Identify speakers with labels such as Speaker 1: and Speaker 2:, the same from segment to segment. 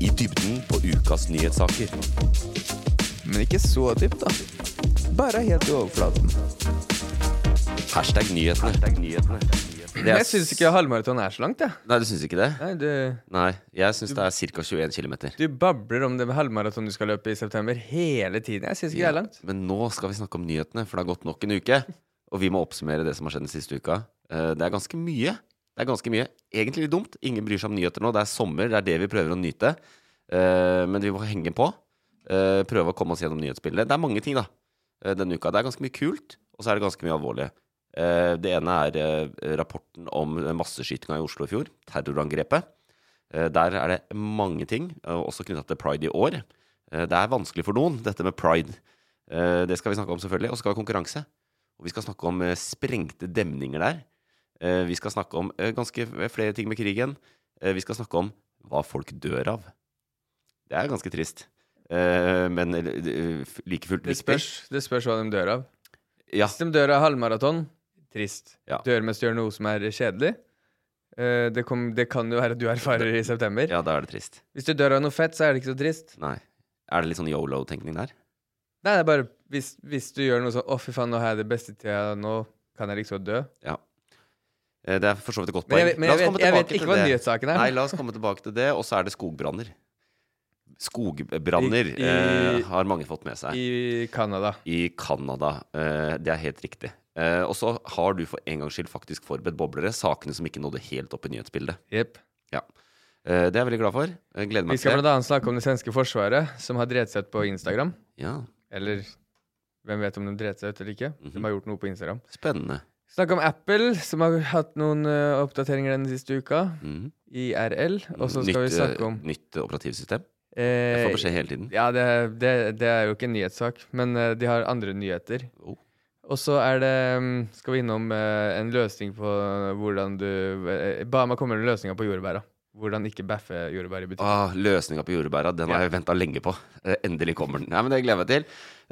Speaker 1: I dybden på ukas nyhetssaker.
Speaker 2: Men ikke så dypt, da. Bare helt i overflaten.
Speaker 1: Hashtag nyhetene. Det er
Speaker 2: Jeg syns ikke halvmaraton er så langt, jeg.
Speaker 1: Nei, du syns ikke det?
Speaker 2: Nei, du,
Speaker 1: Nei, jeg syns det er ca. 21 km.
Speaker 2: du babler om det halvmaraton du skal løpe i september hele tiden. Jeg syns ikke det er langt.
Speaker 1: Men nå skal vi snakke om nyhetene, for det har gått nok en uke. Og vi må oppsummere det som har skjedd den siste uka. Eh, Det er ganske mye. Det er ganske mye. Egentlig litt dumt. Ingen bryr seg om nyheter nå. Det er sommer. Det er det vi prøver å nyte. Eh, Men vi må henge på. Eh, Prøve å komme oss gjennom nyhetsbildet. Det er mange ting, da, eh, denne uka. Det er ganske mye kult, og så er det ganske mye alvorlig. Eh, Det ene er eh, rapporten om masseskytinga i Oslo i fjor. Terrorangrepet. Eh, Der er det mange ting, eh, også knytta til pride i år. Eh, Det er vanskelig for noen, dette med pride. Eh, Det skal vi snakke om, selvfølgelig. Og så skal vi ha konkurranse. Og vi skal snakke om eh, sprengte demninger der. Eh, Vi skal snakke om eh, ganske f- flere ting med krigen. Eh, Vi skal snakke om hva folk dør av. Det er ganske trist. Eh, Men eh, f- like fullt
Speaker 2: Det
Speaker 1: viktig.
Speaker 2: spørs, det spørs hva de dør av.
Speaker 1: Ja,
Speaker 2: Hvis de dør av halvmaraton, trist.
Speaker 1: Ja.
Speaker 2: Dør mens du gjør noe som er kjedelig. Eh, Det, kom, det kan jo være at du erfarer i september.
Speaker 1: ja, da er det trist.
Speaker 2: Hvis du dør av noe fett, så er det ikke så trist.
Speaker 1: Nei. Er det litt sånn yolo-tenkning der?
Speaker 2: Nei, det er bare hvis, hvis du gjør noe sånn 'Å, fy faen, nå har jeg det beste tida, nå kan jeg liksom dø'.
Speaker 1: Ja. Eh, Det er for så vidt et godt
Speaker 2: Men
Speaker 1: poeng.
Speaker 2: jeg, men
Speaker 1: La
Speaker 2: jeg,
Speaker 1: oss komme
Speaker 2: vet, jeg vet
Speaker 1: tilbake
Speaker 2: ikke
Speaker 1: til
Speaker 2: hva
Speaker 1: det.
Speaker 2: nyhetssaken er.
Speaker 1: Nei, la oss komme tilbake til det. Og så er det skogbranner. Skogbranner
Speaker 2: I- i-
Speaker 1: eh, har mange fått med seg. I,
Speaker 2: I Canada.
Speaker 1: Canada. Eh, det er helt riktig. Eh, og så har du for en gangs skyld faktisk forberedt boblere. Sakene som ikke nådde helt opp i nyhetsbildet.
Speaker 2: Jep.
Speaker 1: Ja. Eh, det er jeg veldig glad for. Jeg gleder
Speaker 2: Vi
Speaker 1: meg
Speaker 2: skal
Speaker 1: til det.
Speaker 2: bl.a. snakke om det svenske forsvaret, som har drevet seg ut på Instagram.
Speaker 1: Ja,
Speaker 2: Eller hvem vet om de drev seg ut eller ikke. De har gjort noe på Instagram.
Speaker 1: spennende.
Speaker 2: Snakke om Apple, som har hatt noen ø, oppdateringer den siste uka.
Speaker 1: Mhm.
Speaker 2: IRL. Og så skal
Speaker 1: nytt,
Speaker 2: vi snakke om
Speaker 1: eh, Nytt operativsystem. Jeg får
Speaker 2: eh,
Speaker 1: beskjed hele tiden.
Speaker 2: Ja, det, det, det er jo ikke en nyhetssak, men eh, de har andre nyheter.
Speaker 1: Oh.
Speaker 2: Og så er det mm, Skal vi innom eh, en løsning på hvordan du eh, Bama kommer med løsninger på jordbæra. Hvordan ikke bæffe jordbær i butikk.
Speaker 1: Ah, Løsninga på jordbæra, den har jeg venta lenge på. Eh, Endelig kommer den. Nei, men Det gleder jeg meg til.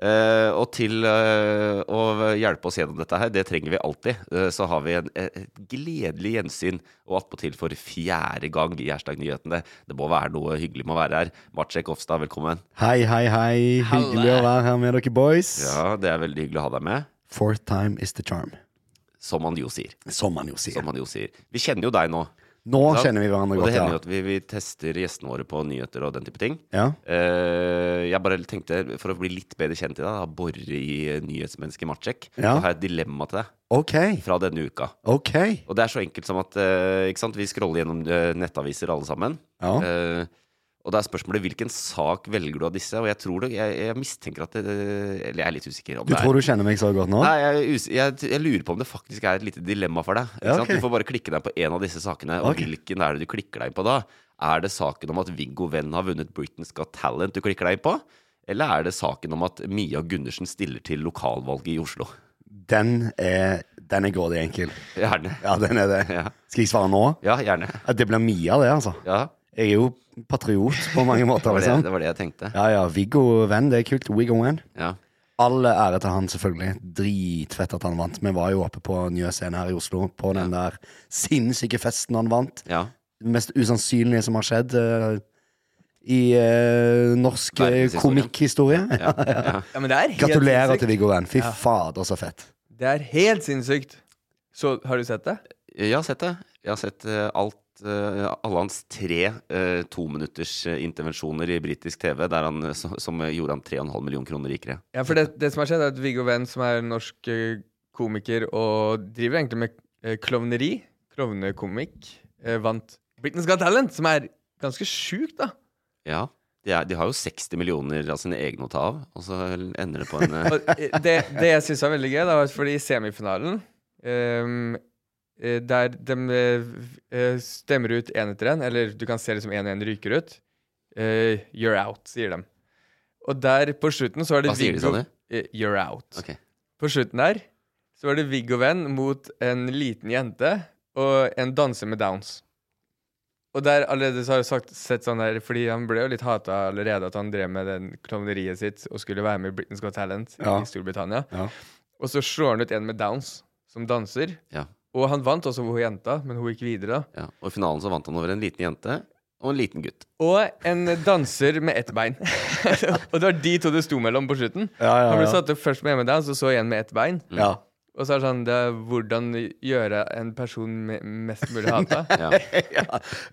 Speaker 1: Eh, og til eh, å hjelpe oss gjennom dette her, det trenger vi alltid. Eh, så har vi en, eh, et gledelig gjensyn, og attpåtil for fjerde gang i Hashtag nyhetene. Det må være noe hyggelig med å være her. Marcek Ofstad, velkommen.
Speaker 3: Hei, hei, hei. Hyggelig å være her med dere boys.
Speaker 1: Ja, Det er veldig hyggelig å ha deg med.
Speaker 3: Fourth time is the charm,
Speaker 1: Som man jo sier.
Speaker 3: som man jo sier.
Speaker 1: Som man jo sier. Vi kjenner jo deg nå.
Speaker 3: Nå
Speaker 1: ikke sant?
Speaker 3: kjenner vi hverandre
Speaker 1: Og det hender jo
Speaker 3: godt,
Speaker 1: at vi, vi tester gjestene våre på nyheter og den type ting.
Speaker 3: ja. ja.
Speaker 1: Eh, jeg bare tenkte, for å bli litt bedre kjent i deg, da, borre i eh, nyhetsmennesket Matsjek,
Speaker 3: Ja.
Speaker 1: så har jeg et dilemma til deg
Speaker 3: Ok,
Speaker 1: fra denne uka.
Speaker 3: ok.
Speaker 1: Og det er så enkelt som at eh, ikke sant? vi scroller gjennom eh, nettaviser alle sammen.
Speaker 3: Ja.
Speaker 1: Eh, og da er spørsmålet hvilken sak velger du av disse? Og jeg tror det, jeg, jeg mistenker at det Eller jeg er litt usikker om
Speaker 3: Du
Speaker 1: det er
Speaker 3: tror du kjenner meg så godt nå?
Speaker 1: Nei, jeg, er us- jeg, jeg lurer på om det faktisk er et lite dilemma for deg. Ikke
Speaker 3: Ja,
Speaker 1: sant?
Speaker 3: ok.
Speaker 1: Du får bare klikke deg på en av disse sakene. Og
Speaker 3: Ok.
Speaker 1: hvilken er det du klikker deg inn på da? Er det saken om at Viggo Venn har vunnet Britain's Got Talent du klikker deg inn på? Eller er det saken om at Mia Gundersen stiller til lokalvalget i Oslo?
Speaker 3: Den er, den er grådig enkel.
Speaker 1: Gjerne.
Speaker 3: Ja, den er det.
Speaker 1: Ja.
Speaker 3: Skal jeg svare nå?
Speaker 1: Ja, gjerne.
Speaker 3: Ja, Det blir Mia, det, altså.
Speaker 1: Ja,
Speaker 3: Jeg er jo patriot på mange
Speaker 1: det
Speaker 3: måter,
Speaker 1: var det,
Speaker 3: liksom.
Speaker 1: det, var det jeg tenkte.
Speaker 3: Ja, ja. Viggo Venn, det er kult. Viggo Venn.
Speaker 1: Ja.
Speaker 3: All ære til han, selvfølgelig. Dritfett at han vant. Vi var jo oppe på Njø scene her i Oslo, på den der sinnssyke festen han vant.
Speaker 1: ja.
Speaker 3: det mest usannsynlige som har skjedd eh, i eh, norsk eh,
Speaker 1: Verdenshistorien.
Speaker 3: komikkhistorie.
Speaker 1: ja, ja.
Speaker 2: Ja, men det er helt
Speaker 3: Gratulerer
Speaker 2: sinnssykt.
Speaker 3: til Viggo Venn. Fy fader, så fett.
Speaker 2: Det er helt sinnssykt. Så har du sett det?
Speaker 1: Jeg har sett det. Jeg har sett eh, alt, eh, alle hans tre eh, tominuttersintervensjoner i britisk TV der han, eh, som, som gjorde ham 3,5 millioner kroner rikere.
Speaker 2: Ja, for det, det som har skjedd, er at Viggo Venn, som er en norsk eh, komiker og driver egentlig med eh, klovneri, klovnekomikk, eh, vant Britain's Got Talent, som er ganske sjukt, da.
Speaker 1: Ja, de, er, de har jo 60 millioner av sine egne å ta av, og så ender det på en eh,
Speaker 2: Og eh, det, det jeg syns var veldig gøy, da, var fordi i semifinalen ehm, eh, Der de eh, eh, stemmer ut én etter én, eller du kan se det som én og én ryker ut. eh, you're out, sier de. Og der på slutten så er det
Speaker 1: Hva sier de, sa
Speaker 2: Viggo-
Speaker 1: du?
Speaker 2: eh, You're out.
Speaker 1: Ok.
Speaker 2: På slutten der så var det Viggo Venn mot en liten jente og en danser med downs. Og der allerede så har jeg sagt, sett sånn der Fordi han ble jo litt hata allerede at han drev med den klovneriet sitt og skulle være med i Britain's Got Talent
Speaker 3: Ja.
Speaker 2: i Storbritannia.
Speaker 3: Ja.
Speaker 2: Og så slår han ut en med downs, som danser.
Speaker 1: Ja.
Speaker 2: Og han vant også hun jenta, men hun gikk videre. da.
Speaker 1: Ja. Og i finalen så vant han over en liten jente og en liten gutt.
Speaker 2: Og en danser med ett bein. og det var de to det sto mellom på slutten.
Speaker 3: Ja, ja,
Speaker 2: Han ble
Speaker 3: ja.
Speaker 2: satt opp først med en med downs, og så igjen med ett bein.
Speaker 3: Ja.
Speaker 2: Og så er det sånn det er Hvordan gjøre en person me- mest mulig hata?
Speaker 1: Ja.
Speaker 3: ja,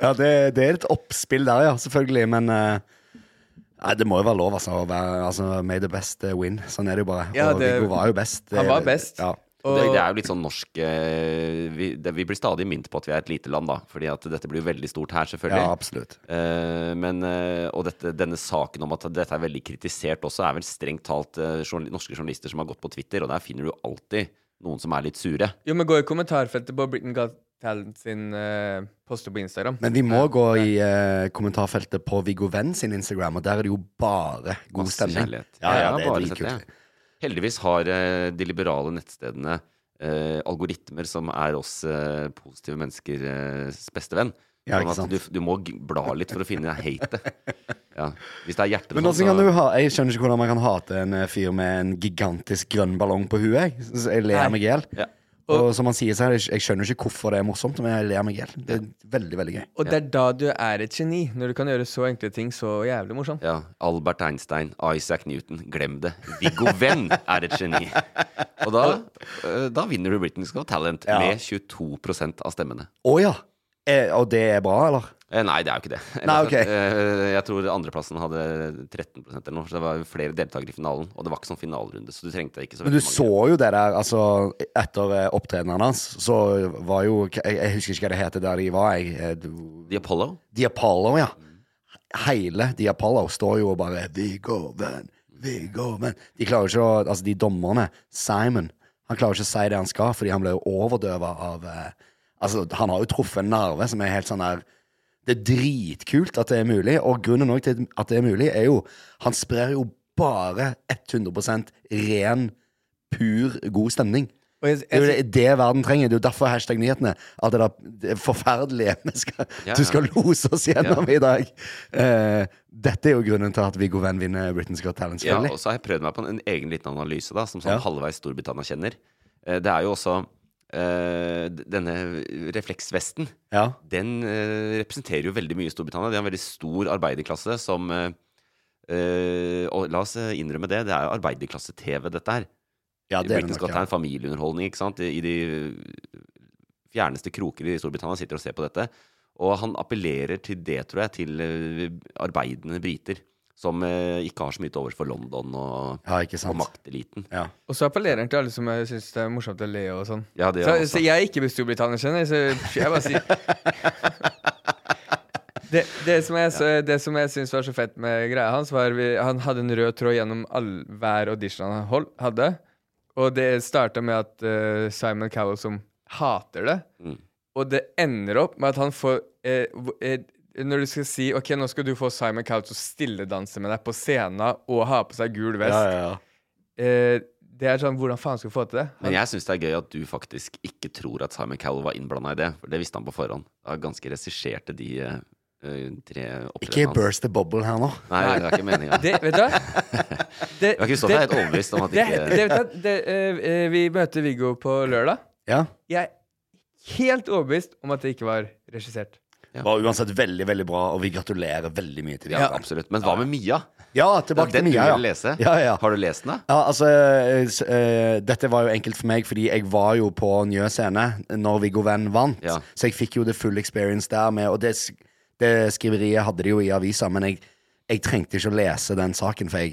Speaker 3: ja det, det er et oppspill der, ja, selvfølgelig. Men eh, nei, det må jo være lov, altså. Å være, altså may the best eh, win. Sånn er det jo bare.
Speaker 2: Ja,
Speaker 3: og
Speaker 2: det-
Speaker 3: Viggo var jo best. eh,
Speaker 2: Han var best.
Speaker 3: Ja.
Speaker 2: Og,
Speaker 1: Det, det er jo litt sånn norsk eh, vi, det, vi blir stadig minnet på at vi er et lite land, da. Fordi at dette blir jo veldig stort her,
Speaker 3: ja,
Speaker 1: selvfølgelig.
Speaker 3: absolutt.
Speaker 1: Eh, men, eh, og dette, denne saken om at dette er veldig kritisert også, er vel strengt talt eh, journal norske journalister som har gått på Twitter, og der finner du jo alltid noen som er litt sure.
Speaker 2: Jo, men gå i kommentarfeltet på Britain Got Talent sin eh, poster på Instagram.
Speaker 3: Men vi må gå i eh, kommentarfeltet på Viggo Venn sin Instagram, og der er det jo bare god
Speaker 1: Masse
Speaker 3: stemning.
Speaker 1: kjærlighet.
Speaker 3: Ja, ja, det er
Speaker 1: bare sett
Speaker 3: dritkult.
Speaker 1: det. Heldigvis har eh, de liberale nettstedene eh, algoritmer som er oss eh, positive menneskers eh, beste venn.
Speaker 3: Ja, ikke
Speaker 1: sånn
Speaker 3: sant.
Speaker 1: at du, du må g- bla litt for å finne hatet. Ja. Hvis det er hjertet
Speaker 3: Men
Speaker 1: sånn,
Speaker 3: hvordan kan du ha, Jeg skjønner ikke hvordan man kan hate en eh, fyr med en gigantisk grønn ballong på huet. Jeg, Så jeg ler meg i hjel.
Speaker 1: Ja.
Speaker 3: Og som han sier, så er det- jeg skjønner ikke hvorfor det er morsomt, men jeg ler meg i hjel. Det er veldig, veldig gøy.
Speaker 2: Og det er da du er et geni, når du kan gjøre så enkle ting så jævlig morsomt.
Speaker 1: ja, Albert Einstein, Isaac Newton, glem det. Viggo Venn er et geni. Og da, eh, da vinner du Britain's Got Talent
Speaker 3: Ja.
Speaker 1: med 22 av stemmene.
Speaker 3: Å ja. Eh, og det er bra, eller?
Speaker 1: Eh, Nei, det er jo ikke det.
Speaker 3: Nei, ok.
Speaker 1: Eh, Jeg tror andreplassen hadde 13 eller noe, så det var jo flere deltakere i finalen. Og det var ikke sånn finalerunde, så du trengte ikke så
Speaker 3: Men du
Speaker 1: veldig
Speaker 3: så jo det der, altså Etter eh, opptredenen hans, så var jo Jeg, jeg husker ikke hva det heter der de var. Jeg, eh, du-
Speaker 1: The Apollo?
Speaker 3: The Apollo, ja. Hele The Apollo står jo og bare Vi går, venn. Vi går, venn. De klarer jo ikke å Altså, de dommerne, Simon, han klarer ikke å si det han skal, fordi han ble jo overdøva av eh, Altså, han har jo truffet en nerve som er helt sånn der Det er dritkult at det er mulig, og grunnen òg til at det er mulig, er jo Han sprer jo bare 100 ren, pur, god stemning.
Speaker 2: Og jeg,
Speaker 3: Det er jo
Speaker 2: jeg,
Speaker 3: det, det verden trenger. Det er jo derfor hashtag nyhetene. At det er det forferdelige vi skal,
Speaker 1: Ja,
Speaker 3: du
Speaker 1: ja.
Speaker 3: skal lose oss gjennom i dag. Eh, dette er jo grunnen til at Viggo Venn vinner Britain's Got Talent.
Speaker 1: Ja, altså, og
Speaker 3: selvfølgelig.
Speaker 1: så har jeg prøvd meg på en, en egen liten analyse, da, som sånn
Speaker 3: Ja.
Speaker 1: halvveis Storbritannia kjenner. Eh, Det er jo også eh, d- denne refleksvesten.
Speaker 3: Ja.
Speaker 1: Den eh, representerer jo veldig mye i Storbritannia. Det er en veldig stor arbeiderklasse som eh, eh, Og la oss eh, innrømme det, det er jo arbeiderklasse-TV, dette her.
Speaker 3: Ja, det er det
Speaker 1: Britain's
Speaker 3: nok,
Speaker 1: Got
Speaker 3: ja.
Speaker 1: Talent, familieunderholdning, ikke sant? I de fjerneste kroker i Storbritannia sitter og ser på dette. Og han appellerer til det, tror jeg, til eh, arbeidende briter. Som eh, ikke har så mye til overs for London og,
Speaker 3: Ja, ikke
Speaker 1: og
Speaker 3: sant.
Speaker 1: makteliten.
Speaker 3: Ja.
Speaker 2: og så appellerer han til alle som syns det er morsomt å le og sånn.
Speaker 1: Ja, det
Speaker 2: Så,
Speaker 1: gjør han
Speaker 2: så
Speaker 1: også.
Speaker 2: jeg er ikke Storbritannia, skjønner jeg, så jeg bare sier det, det som jeg, så- det som jeg syns var så fett med greia hans, var vi, han hadde en rød tråd gjennom all, hver audition han hold, hadde. Og det starta med at eh, Simon Cowell som hater det.
Speaker 1: Mm.
Speaker 2: Og det ender opp med at han får eh, hvor- eh, Når du skal si OK, nå skal du få Simon Cowell til å stilledanse med deg på scenen og ha på seg gul vest.
Speaker 3: Ja, ja, ja.
Speaker 2: Eh, det er sånn Hvordan faen skal du få til det? Han,
Speaker 1: Men jeg syns det er gøy at du faktisk ikke tror at Simon Cowell var innblanda i det. For det visste han på forhånd. Det var ganske regisserte, de eh, eh, tre
Speaker 3: Ikke
Speaker 1: opptredenene hans.
Speaker 3: burst the bubble her nå.
Speaker 1: Nei, det er ikke meninga.
Speaker 2: det, vet du hva? Det,
Speaker 1: Jeg har ikke stått her helt overbevist om at
Speaker 2: det,
Speaker 1: ikke
Speaker 2: det, vet du, hva? det, eh, eh, vi møter Viggo på lørdag.
Speaker 3: Ja.
Speaker 2: Jeg er helt overbevist om at det ikke var regissert.
Speaker 3: Var uansett veldig, veldig bra, og vi gratulerer veldig mye til dem.
Speaker 1: Ja, absolutt. Men hva med Mia?
Speaker 3: Ja,
Speaker 1: Det er
Speaker 3: tilbake til
Speaker 1: den du
Speaker 3: Mia.
Speaker 1: vil lese.
Speaker 3: Ja, ja.
Speaker 1: Har du lest den, da?
Speaker 3: Ja, altså, eh, s- eh, Dette var jo enkelt for meg, fordi jeg var jo på Njø scene når Viggo Venn vant.
Speaker 1: Ja.
Speaker 3: Så jeg fikk jo det full experience der. med, Og det, s- det skriveriet hadde de jo i avisa, men jeg, jeg trengte ikke å lese den saken, for jeg,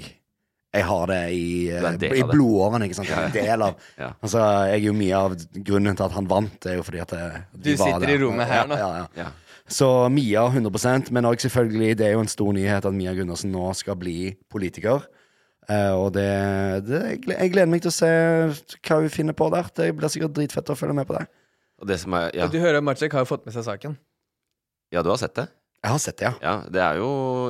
Speaker 3: jeg har det i, eh,
Speaker 1: Du er en del
Speaker 3: i
Speaker 1: av det.
Speaker 3: blodårene. ikke sant? Jeg er en del av.
Speaker 1: Ja.
Speaker 3: Altså, jeg er jo Mye av grunnen til at han vant, det er jo fordi at eh, det,
Speaker 2: Du
Speaker 3: vi var
Speaker 2: sitter i
Speaker 3: der.
Speaker 2: rommet her
Speaker 3: ja,
Speaker 2: nå.
Speaker 3: Ja, ja.
Speaker 1: Ja.
Speaker 3: Så Mia 100 men òg selvfølgelig, det er jo en stor nyhet at Mia Gundersen nå skal bli politiker. Eh, og det, det jeg, gleder, jeg gleder meg til å se hva hun finner på der. Det blir sikkert dritfett å følge med på det.
Speaker 1: Og det som er, ja.
Speaker 2: Og Du hører Maciek har jo fått med seg saken.
Speaker 1: ja, du har sett det?
Speaker 3: Jeg har sett det, ja.
Speaker 1: Ja, det er jo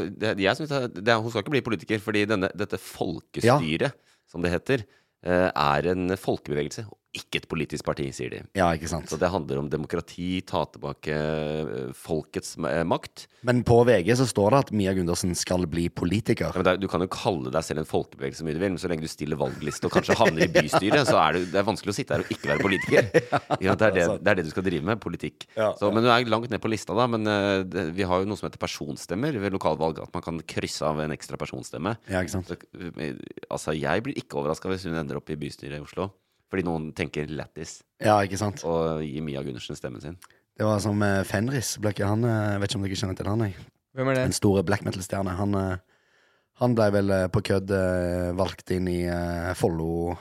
Speaker 1: det, jeg synes det, er- det, er- Hun skal ikke bli politiker, fordi denne, dette folkestyret, som det heter, eh, er en folkebevegelse, og ikke et politisk parti, sier de.
Speaker 3: Ja, ikke sant
Speaker 1: Så det handler om demokrati, ta tilbake eh, folkets eh, makt.
Speaker 3: Men på VG så står det at Mia Gundersen skal bli politiker.
Speaker 1: Ja, men det er, du kan jo kalle deg selv en folkebevegelse så mye du vil, men så lenge du stiller valgliste og kanskje havner i bystyret, så er det, det er vanskelig å sitte her og ikke være politiker. Ja, det, er det, det er det du skal drive med, politikk.
Speaker 3: Ja,
Speaker 1: så, men du er langt ned på lista, da. Men eh, det, vi har jo noe som heter personstemmer ved lokalvalg, at man kan krysse av en ekstra personstemme.
Speaker 3: Ja, ikke sant
Speaker 1: Så, eh, altså, jeg blir ikke overraska hvis hun ender opp i bystyret i Oslo. Fordi noen tenker lættis
Speaker 3: Ja, ikke sant
Speaker 1: og gir Mia Gundersen stemmen sin.
Speaker 3: Det var som eh, Fenris. Ble ikke han, eh, vet ikke om dere kjenner til han, jeg.
Speaker 2: Hvem er det?
Speaker 3: Den store black metal-stjerne. Han, eh, han ble vel eh, på kødd eh, valgt inn i eh, Follo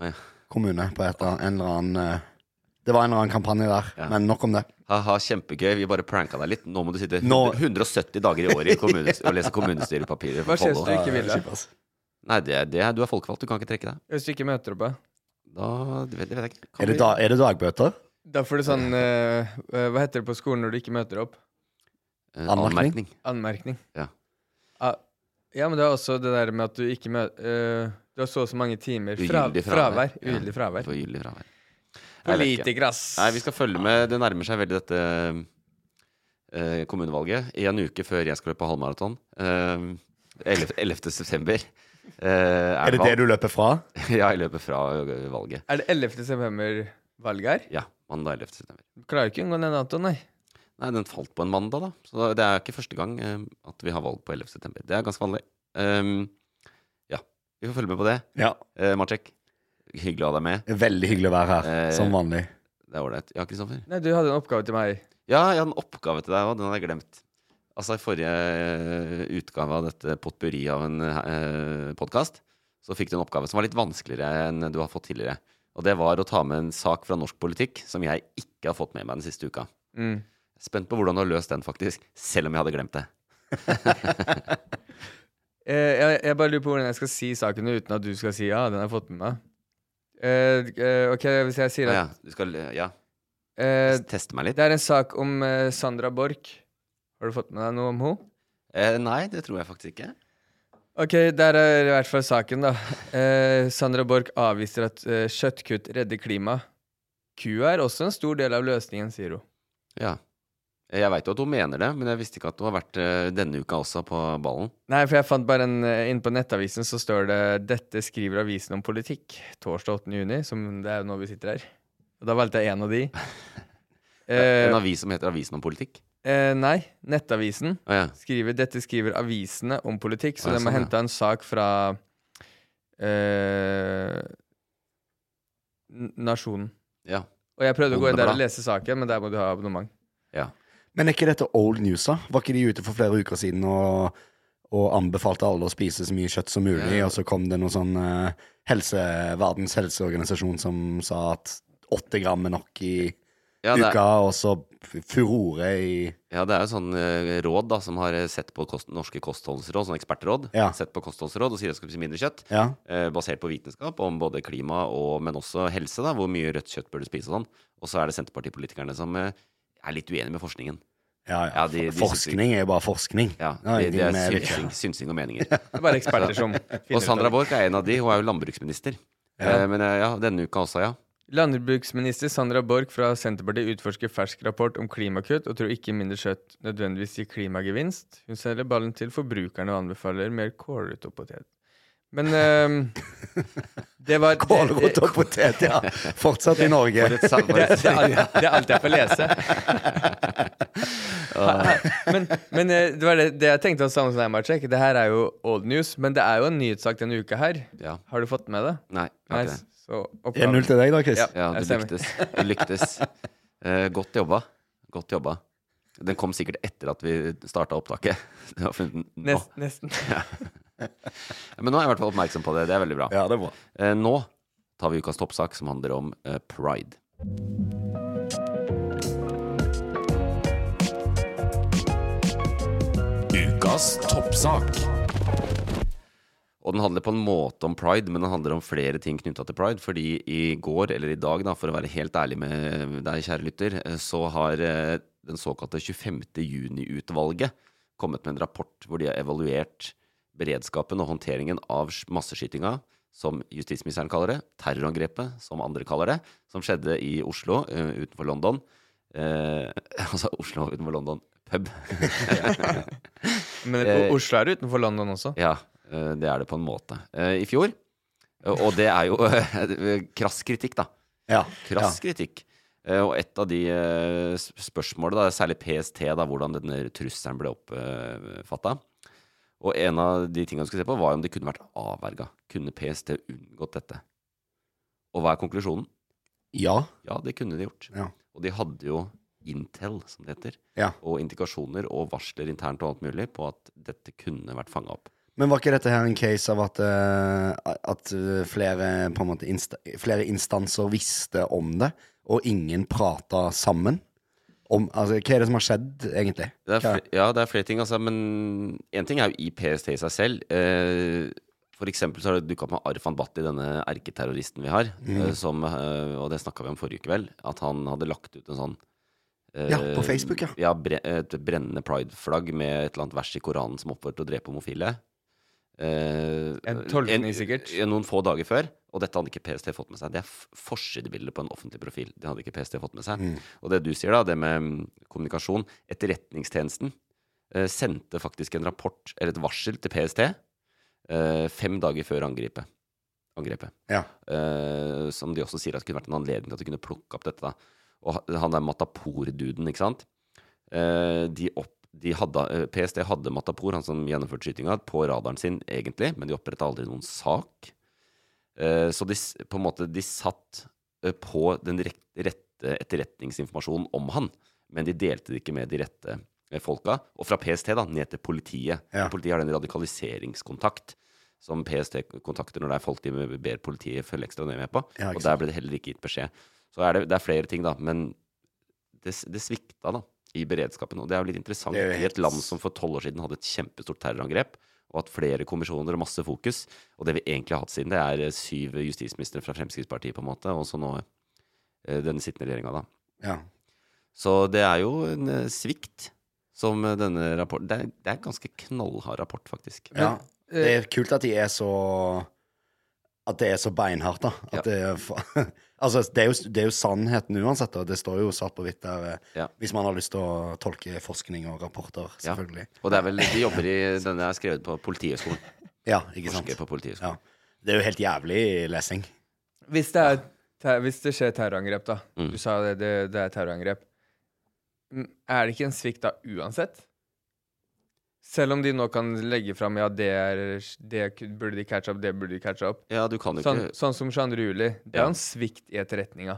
Speaker 1: Ja.
Speaker 3: kommune på et, eller- en eller annen eh, Det var en eller annen kampanje der,
Speaker 1: Ja.
Speaker 3: men nok om det.
Speaker 1: Ha-ha, kjempegøy. Vi bare pranka deg litt. Nå må du sitte
Speaker 3: Nå-
Speaker 1: 170 dager i året i kommunes og lese kommunestyrepapirer. for
Speaker 2: Hva skjer hvis
Speaker 1: Follo.
Speaker 2: du ikke vil det?
Speaker 1: Nei, det, er- det er, du er folkevalgt. Du kan ikke trekke deg.
Speaker 2: Hvis du ikke møter opp, da?
Speaker 1: Da det vet, det vet jeg ikke. Kan
Speaker 3: Er det,
Speaker 1: vi-
Speaker 3: da, er det dagbøter?
Speaker 2: Da får du sånn eh, eh, Hva heter det på skolen når du ikke møter opp?
Speaker 1: Eh,
Speaker 3: Anmerkning?
Speaker 1: anmerkning?
Speaker 2: Anmerkning.
Speaker 1: Ja.
Speaker 2: Ah, ja, men det er også det der med at du ikke møter Du har så og så mange timer fra,
Speaker 1: Ugyldig
Speaker 2: fravær.
Speaker 1: Ja,
Speaker 2: Ugyldig fravær.
Speaker 1: for Ugyldig fravær. Jeg vet ikke.
Speaker 2: Politiker, ass.
Speaker 1: Nei, vi skal følge med. Det nærmer seg veldig dette eh, kommunevalget. En uke før jeg skal løpe halvmaraton. Uh, 11. 11. september. eh,
Speaker 3: Er det det du løper fra?
Speaker 1: Ja, jeg løper fra eh, valget.
Speaker 2: Er det 11. september-valget her?
Speaker 1: Ja, mandag 11. september.
Speaker 2: Klarer ikke å unngå den datoen, nei.
Speaker 1: Nei, den falt på en mandag, da. Så det er ikke første gang eh, at vi har valg på 11. september. Det er ganske vanlig. Ehm, ja, vi får følge med på det.
Speaker 3: Ja.
Speaker 1: Uh, Marcek, hyggelig å ha deg med.
Speaker 3: Veldig hyggelig å være her,
Speaker 1: Eh,
Speaker 3: som vanlig.
Speaker 1: Det er ålreit. Ja, Kristoffer?
Speaker 2: Nei, du hadde en oppgave til meg.
Speaker 1: Ja, jeg hadde en oppgave til deg òg. Den hadde jeg glemt. Altså, i forrige eh, utgave av dette potpurri av en uh, podkast, så fikk du en oppgave som var litt vanskeligere enn du har fått tidligere. Og det var å ta med en sak fra norsk politikk som jeg ikke har fått med meg den siste uka.
Speaker 2: Mm.
Speaker 1: Spent på hvordan du har løst den, faktisk. Selv om jeg hadde glemt det.
Speaker 2: Eh, jeg, jeg bare lurer på hvordan jeg skal si saken uten at du skal si ja, den har jeg fått med meg. Eh, eh, ok, hvis jeg sier
Speaker 1: Å, ja,
Speaker 2: at
Speaker 1: du skal eh, ja,
Speaker 2: eh,
Speaker 1: teste meg litt?
Speaker 2: Det er en sak om eh, Sandra Borch. Har du fått med deg noe om henne?
Speaker 1: Eh, nei, det tror jeg faktisk ikke.
Speaker 2: Ok, der er i hvert fall saken, da. Eh, Sandra Borch avviser at eh, kjøttkutt redder klimaet. Kua er også en stor del av løsningen, sier hun.
Speaker 1: Ja. Eh, Jeg veit jo at hun mener det, men jeg visste ikke at hun har vært eh, denne uka også på ballen.
Speaker 2: Nei, for jeg fant bare en eh, Inne på Nettavisen så står det 'Dette skriver avisen om politikk' torsdag 8. juni, som det er jo nå vi sitter her. Og da valgte jeg én av de. Eh,
Speaker 1: en avis som heter Avisen om politikk.
Speaker 2: eh, nei, Nettavisen.
Speaker 1: Å ja.
Speaker 2: skriver, dette skriver avisene om politikk, så
Speaker 1: Ja,
Speaker 2: de har
Speaker 1: sånn, ja.
Speaker 2: henta en sak fra eh, N- Nasjonen.
Speaker 1: ja.
Speaker 2: Og jeg prøvde å gå inn der og
Speaker 1: Bondeblad.
Speaker 2: lese saken, men der må du ha abonnement.
Speaker 1: Ja.
Speaker 3: Men er ikke dette old news, da? Var ikke de ute for flere uker siden og, og anbefalte alle å spise så mye kjøtt som mulig,
Speaker 1: Ja.
Speaker 3: og så kom det noe sånn eh, helse, Verdens helseorganisasjon som sa at åtte gram er nok i
Speaker 1: Ja, det er,
Speaker 3: uka, og så f- furore i
Speaker 1: ja, det er jo sånn eh, råd da, som har eh, sett på kost, norske kostholdsråd, sånn ekspertråd,
Speaker 3: Ja.
Speaker 1: sett på kostholdsråd og sier at det skal bli mindre kjøtt.
Speaker 3: Ja.
Speaker 1: eh, basert på vitenskap om både klima og men også helse, da, hvor mye rødt kjøtt bør du spise og sånn. Og så er det Senterpartipolitikerne som eh, er litt uenige med forskningen.
Speaker 3: Ja, ja.
Speaker 1: Ja, de- de
Speaker 3: forskning er jo bare forskning.
Speaker 1: Ja,
Speaker 3: Det har
Speaker 1: det, det
Speaker 3: ingenting
Speaker 1: er
Speaker 3: med virkelig-
Speaker 1: synsing, synsing og meninger.
Speaker 2: Det er bare eksperter som finner
Speaker 1: Og Sandra
Speaker 2: ut av det.
Speaker 1: Borch er en av de. Hun er jo landbruksminister.
Speaker 3: Ja.
Speaker 1: Eh, Men eh, ja, denne uka også, ja.
Speaker 2: Landbruksminister Sandra Borch fra Senterpartiet utforsker fersk rapport om klimakutt og tror ikke mindre kjøtt nødvendigvis gir klimagevinst. Hun selger ballen til forbrukerne og anbefaler mer kålrot og potet. Men eh, det var
Speaker 3: Kålrot og potet, ja. Fortsatt i Norge.
Speaker 1: For et sam- for et-
Speaker 2: Det er alt jeg får lese.
Speaker 1: Å,
Speaker 2: Men, men eh, det var det, det jeg tenkte om Sounds Nine Match. Det her er jo old news, men det er jo en nyhetssak denne uka her.
Speaker 1: Ja.
Speaker 2: Har du fått med det?
Speaker 1: Nei, jeg har ikke det.
Speaker 2: Nice. Så
Speaker 3: Det er null til deg da, Chris.
Speaker 2: Ja.
Speaker 1: Ja, du
Speaker 2: jeg stemmer.
Speaker 1: lyktes. Du lyktes. Eh, godt jobba. Godt jobba. Den kom sikkert etter at vi starta opptaket. Du har funnet den nå.
Speaker 2: Nest, nesten.
Speaker 1: Men nå er jeg i hvert fall oppmerksom på det. Det er veldig bra.
Speaker 3: Ja, det er bra.
Speaker 1: Eh, nå tar vi ukas toppsak, som handler om eh, pride.
Speaker 4: Ukas toppsak.
Speaker 1: Og den handler på en måte om pride, men den handler om flere ting knytta til pride. Fordi i går, eller i dag, da, for å være helt ærlig med deg, kjære lytter, eh, så har eh, den såkalte 25. juni-utvalget kommet med en rapport hvor de har evaluert beredskapen og håndteringen av sk- masseskytinga, som justisministeren kaller det, terrorangrepet, som andre kaller det, som skjedde i Oslo eh, utenfor London. Eh, altså Oslo utenfor London pub.
Speaker 2: Men
Speaker 1: Eh,
Speaker 2: Oslo er utenfor London også.
Speaker 1: Ja, eh, det er det på en måte. Eh, I fjor. eh, Og det er jo eh, krass kritikk, da.
Speaker 3: Ja. ja.
Speaker 1: Krass kritikk. Eh, Og et av de eh, s- spørsmålene, da, særlig PST, da, hvordan denne trusselen ble oppfatta. Og en av de tingene du skulle se på, var om det kunne vært avverga. Kunne PST unngått dette? Og hva er konklusjonen?
Speaker 3: ja.
Speaker 1: Ja, det kunne de gjort.
Speaker 3: Ja.
Speaker 1: Og de hadde jo Intel, som det heter,
Speaker 3: Ja.
Speaker 1: og indikasjoner og varsler internt og alt mulig på at dette kunne vært fanga opp.
Speaker 3: Men var ikke dette her en case av at, eh, at eh, flere, på en måte, insta flere instanser visste om det, og ingen prata sammen? Om, altså, hva er det som har skjedd, egentlig?
Speaker 1: Det er
Speaker 3: Hva-
Speaker 1: fl- ja, det er flere ting, altså. Men én ting er jo i PST i seg selv. Eh, for eksempel så har det dukka opp med Arfan Bhatti, denne erketerroristen vi har. Eh, som, eh, og det snakka vi om forrige kveld. At han hadde lagt ut en sånn eh,
Speaker 3: Ja, på Facebook, ja.
Speaker 1: bre et brennende prideflagg med et eller annet vers i Koranen som oppfordrer til å drepe homofile. Eh,
Speaker 2: En tolkning, sikkert.
Speaker 1: en- Noen få dager før. Og dette hadde ikke PST fått med seg. Det er f- forsidebilder på en offentlig profil. Det hadde ikke PST fått med seg.
Speaker 3: Mm.
Speaker 1: Og det du sier, da, det med mm, kommunikasjon Etterretningstjenesten eh, sendte faktisk en rapport, eller et varsel, til PST eh, fem dager før angrepet. angrepet.
Speaker 3: Ja.
Speaker 1: Eh, som de også sier at det kunne vært en anledning til at de kunne plukke opp dette. da. Og ha- han der Matapor-duden, ikke sant? Eh, de opp, de hadde, eh, PST hadde Matapor, han som gjennomførte skytinga, på radaren sin egentlig, men de oppretta aldri noen sak. Eh, så de, s- på en måte, de satt eh, på den rek- rette etterretningsinformasjonen om han, men de delte det ikke med de rette eh, folka. Og fra PST da, ned til politiet.
Speaker 3: Ja.
Speaker 1: Politiet har den radikaliseringskontakt som PST kontakter når det er folk de ber politiet følge ekstra nøye med på.
Speaker 3: Ja, ikke
Speaker 1: og der ble det heller ikke gitt beskjed. Så er det, det er flere ting, da. Men det, s- det svikta da, i beredskapen. Og det er jo litt interessant
Speaker 3: Det er jo
Speaker 1: i
Speaker 3: helt-
Speaker 1: et land som for tolv år siden hadde et kjempestort terrorangrep, og hatt flere kommisjoner og masse fokus. Og det vi egentlig har hatt siden, det er eh, syv justisministre fra Fremskrittspartiet, på en måte, og så nå eh, den sittende regjeringa, da.
Speaker 3: Ja.
Speaker 1: Så det er jo en eh, svikt som eh, denne rapporten Det er, det er en ganske knallhard rapport, faktisk.
Speaker 3: ja. Det
Speaker 1: eh,
Speaker 3: er kult at de er så At det er så beinhardt, da.
Speaker 1: Ja.
Speaker 3: At det, er, fa- altså, det, er jo, det er jo sannheten uansett, og det står jo svart på hvitt der, eh,
Speaker 1: Ja.
Speaker 3: hvis man har lyst til å tolke forskning og rapporter,
Speaker 1: Ja.
Speaker 3: selvfølgelig.
Speaker 1: Og det er vel de jobber i Denne er skrevet på Politihøgskolen.
Speaker 3: Ja, ikke sant?
Speaker 1: Forsker på Politihøgskolen.
Speaker 3: Ja. Det er jo helt jævlig lesing.
Speaker 2: Hvis det, er, ter- hvis det skjer terrorangrep, da.
Speaker 1: Mm.
Speaker 2: Du sa det, det, det er terrorangrep. Mm, Er det ikke en svikt da uansett? Selv om de nå kan legge fram ja, det, er, det ku- burde de catche opp, det burde de catche opp.
Speaker 1: Ja, du kan jo
Speaker 2: Sånn,
Speaker 1: ikke
Speaker 2: sånn som 22. juli. Det er
Speaker 1: Ja.
Speaker 2: jo en svikt i etterretninga.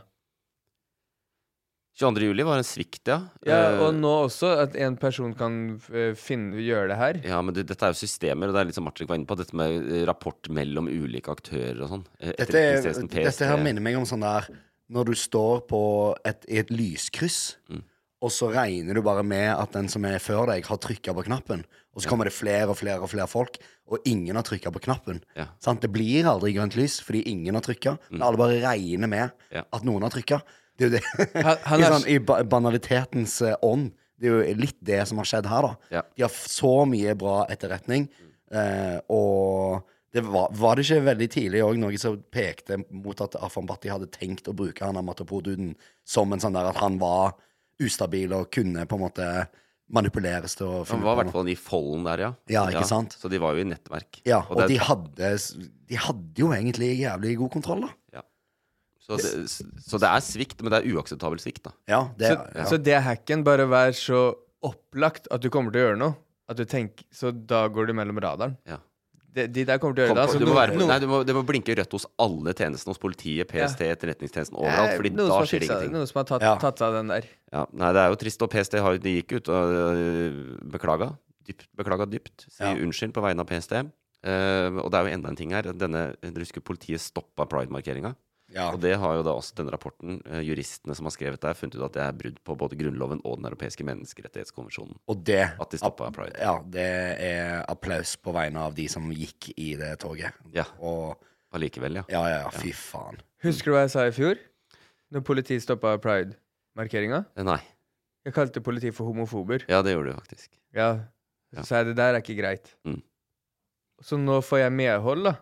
Speaker 1: 22. juli var en svikt, ja.
Speaker 2: Ja,
Speaker 1: Eh,
Speaker 2: og nå også at en person kan eh, finne, gjøre det her.
Speaker 1: Ja, men det, dette er jo systemer, og det er litt som Martin var inne på, dette med eh, rapport mellom ulike aktører og sånn. Eh,
Speaker 3: Dette, er-
Speaker 1: Etterretningstjenesten, PST.
Speaker 3: dette her minner meg om sånn der Når du står på et, i et lyskryss,
Speaker 1: Mm.
Speaker 3: og så regner du bare med at den som er før deg, har trykka på knappen. Og så kommer det flere og flere og flere folk, og ingen har trykka på knappen.
Speaker 1: Ja. Mm.
Speaker 3: Sant? Det blir aldri grønt lys fordi ingen har trykka. Men alle bare regner med
Speaker 1: Ja.
Speaker 3: at noen har trykka. Det er jo det.
Speaker 2: Han- han
Speaker 3: I,
Speaker 2: er-
Speaker 3: sånn, I ba banalitetens eh, ånd. Det er jo litt det som har skjedd her, da.
Speaker 1: Ja.
Speaker 3: De har f- så mye bra etterretning. eh, og det var, var det ikke veldig tidlig òg noe som pekte mot at Afan Bhatti hadde tenkt å bruke han Amatopoduden som en sånn der at han var ustabil og kunne på en måte manipuleres til å
Speaker 1: Han
Speaker 3: finne
Speaker 1: var i
Speaker 3: på
Speaker 1: hvert
Speaker 3: noe.
Speaker 1: fall i folden der, ja.
Speaker 3: Ja, ikke sant?
Speaker 1: Så de var jo i nettverk.
Speaker 3: Ja, og,
Speaker 1: det-
Speaker 3: de, hadde, s- de hadde jo egentlig jævlig god kontroll, da.
Speaker 1: så, det, så det er svikt, men det er uakseptabel svikt, da.
Speaker 3: Ja, det,
Speaker 2: Så,
Speaker 3: ja.
Speaker 2: så det er hacken. Bare vær så opplagt at du kommer til å gjøre noe, at du tenker, så da går du mellom radaren.
Speaker 1: Ja.
Speaker 2: De, de der kommer til å
Speaker 1: Kom
Speaker 2: gjøre
Speaker 1: på,
Speaker 2: det. altså,
Speaker 1: du, må
Speaker 2: noen-
Speaker 1: være,
Speaker 2: noen-
Speaker 1: nei, du, må, du må blinke rødt hos alle tjenestene, hos politiet, PST, Etterretningstjenesten, overalt. Fordi da
Speaker 2: noen som har
Speaker 1: skjer det
Speaker 2: fiksa det,
Speaker 1: ingenting.
Speaker 2: Noen som har tatt,
Speaker 3: Ja.
Speaker 2: tatt seg av den der.
Speaker 1: Ja, nei, det er jo trist. Og PST har, jo- de gikk ut og øh, beklaga. Dypt, beklaga dypt. Si
Speaker 3: Ja.
Speaker 1: unnskyld på vegne av PST. Eh, og det er jo enda en ting her. Denne, du husker politiet stoppa pridemarkeringa.
Speaker 3: Ja.
Speaker 1: Og det har jo da også denne rapporten, eh, juristene som har skrevet der, funnet ut at det er brudd på både Grunnloven og Den europeiske menneskerettighetskonvensjonen.
Speaker 3: Og det
Speaker 1: At de stoppa pride.
Speaker 3: Ja, det er applaus på vegne av de som gikk i det toget.
Speaker 1: Ja,
Speaker 3: Og
Speaker 1: allikevel, ja.
Speaker 3: ja, ja, ja, fy faen.
Speaker 2: Husker du hva jeg sa i fjor? Når politiet stoppa pride-markeringa?
Speaker 1: Eh, Nei.
Speaker 2: Jeg kalte politiet for homofober.
Speaker 1: Ja, det gjorde du faktisk.
Speaker 2: Ja.
Speaker 1: Ja.
Speaker 2: Så sa jeg det der er ikke greit.
Speaker 1: Mm.
Speaker 2: Så nå får jeg medhold, da,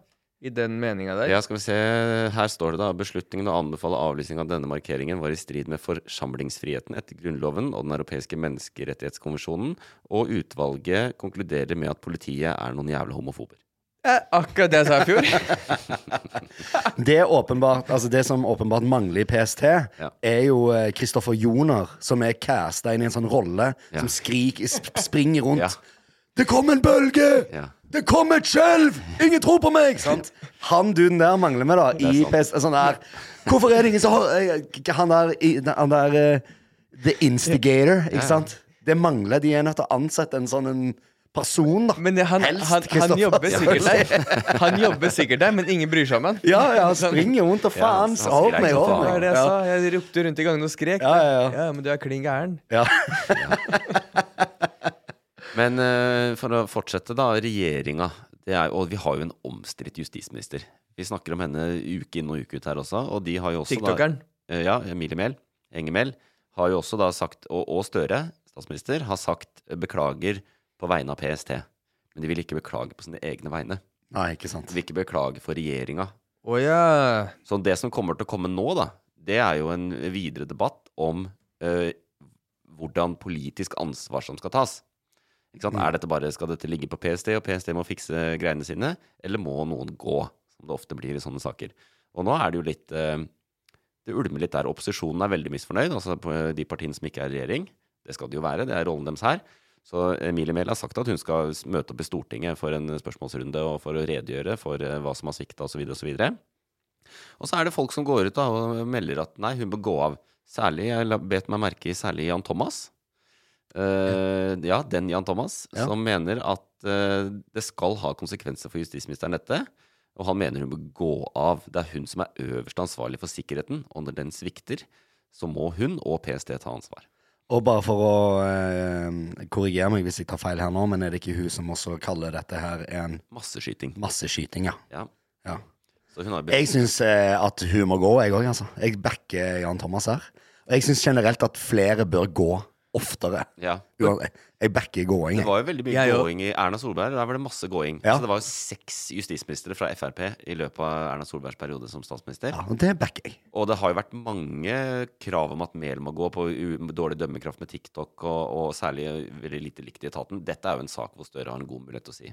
Speaker 2: i den meninga der.
Speaker 1: Ja, skal vi se. Her står det da beslutningen å anbefale avlysning av denne markeringen var i strid med forsamlingsfriheten etter Grunnloven og Den europeiske menneskerettighetskonvensjonen, og utvalget konkluderer med at politiet er noen jævla homofober.
Speaker 2: Eh, akkurat det jeg sa i fjor.
Speaker 3: Det, er åpenbart, altså det som åpenbart mangler i PST,
Speaker 1: Ja.
Speaker 3: er jo eh, Kristoffer Joner, som er casta inn i en sånn rolle
Speaker 1: Ja.
Speaker 3: som skrik, sp springer rundt.
Speaker 1: Ja.
Speaker 3: Det kom en bølge!
Speaker 1: Ja.
Speaker 3: Det kom et skjelv! Ingen tror på meg! Sant? Han duden der mangler vi, da. I PST, sånn der. Hvorfor er det ingen som har eh, Han der, i- han der eh, The Instigator, ikke sant? Det mangler. De er nødt til å ansette en sånn en person, da.
Speaker 2: Men det- han,
Speaker 3: Helst
Speaker 2: han, han
Speaker 3: Christopher.
Speaker 2: jobber sikkert der. Han jobber sikkert der, men ingen bryr seg om han.
Speaker 3: Ja, ja, springer rundt og
Speaker 1: Ja, han
Speaker 3: faen. så Hold
Speaker 1: skrek
Speaker 3: meg,
Speaker 1: som
Speaker 3: hold
Speaker 1: faen.
Speaker 2: Det
Speaker 3: meg.
Speaker 2: var det jeg sa. Jeg ropte rundt i gangen og skrek. da.
Speaker 3: Ja, ja,
Speaker 2: men du er klin gæren.
Speaker 3: Ja.
Speaker 1: Men eh, for å fortsette, da. Regjeringa. Det er, og vi har jo en omstridt justisminister. Vi snakker om henne uke inn og uke ut her også. Og de har jo også da-
Speaker 2: TikTokeren.
Speaker 1: Eh, ja, Emilie Mehl, Engemel, har jo også da sagt, og, og Støre, statsminister, har sagt eh, beklager på vegne av PST. Men de vil ikke beklage på sine egne vegne.
Speaker 3: Nei, ikke sant.
Speaker 1: De vil ikke beklage for regjeringa.
Speaker 2: Å ja.
Speaker 1: Så det som kommer til å komme nå, da, det er jo en videre debatt om eh, hvordan politisk ansvar som skal tas. Ikke sant? Er dette bare, Skal dette ligge på PST, og PST må fikse greiene sine, eller må noen gå, som det ofte blir i sånne saker? Og nå er det jo litt eh, Det ulmer litt der. Opposisjonen er veldig misfornøyd, altså på de partiene som ikke er i regjering. Det skal det jo være, det er rollen deres her. Så Emilie Mehl har sagt at hun skal s- møte opp i Stortinget for en spørsmålsrunde og for å redegjøre for eh, hva som har svikta osv. osv. Og så er det folk som går ut da, og melder at nei, hun bør gå av. Særlig, jeg la- bet meg merke i særlig Jan Thomas. Eh, ja, den Jan Thomas,
Speaker 3: Ja.
Speaker 1: som mener at eh, det skal ha konsekvenser for justisministeren dette. Og han mener hun bør gå av. Det er hun som er øverst ansvarlig for sikkerheten. Og når den svikter, så må hun og PST ta ansvar.
Speaker 3: Og bare for å eh, korrigere meg hvis jeg tar feil her nå, men er det ikke hun som også kaller dette her en
Speaker 1: Masseskyting.
Speaker 3: masseskyting, ja?
Speaker 1: Ja.
Speaker 3: ja.
Speaker 1: Så hun har bet-
Speaker 3: Jeg syns eh, at hun må gå, jeg òg, altså. Jeg backer Jan Thomas her. Og jeg syns generelt at flere bør gå oftere.
Speaker 1: ja.
Speaker 3: Uan- Jeg backer gåing.
Speaker 1: Det
Speaker 3: jeg.
Speaker 1: var jo veldig mye
Speaker 2: Jeg òg.
Speaker 1: gåing i Erna Solberg. Der var det masse gåing.
Speaker 3: Ja.
Speaker 1: Så det var jo seks justisministre fra Frp i løpet av Erna Solbergs periode som statsminister.
Speaker 3: Ja, og det backer jeg.
Speaker 1: Og det har jo vært mange krav om at mer må gå på u dårlig dømmekraft med TikTok, og, og særlig veldig lite likt i etaten. Dette er jo en sak hvor Støre har en god mulighet til å si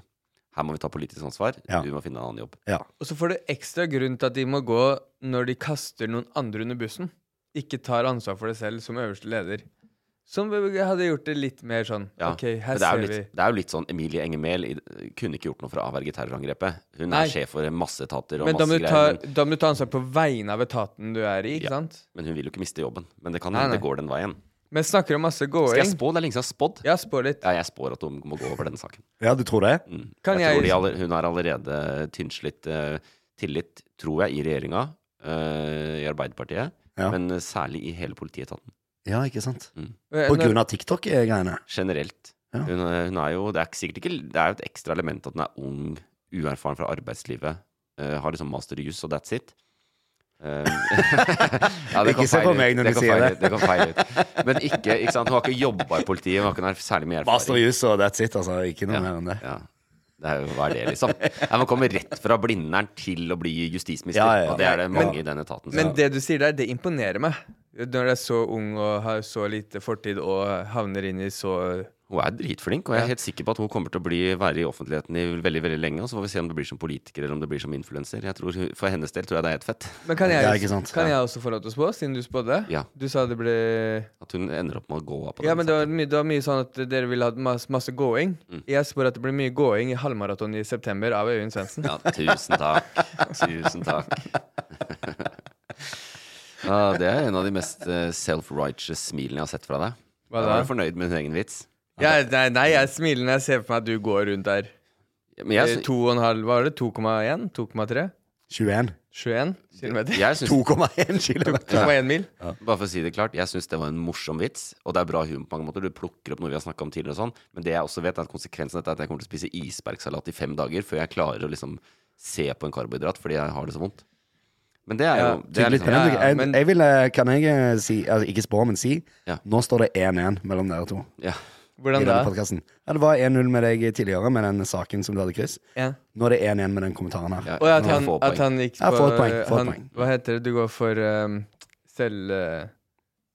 Speaker 1: her må vi ta politisk ansvar,
Speaker 3: Ja.
Speaker 1: du må finne en annen jobb.
Speaker 3: Ja.
Speaker 2: Og så får du ekstra grunn til at de må gå når de kaster noen andre under bussen. Ikke tar ansvar for det selv som øverste leder. Som hadde gjort det litt mer sånn
Speaker 1: Ja.
Speaker 2: OK,
Speaker 1: Men
Speaker 2: her
Speaker 1: det, er
Speaker 2: ser
Speaker 1: jo litt, det er jo litt sånn Emilie Enger Mehl i- kunne ikke gjort noe for å avverge terrorangrepet. Hun
Speaker 2: Nei.
Speaker 1: er sjef for masse etater
Speaker 2: vi
Speaker 1: og
Speaker 2: Men da må,
Speaker 1: masse
Speaker 2: du ta,
Speaker 1: greier. Men,
Speaker 2: da må du ta ansvar på vegne av etaten du er i, ikke
Speaker 1: Ja.
Speaker 2: sant?
Speaker 1: men hun vil jo ikke miste jobben. Men det kan
Speaker 2: Nei,
Speaker 1: hende
Speaker 2: nei.
Speaker 1: det går den veien.
Speaker 2: Men snakker om masse
Speaker 1: Skal jeg
Speaker 2: gåing.
Speaker 1: spå? Det er lenge siden jeg har spådd.
Speaker 2: Ja, spå litt.
Speaker 1: Ja, jeg spår at hun må gå over denne saken.
Speaker 3: ja, du tror det?
Speaker 1: Mm.
Speaker 2: Kan
Speaker 1: jeg tror
Speaker 2: jeg-
Speaker 1: de aller, hun har allerede tynnslitt eh, tillit, tror jeg, i regjeringa, eh, i Arbeiderpartiet,
Speaker 3: Ja.
Speaker 1: men eh, særlig i hele politietaten.
Speaker 3: Ja, ikke sant?
Speaker 2: Eh,
Speaker 3: På
Speaker 2: når-
Speaker 3: grunn av TikTok-greiene.
Speaker 1: Generelt.
Speaker 3: Ja.
Speaker 1: Hun, eh, hun er jo, det er ikke- sikkert ikke Det er jo et ekstra element at hun er ung, uerfaren fra arbeidslivet, eh, har liksom master i juss, og that's it. Eh, ja, det kan
Speaker 3: Ikke se
Speaker 1: feile
Speaker 3: på
Speaker 1: ut.
Speaker 3: meg når du
Speaker 1: kan
Speaker 3: sier
Speaker 1: feile
Speaker 3: det.
Speaker 1: ut, Det kan feile ut. Men ikke, ikke sant? hun har ikke jobba i politiet, hun har ikke noe særlig mye erfaring.
Speaker 3: Master Jus og that's it, altså. Ikke noe
Speaker 1: Ja.
Speaker 3: mer enn det.
Speaker 1: Ja. Det er jo, hva er det, liksom? Nei, man kommer rett fra Blindern til å bli justisminister.
Speaker 3: Ja, ja, ja.
Speaker 1: Og det er det mange
Speaker 2: Men-
Speaker 1: i den etaten som
Speaker 2: Men det du sier der, det imponerer meg. Når du er så ung og har så lite fortid og havner inn i så
Speaker 1: Hun er dritflink, og jeg er helt sikker på at hun kommer til å bli, være i offentligheten i veldig veldig lenge. Og så får vi se om det blir som politiker eller om det blir som influenser. Jeg tror hun- For hennes del tror jeg det er helt fett.
Speaker 2: Men kan jeg,
Speaker 3: Ja, ikke sant?
Speaker 2: kan jeg også få lov til å spå, siden du spådde?
Speaker 1: Ja.
Speaker 2: Du sa det ble
Speaker 1: At hun ender opp med å gå av på
Speaker 2: Ja,
Speaker 1: den
Speaker 2: men det var,
Speaker 1: saken.
Speaker 2: mye, det var mye sånn at dere ville ha masse, masse going.
Speaker 1: Mm.
Speaker 2: Jeg spår at det blir mye going i halvmaraton i september av Øyvind Svendsen.
Speaker 1: Ja, tusen takk. Tusen takk. Ja, det er en av de mest eh, self-righteous smilene jeg har sett fra deg.
Speaker 2: Hva
Speaker 1: Jeg
Speaker 2: da?
Speaker 1: var fornøyd med din egen vits.
Speaker 2: Ja, nei, nei, jeg smiler når jeg ser for meg at du går rundt der.
Speaker 1: Men
Speaker 2: Eh,
Speaker 1: jeg,
Speaker 2: To og en halv, hva var det? 2,1? 2,3?
Speaker 3: 21.
Speaker 2: 21
Speaker 1: sy-
Speaker 2: kilometer?
Speaker 1: jeg syns
Speaker 3: 2,1 km.
Speaker 2: 2,1 mil?
Speaker 1: Bare for å si det klart, jeg syns det var en morsom vits, og det er bra humor på mange måter. Du plukker opp noe vi har snakka om tidligere og sånn, men det jeg også vet, er at konsekvensen av dette er at jeg kommer til å spise isbergsalat i fem dager før jeg klarer å liksom se på en karbohydrat fordi jeg har det så vondt. Men det er jo
Speaker 2: Ja,
Speaker 1: det er
Speaker 3: Tydelig
Speaker 1: liksom,
Speaker 3: trend.
Speaker 2: ja,
Speaker 3: Jeg,
Speaker 2: men-
Speaker 3: jeg vil, eh, kan jeg eh, si, altså, ikke spå, men si,
Speaker 1: Ja.
Speaker 3: nå står det 1-1 mellom dere to.
Speaker 1: ja.
Speaker 3: I
Speaker 2: Hvordan da?
Speaker 3: denne podcasten. ja, det var 1-0 med deg tidligere, med den saken som du hadde, Chris.
Speaker 2: Ja.
Speaker 3: Nå er det 1-1 med den kommentaren her.
Speaker 1: Ja,
Speaker 2: Og at
Speaker 1: nå
Speaker 2: han,
Speaker 1: får jeg poeng.
Speaker 2: at han gikk på
Speaker 3: Ja, få et poeng, få et
Speaker 2: han,
Speaker 3: poeng.
Speaker 2: Hva heter det? Du går for um, selv... eh,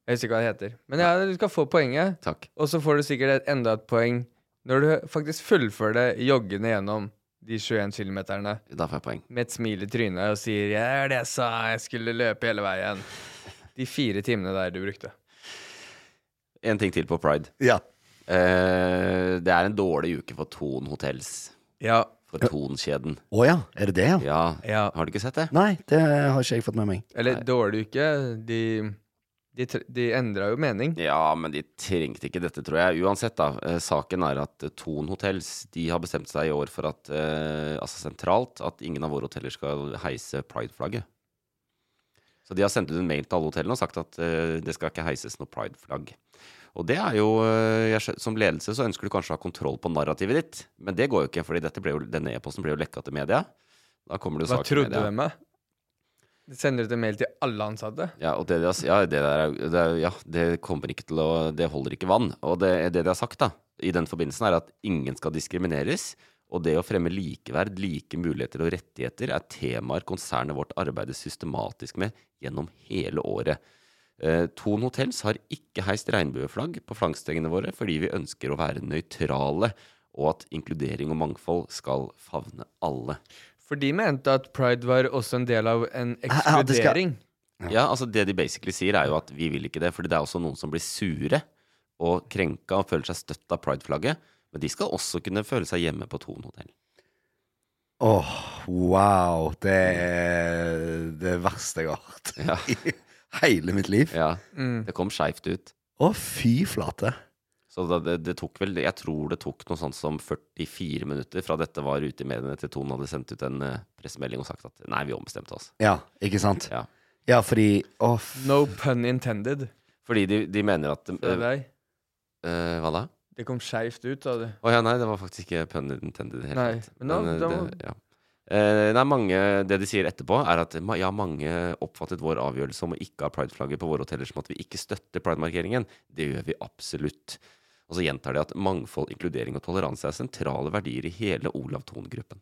Speaker 2: jeg husker ikke hva det heter. Men ja, du skal få poenget.
Speaker 1: Takk.
Speaker 2: Og så får du sikkert et, enda et poeng når du faktisk fullfører det joggende gjennom de 21 kilometerne
Speaker 1: Da får jeg poeng.
Speaker 2: med et smil i trynet og sier 'Jeg er det jeg sa, jeg skulle løpe hele veien'. De fire timene der du brukte.
Speaker 1: En ting til på pride.
Speaker 3: Ja.
Speaker 1: Eh, det er en dårlig uke for Thon Hotels.
Speaker 2: Ja.
Speaker 1: For Thon-kjeden.
Speaker 3: Å ja, er det det, ja?
Speaker 1: Ja.
Speaker 2: ja.
Speaker 1: Har du ikke sett det?
Speaker 3: Nei, det har ikke jeg fått med meg.
Speaker 2: Eller dårlig uke. De, de, tr- de endra jo mening.
Speaker 1: Ja, men de trengte ikke dette, tror jeg. Uansett, da. eh, Saken er at eh, Thon Hotels de har bestemt seg i år for at eh, altså sentralt at ingen av våre hoteller skal heise Pride-flagget. Så de har sendt ut en mail til alle hotellene og sagt at eh, det skal ikke heises noe Pride-flagg. Og det er jo eh, jeg, skjø- Som ledelse så ønsker du kanskje å ha kontroll på narrativet ditt, men det går jo ikke, fordi dette ble jo, denne e-posten ble jo lekka til media. Da kommer det jo
Speaker 2: Hva
Speaker 1: sak til
Speaker 2: trodde
Speaker 1: media.
Speaker 2: de meg? De sender ut en mail til alle ansatte.
Speaker 1: Ja, og det, de har s- ja, det der er, det er, ja, det kommer ikke til å Det holder ikke vann. Og det, det de har sagt da, i den forbindelsen, er at ingen skal diskrimineres. Og det å fremme likeverd, like muligheter og rettigheter er temaer konsernet vårt arbeider systematisk med gjennom hele året. Eh, Thon Hotels har ikke heist regnbueflagg på flaggstengene våre fordi vi ønsker å være nøytrale, og at inkludering og mangfold skal favne alle.
Speaker 2: For de mente at pride var også en del av en
Speaker 3: Ja, det skal-
Speaker 2: ekskludering.
Speaker 1: Ja, altså det de basically sier er jo at vi vil ikke det, fordi det er også noen som blir sure og krenka og føler seg støtt av prideflagget, men de skal også kunne føle seg hjemme på Thon hotell.
Speaker 3: Åh, wow. Det er det verste jeg har hørt
Speaker 1: Ja.
Speaker 3: i hele mitt liv. Å,
Speaker 1: Ja,
Speaker 2: Mm.
Speaker 1: det kom skeivt ut.
Speaker 3: fy flate.
Speaker 1: Så da, det, det tok vel, jeg tror det tok noe sånt som 44 minutter fra dette var ute i mediene til Thon hadde sendt ut en eh, pressemelding og sagt at nei, vi ombestemte oss.
Speaker 3: Ja, ikke sant?
Speaker 1: Ja.
Speaker 3: Ja, fordi Å, f-
Speaker 2: No pun intended.
Speaker 1: Fordi de, de mener at
Speaker 2: Fra
Speaker 1: eh,
Speaker 2: deg.
Speaker 1: eh, Hva da?
Speaker 2: Det kom skeivt ut, sa du.
Speaker 1: Å ja, nei, det var faktisk ikke pun intended. i det hele
Speaker 2: Nei,
Speaker 1: tatt.
Speaker 2: men da-
Speaker 1: Men, eh,
Speaker 2: da
Speaker 1: det-
Speaker 2: må-
Speaker 1: ja. Eh, nei, mange, det de sier etterpå, er at ma- ja, mange oppfattet vår avgjørelse om å ikke ha prideflagget på våre hoteller som at vi ikke støtter pridemarkeringen. Det gjør vi absolutt. Og så gjentar de at mangfold, inkludering og toleranse er sentrale verdier i hele Olav Thon-gruppen.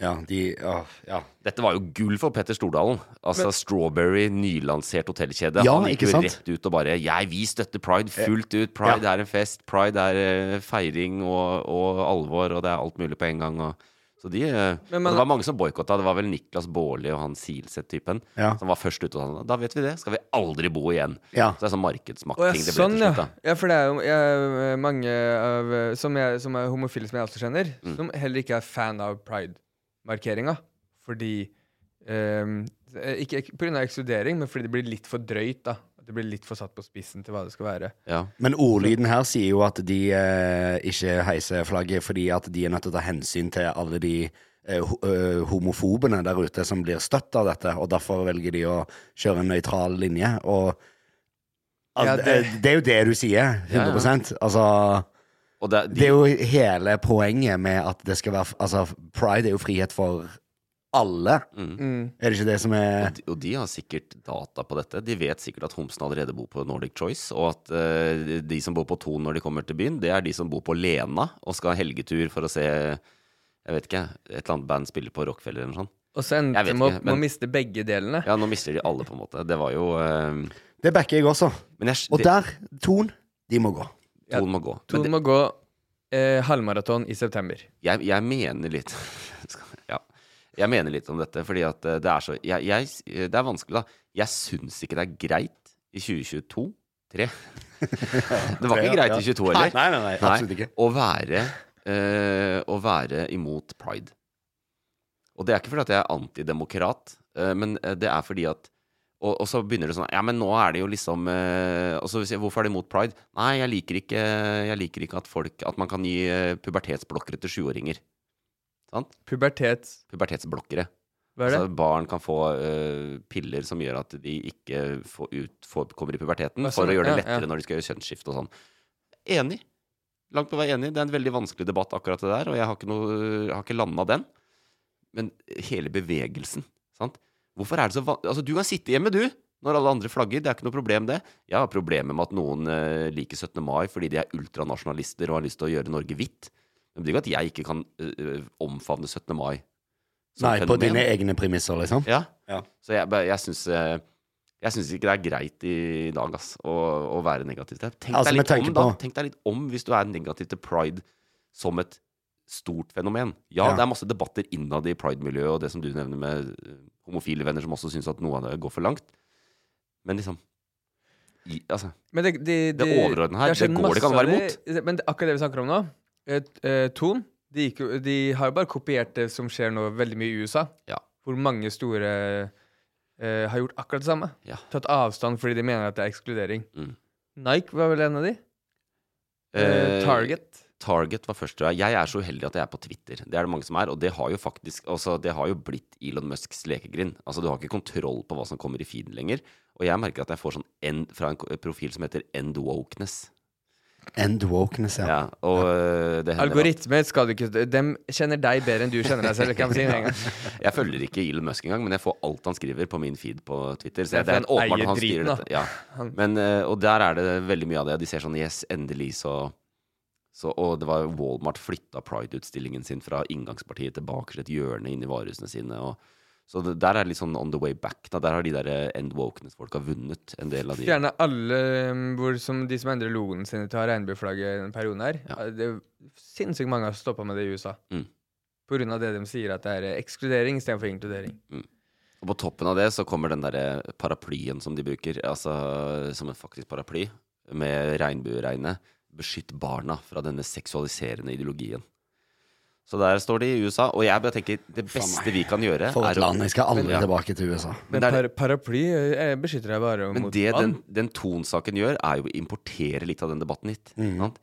Speaker 3: Ja, de åh, Ja.
Speaker 1: Dette var jo gull for Petter Stordalen. Altså Strawberry, nylansert hotellkjede.
Speaker 3: Ja,
Speaker 1: Han gikk
Speaker 3: ikke
Speaker 1: jo
Speaker 3: sant?
Speaker 1: rett ut og bare Jeg, vi støtter pride fullt ut. Pride er en fest. Pride er eh, feiring og, og alvor, og det er alt mulig på en gang. Og, så de eh, og
Speaker 2: Men- men-
Speaker 1: Det var mange som boikotta. Det var vel Niklas Baarli og han Silseth-typen
Speaker 3: Ja.
Speaker 1: som var først ute og sa Da vet vi det. Skal vi aldri bo igjen.
Speaker 3: Ja.
Speaker 1: Så det er sånn markedsmaktting
Speaker 2: Å ja,
Speaker 1: det ble til
Speaker 2: sånn, ja.
Speaker 1: slutt, da.
Speaker 2: ja. For det er jo jeg, mange av, som, jeg, som er homofile, som jeg også kjenner,
Speaker 1: Mm.
Speaker 2: som heller ikke er fan av pride-markeringa. Fordi ehm, Ikke ikke på grunn av ekskludering, men fordi det blir litt for drøyt. da At Det blir litt for satt på spissen til hva det skal være.
Speaker 1: Ja.
Speaker 3: Men ordlyden her sier jo at de eh, ikke heiser flagget fordi at de er nødt til å ta hensyn til alle de eh, ho eh, homofobene der ute som blir støtt av dette, og derfor velger de å kjøre en nøytral linje. Og al-
Speaker 2: Ja, det-
Speaker 3: eh, det er jo det du sier, 100 Altså
Speaker 1: Og det, de,
Speaker 3: Det er jo hele poenget med at det skal være f- Altså, pride er jo frihet for alle. Er det ikke det som
Speaker 1: Mm.
Speaker 3: er
Speaker 1: Og de, og de har sikkert data på dette. De vet sikkert at homsene allerede bor på Nordic Choice, og at eh, de som bor på Thon når de kommer til byen, det er de som bor på Lena og skal ha helgetur for å se jeg vet ikke, et eller annet band spille på Rockefeller eller noe sånt.
Speaker 2: Og så endte
Speaker 1: Jeg
Speaker 2: de
Speaker 1: vet
Speaker 2: opp
Speaker 1: ikke,
Speaker 2: med å
Speaker 1: men-
Speaker 2: miste begge delene.
Speaker 1: Ja, nå mister de alle, på en måte. Det var jo eh,
Speaker 3: Det backer jeg også.
Speaker 1: Men jeg,
Speaker 3: Og
Speaker 1: det,
Speaker 3: der, Ton, de må gå.
Speaker 2: Ja,
Speaker 1: Toen må gå. Men
Speaker 2: Toen må gå eh, halvmaraton i september.
Speaker 1: jeg, jeg mener litt Skal- ja. Jeg mener litt om dette, fordi at eh, det er så jeg, jeg, eh, Det er vanskelig, da. Jeg syns ikke det er greit i 2022 3. Det var ikke greit i 22
Speaker 3: Nei,
Speaker 1: heller.
Speaker 3: nei, nei, nei, absolutt ikke.
Speaker 1: Å være, eh, å være imot pride. Og det er ikke fordi at jeg er antidemokrat, eh, men eh, det er fordi at og, og så begynner det sånn Ja, men nå er det jo liksom eh, Og så sier jeg, Hvorfor er de imot pride? Nei, jeg liker ikke, jeg liker ikke at, folk, at man kan gi eh, pubertetsblokkere til sjuåringer. Sant?
Speaker 2: Pubertet
Speaker 1: Pubertetsblokkere.
Speaker 2: Hva er det?
Speaker 1: Altså, barn kan få eh, piller som gjør at de ikke får ut, får, kommer i puberteten,
Speaker 2: Ja,
Speaker 1: for
Speaker 2: sånn,
Speaker 1: å gjøre det
Speaker 2: ja, ja.
Speaker 1: lettere når de skal gjøre kjønnsskifte og sånn. Enig. Langt på vei enig. Det er en veldig vanskelig debatt, akkurat det der, og jeg har ikke, noe, jeg har ikke landa den. Men hele bevegelsen, sant. Hvorfor er det så vanskelig Altså, du kan sitte hjemme, du, når alle andre flagger. Det er ikke noe problem, det. Jeg har problemer med at noen eh, liker 17. mai fordi de er ultranasjonalister og har lyst til å gjøre Norge hvitt. Det betyr ikke at jeg ikke kan eh, omfavne 17. mai. som
Speaker 3: Nei, på
Speaker 1: fenomen.
Speaker 3: dine egne premisser, liksom.
Speaker 1: Ja.
Speaker 3: Ja.
Speaker 1: Så jeg, bare- jeg syns eh, jeg syns ikke det er greit i dag ass, å, å være negativ til det. Tenk,
Speaker 3: Altså,
Speaker 1: deg
Speaker 3: med
Speaker 1: litt om,
Speaker 3: tanke
Speaker 1: da.
Speaker 3: på-
Speaker 1: Tenk deg litt om hvis du er negativ til pride som et stort fenomen. Ja,
Speaker 3: Ja.
Speaker 1: det er masse debatter innad i pride-miljøet, og det som du nevner med eh, homofile venner som også syns at noe av det går for langt. Men liksom i, altså,
Speaker 2: Men det, de, de,
Speaker 1: Det overordnede her,
Speaker 2: har skjedd
Speaker 1: det går det ikke an å
Speaker 2: masse
Speaker 1: være
Speaker 2: av det- Men det, akkurat det vi snakker om nå, et, eh, Ton de, gikk, jo- de har jo bare kopiert det som skjer nå veldig mye i USA.
Speaker 1: Ja.
Speaker 2: Hvor mange store eh, har gjort akkurat det samme.
Speaker 1: Ja.
Speaker 2: Tatt avstand fordi de mener at det er ekskludering.
Speaker 1: Mm.
Speaker 2: Nike var vel en av de? Eh,
Speaker 1: eh,
Speaker 2: Target.
Speaker 1: Target var først, tror jeg. Jeg er så uheldig at jeg er på Twitter. Det er det mange som er. Og det har jo faktisk altså, Det har jo blitt Elon Musks lekegrind. Altså, du har ikke kontroll på hva som kommer i feeden lenger. Og jeg merker at jeg får sånn en, fra en ko- profil som heter End Wokeness.
Speaker 3: End wokeness, ja.
Speaker 1: E Ja, og øh, det hender
Speaker 2: Algoritmer skal du ikke Dem kjenner deg bedre enn du kjenner deg selv. Kan jeg si det en gang.
Speaker 1: at- Jeg følger ikke Elon Musk engang, men jeg får alt han skriver på min feed på Twitter. Så
Speaker 2: Det er
Speaker 1: jeg, det er en
Speaker 2: fordi han
Speaker 1: åpenbart
Speaker 2: eier
Speaker 1: at han styrer
Speaker 2: driten,
Speaker 1: dette. Ja.
Speaker 2: Han-
Speaker 1: Men, øh, og der er det veldig mye av det. De ser sånn Yes, endelig så så, og det var Walmart flytta Pride-utstillingen sin fra inngangspartiet tilbake til et hjørne inn i varehusene sine. Og, så det, der er det litt sånn on the way back. Da. Der har de der eh, End Wokeness-folka vunnet en del av de
Speaker 2: Fjerne alle um, hvor som de som endrer logoen sin til å ha regnbueflagget i denne perioden her.
Speaker 1: Ja.
Speaker 2: Det er sinnssykt mange har stoppa med det i USA.
Speaker 1: Mm.
Speaker 2: På grunn av det de sier at det er ekskludering istedenfor inkludering.
Speaker 1: Og på toppen av det så kommer den derre paraplyen som de bruker, altså som en faktisk paraply, med regnbueregnet. Beskytt barna fra denne seksualiserende ideologien. Så der står de i USA, og jeg bare tenker det beste vi kan gjøre
Speaker 3: For
Speaker 1: er
Speaker 3: et
Speaker 1: å-
Speaker 3: land. Jeg skal aldri
Speaker 1: Ja.
Speaker 3: tilbake til USA.
Speaker 2: Men
Speaker 1: det er-
Speaker 2: par paraply eh, beskytter deg bare
Speaker 1: Men
Speaker 2: mot
Speaker 1: det den,
Speaker 2: vann.
Speaker 1: den tonsaken gjør, er jo å importere litt av den debatten hit.
Speaker 3: Mhm.
Speaker 1: Sant?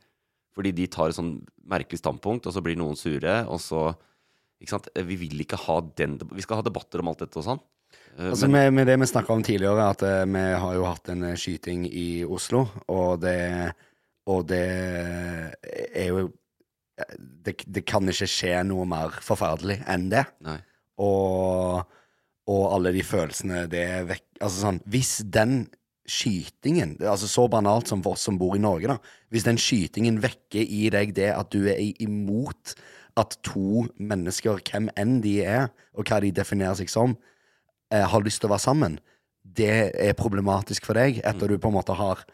Speaker 1: Fordi de tar et sånn merkelig standpunkt, og så blir noen sure, og så ikke sant? Vi vil ikke ha den deb- Vi skal ha debatter om alt dette og sånn. Eh,
Speaker 3: Altså
Speaker 1: men
Speaker 3: med, med det vi snakka om tidligere, at eh, vi har jo hatt en eh, skyting i Oslo, og det, og det eh, er jo eh, det, det kan ikke skje noe mer forferdelig enn det.
Speaker 1: nei.
Speaker 3: Og, og alle de følelsene det vekk... Altså sånn, hvis den skytingen, altså så banalt som for oss som bor i Norge, da, hvis den skytingen vekker i deg det at du er i- imot at to mennesker, hvem enn de er, og hva de definerer seg som, eh, har lyst til å være sammen, det er problematisk for deg
Speaker 1: Mm.
Speaker 3: etter du på en måte har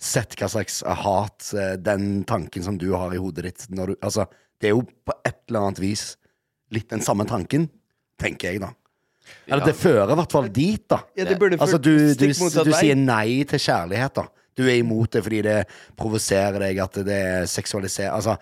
Speaker 3: sett hva slags hat eh, den tanken som du har i hodet ditt når du, altså, Det er jo på et eller annet vis litt den samme tanken, tenker jeg, da. Eller det fører i hvert fall dit, da.
Speaker 2: Ja, det burde
Speaker 3: Altså,
Speaker 2: ført
Speaker 3: du, du,
Speaker 2: stikk motsatt
Speaker 3: du
Speaker 2: vei.
Speaker 3: sier nei til kjærlighet, da. Du er imot det fordi det provoserer deg, at det er seksualiserer Altså,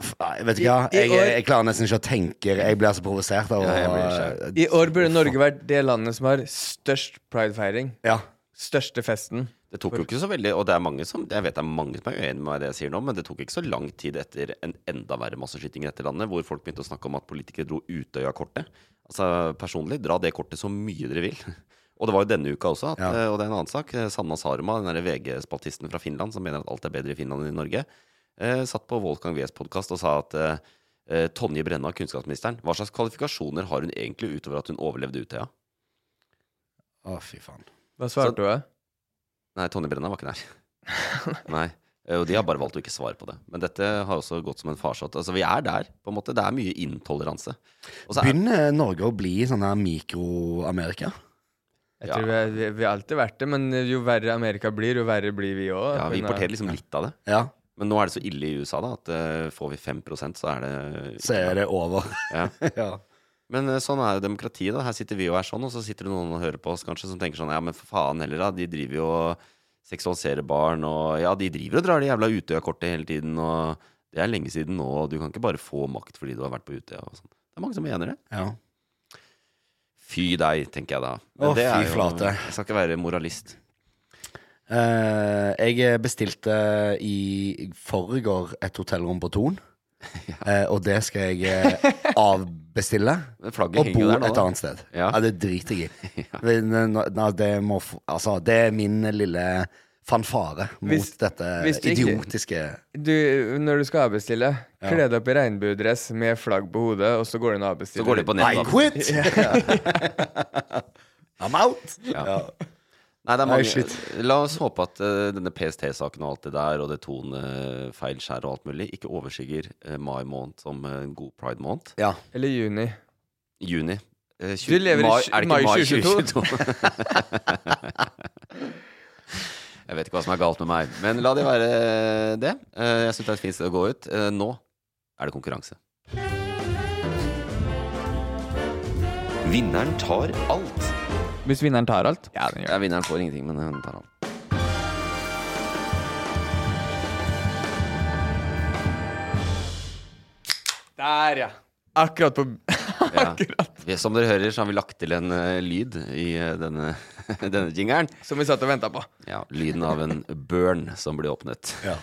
Speaker 3: f- nei, vet du hva?
Speaker 2: I- i
Speaker 3: Jeg, jeg,
Speaker 2: år-
Speaker 3: klarer nesten ikke å tenke. Jeg blir altså provosert av
Speaker 1: Ja, jeg blir
Speaker 3: å-
Speaker 2: I år burde Norge vært det landet som har størst pridefeiring.
Speaker 3: Ja.
Speaker 2: Største festen.
Speaker 1: Det tok jo ikke så veldig Og det er mange som Jeg vet det er mange som er uenig med meg i det jeg sier nå, men det tok ikke så lang tid etter en enda verre masseskyting i dette landet, hvor folk begynte å snakke om at politikere dro Utøya-kortet. Altså personlig, dra det kortet så mye dere vil. Og det var jo denne uka også, at,
Speaker 3: Ja.
Speaker 1: eh, og det er en annen sak. eh, Sanna Saruma, den derre VG-spaltisten fra Finland som mener at alt er bedre i Finland enn i Norge, eh, satt på Wolfgang Wees podkast og sa at eh, eh, Tonje Brenna, kunnskapsministeren, hva slags kvalifikasjoner har hun egentlig utover at hun overlevde Utøya?
Speaker 3: Å, fy faen.
Speaker 2: Hva svarte du?
Speaker 1: Nei, Tonje Brenna var ikke der. Nei. Eh, Og de har bare valgt å ikke svare på det. Men dette har også gått som en farsott. Altså, vi er der, på en måte. Det er mye intoleranse. Og så er,
Speaker 3: Begynner Norge å bli sånn her mikro-Amerika?
Speaker 2: Jeg
Speaker 1: Ja.
Speaker 2: tror vi, er, vi, vi har alltid vært det, men jo verre Amerika blir, jo verre blir vi òg.
Speaker 1: ja, vi importerer liksom litt av det.
Speaker 3: Ja.
Speaker 1: Men nå er det så ille i USA da at eh, får vi 5 så er det
Speaker 3: Så er det over.
Speaker 1: Ja.
Speaker 3: ja.
Speaker 1: Men eh, sånn er jo demokratiet. da Her sitter vi og er sånn, og så sitter det noen og hører på oss kanskje som tenker sånn Ja, men for faen heller, da. De driver jo og seksualiserer barn, og ja, de driver og drar det jævla Utøya-kortet hele tiden, og det er lenge siden nå, og du kan ikke bare få makt fordi du har vært på Utøya og sånn. Det er mange som mener det.
Speaker 3: ja.
Speaker 1: Fy deg, tenker jeg da.
Speaker 3: Å,
Speaker 1: det
Speaker 3: fy flate.
Speaker 1: Jeg skal ikke være moralist.
Speaker 3: Eh, jeg bestilte i forrgår et hotellrom på Thon. Eh, og det skal jeg eh, avbestille.
Speaker 1: Men flagget
Speaker 3: Og
Speaker 1: henger
Speaker 3: bo
Speaker 1: jo der nå,
Speaker 3: et
Speaker 1: da.
Speaker 3: annet sted.
Speaker 1: Ja.
Speaker 3: Ja, Det driter jeg i. Men, eh, nå- nå, det, må, f- altså, det er min lille fanfare mot
Speaker 2: Hvis-
Speaker 3: dette
Speaker 2: hvis det ikke-
Speaker 3: idiotiske
Speaker 2: Du, når du skal avbestille, kle deg opp i regnbuedress med flagg på hodet, og så går du inn og avbestiller.
Speaker 1: Så går det på
Speaker 3: I
Speaker 1: nettet. da.
Speaker 3: quit! I'm out! Ja.
Speaker 1: Nei, det er
Speaker 3: Nei,
Speaker 1: mange.
Speaker 3: shit.
Speaker 1: La oss håpe at eh, denne PST-saken og alt det der, og det tonefeilskjæret og alt mulig, ikke overskygger eh, mai måned som eh, en god pride-måned.
Speaker 3: ja.
Speaker 2: Eller juni.
Speaker 1: Juni. Eh, tjue-
Speaker 2: Du lever i
Speaker 1: mai,
Speaker 2: tjue-
Speaker 1: er det ikke
Speaker 2: mai
Speaker 1: mai
Speaker 2: 2022?
Speaker 1: 2022? jeg vet ikke hva som er galt med meg, men la det være det. Eh, Jeg syns det er et fint sted å gå ut. Eh, Nå er det konkurranse. Vinneren tar alt.
Speaker 2: Hvis vinneren tar alt. Ja, den
Speaker 1: Ja, vinneren får ingenting, men hun tar alt.
Speaker 2: Der, ja. Akkurat på
Speaker 1: Ja. Vi- Som dere hører, så har vi lagt til en eh, lyd i eh, denne, denne jingeren.
Speaker 2: Som vi satt og venta på.
Speaker 1: Ja, lyden av en burn som blir åpnet.
Speaker 3: Ja.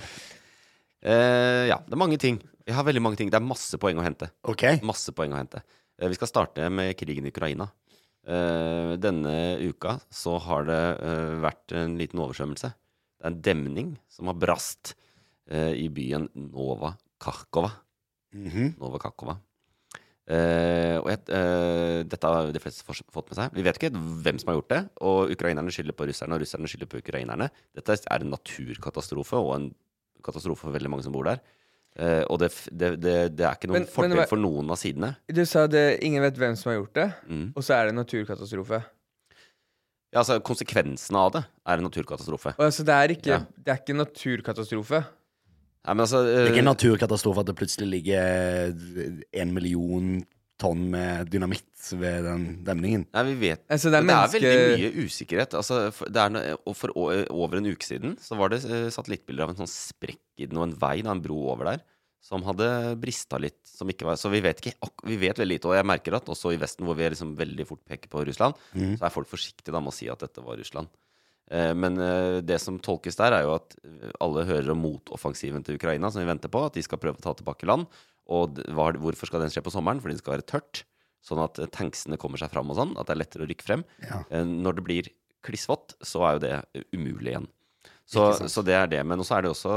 Speaker 1: Eh, ja, det er mange ting. Vi har veldig mange ting. Det er masse poeng å hente.
Speaker 3: OK.
Speaker 1: Masse poeng å hente. Eh, Vi skal starte med krigen i Ukraina. Eh, Denne uka så har det eh, vært en liten oversvømmelse. Det er en demning som har brast eh, i byen Nova Kharkova.
Speaker 3: Mhm.
Speaker 1: Nova Kakova. Eh, og jeg, eh, dette har de fleste fors- fått med seg. Vi vet ikke hvem som har gjort det. Og ukrainerne skylder på russerne, og russerne skylder på ukrainerne. Dette er en naturkatastrofe, og en katastrofe for veldig mange som bor der. Eh, og det, f- det, det, det er ikke noen
Speaker 2: Men-
Speaker 1: fordel
Speaker 2: men hva-
Speaker 1: for noen av sidene.
Speaker 2: Du sa det, ingen vet hvem som har gjort det,
Speaker 1: Mm.
Speaker 2: og så er det en naturkatastrofe.
Speaker 1: Ja, altså Konsekvensene av det er en naturkatastrofe.
Speaker 2: Og altså, det er ikke,
Speaker 1: Ja.
Speaker 2: det er ikke naturkatastrofe.
Speaker 1: Nei, men altså,
Speaker 3: Det er
Speaker 1: eh,
Speaker 3: ikke en naturkatastrofe at det plutselig ligger eh, en million tonn med dynamitt ved den demningen.
Speaker 1: Nei, vi vet
Speaker 2: Altså, det er
Speaker 1: Men
Speaker 2: menneske...
Speaker 1: det er veldig mye usikkerhet. Altså, for, det er, no- og for å- over en uke siden så var det eh, satellittbilder av en sånn sprekk i den, og en vei, da, en bro over der, som hadde brista litt. Som ikke var, så vi vet, ikke, ak- vi vet veldig lite. Og jeg merker at også i Vesten, hvor vi liksom veldig fort peker på Russland,
Speaker 2: Mhm.
Speaker 1: så er folk forsiktige da, med å si at dette var Russland. Eh, Men eh, det som tolkes der, er jo at eh, alle hører om motoffensiven til Ukraina, som vi venter på, at de skal prøve å ta tilbake land. Og d- hva, hvorfor skal den skje på sommeren? Fordi det skal være tørt. Sånn at eh, tanksene kommer seg fram og sånn. At det er lettere å rykke frem. Eh, Når det blir klissvått, så er jo det eh, umulig igjen. Så, så det er det. Men også er det også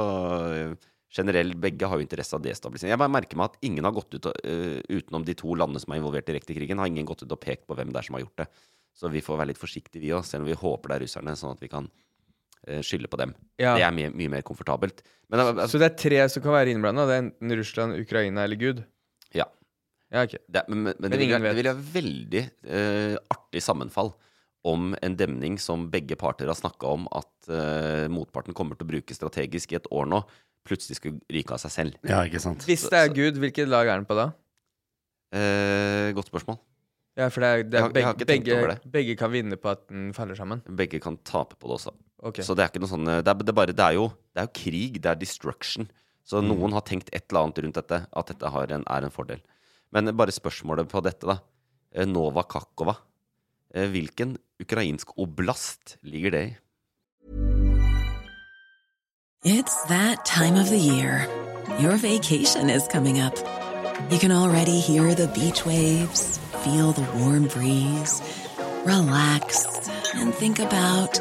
Speaker 1: eh, generell Begge har jo interesse av destabilisering. Jeg bare merker meg at ingen har gått ut og, eh, utenom de to landene som er involvert direkte i krigen, har ingen gått ut og pekt på hvem det er som har gjort det. Så vi får være litt forsiktige, vi òg, selv om vi håper det er russerne, sånn at vi kan eh, skylde på dem.
Speaker 2: Ja.
Speaker 1: Det er mye, mye mer komfortabelt. Men eh,
Speaker 2: Så det er tre som kan være innblanda. Det er enten Russland, Ukraina eller Gud.
Speaker 1: ja.
Speaker 2: Ja, ok.
Speaker 1: Det, men, men, men det
Speaker 2: Men
Speaker 1: ville vært-
Speaker 2: ingen
Speaker 1: det
Speaker 2: vet.
Speaker 1: ville vært veldig eh, artig sammenfall om en demning som begge parter har snakka om at eh, motparten kommer til å bruke strategisk i et år nå, plutselig skulle ryke av seg selv.
Speaker 3: Ja, ikke sant?
Speaker 2: Hvis det er Gud, hvilket lag er den på da?
Speaker 1: Eh, godt spørsmål.
Speaker 2: Ja, for det er, det
Speaker 1: Jeg
Speaker 2: er
Speaker 1: har- jeg har ikke
Speaker 2: begge,
Speaker 1: tenkt over
Speaker 2: begge,
Speaker 1: det.
Speaker 2: begge kan vinne på at den faller sammen.
Speaker 1: Begge kan tape på det også.
Speaker 2: Ok.
Speaker 1: Så det er ikke noe sånn eh, Det er, det er, bare, det er, jo, det er jo krig, det er destruction. Så
Speaker 2: Mm.
Speaker 1: noen har tenkt et eller annet rundt dette, at dette har en, er en fordel. Men bare spørsmålet på dette, da. Eh, Nova Kakova. Eh, Hvilken ukrainsk oblast ligger det i?
Speaker 5: It's that time of the year. Your vacation is coming up. You can already hear the beach waves, feel the warm breeze, relax, and think about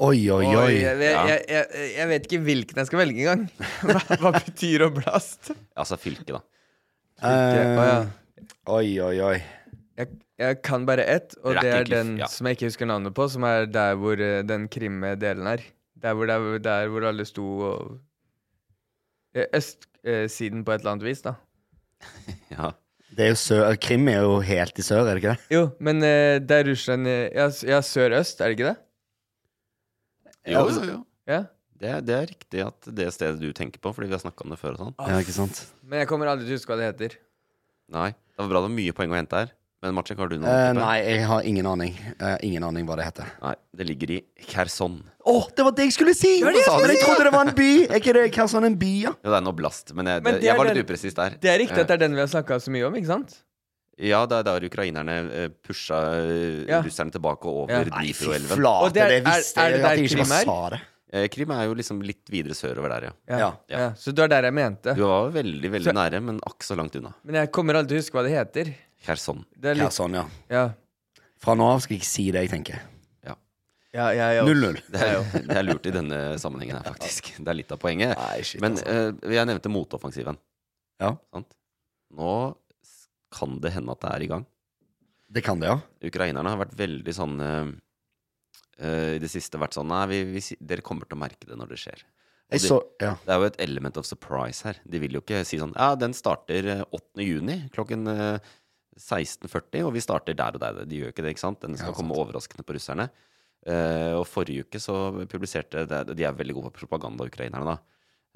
Speaker 3: Oi, oi, oi.
Speaker 2: Oi, jeg, jeg, jeg, jeg, jeg vet ikke hvilken jeg skal velge engang. Hva, hva betyr å blaste?
Speaker 1: Altså fylke, da.
Speaker 3: Eh,
Speaker 2: Å, ja.
Speaker 3: oi, oi, oi.
Speaker 2: Jeg, jeg kan bare ett, og det er
Speaker 1: Rakkekliff,
Speaker 2: den
Speaker 1: ja.
Speaker 2: som jeg ikke husker navnet på, som er der hvor eh, den krimme delen er. Der hvor, der, hvor- der hvor alle sto og Eh, Østsiden på et eller annet vis, da.
Speaker 1: Ja.
Speaker 3: Det er jo sør, eh, Krim er jo helt i sør, er det ikke det?
Speaker 2: Jo, men eh, det er Russland eh, Ja, s- ja sør-øst, er det ikke det?
Speaker 1: Jo, jo, jo.
Speaker 2: Ja.
Speaker 1: Det, er- det er riktig at det stedet du tenker på, fordi vi har snakka om det før og sånn.
Speaker 3: Ja, ikke sant?
Speaker 2: Men jeg kommer aldri til å huske hva det heter.
Speaker 1: Nei, det var bra det var mye poeng å hente her. Men Marcek, har du noe?
Speaker 3: Eh,
Speaker 1: å tippe?
Speaker 3: nei, jeg har ingen aning. Eh, ingen aning hva det heter.
Speaker 1: nei. Det ligger i Kherson.
Speaker 3: Å, det var det jeg skulle si!
Speaker 2: var det jeg
Speaker 3: Men
Speaker 2: skulle
Speaker 3: jeg
Speaker 2: si!
Speaker 3: trodde det var en by. Er ikke det Kherson en by, ja?
Speaker 1: Jo, det er noe blast, men jeg,
Speaker 2: Men
Speaker 1: det,
Speaker 2: det er
Speaker 1: jeg var
Speaker 2: den-
Speaker 1: litt upresis der.
Speaker 2: Det er
Speaker 1: Eh.
Speaker 2: riktig at det er den vi har snakka så mye om, ikke sant?
Speaker 1: Ja, det er der ukrainerne eh, pusha eh,
Speaker 2: Ja.
Speaker 1: russerne tilbake og
Speaker 2: Ja.
Speaker 1: over
Speaker 3: Nei, fy
Speaker 1: Dnipro-elven.
Speaker 3: flate,
Speaker 2: Og det
Speaker 3: det,
Speaker 2: er-
Speaker 3: visste
Speaker 2: er- er det
Speaker 3: jeg at
Speaker 2: der
Speaker 3: jeg ikke
Speaker 2: Krim er?
Speaker 3: bare sa det.
Speaker 1: Eh, Krim er jo liksom litt videre sørover der, ja.
Speaker 3: Ja.
Speaker 1: Ja.
Speaker 2: ja. Så du er der jeg mente.
Speaker 1: Du var veldig, veldig
Speaker 2: Så-
Speaker 1: nære, men akk så langt unna.
Speaker 2: Men jeg kommer aldri til å huske hva det heter.
Speaker 1: Kherson.
Speaker 2: Det er litt,
Speaker 3: Kherson, ja.
Speaker 2: ja.
Speaker 3: Fra nå av skal jeg ikke si det jeg tenker.
Speaker 2: Ja, ja, ja.
Speaker 3: 0-0.
Speaker 1: Det er, det er lurt i denne sammenhengen her, faktisk. Det er litt av poenget.
Speaker 3: Nei, shit,
Speaker 1: Men
Speaker 3: altså.
Speaker 1: eh, jeg nevnte motoffensiven.
Speaker 3: Ja.
Speaker 1: Sant? Nå s- kan det hende at det er i gang.
Speaker 3: Det kan det, ja.
Speaker 1: Ukrainerne har vært veldig sånn eh, eh, I det siste vært sånn Nei, vi, vi, si- dere kommer til å merke det når det skjer. Og
Speaker 3: Jeg
Speaker 1: de-
Speaker 3: så, ja.
Speaker 1: Det er jo et element of surprise her. De vil jo ikke si sånn Ja, den starter eh, 8. juni klokken eh, 16.40, og vi starter der og der. De gjør ikke det, ikke sant? Den skal komme overraskende på russerne. Eh, og forrige uke så publiserte det- De er veldig gode på propaganda, ukrainerne, da.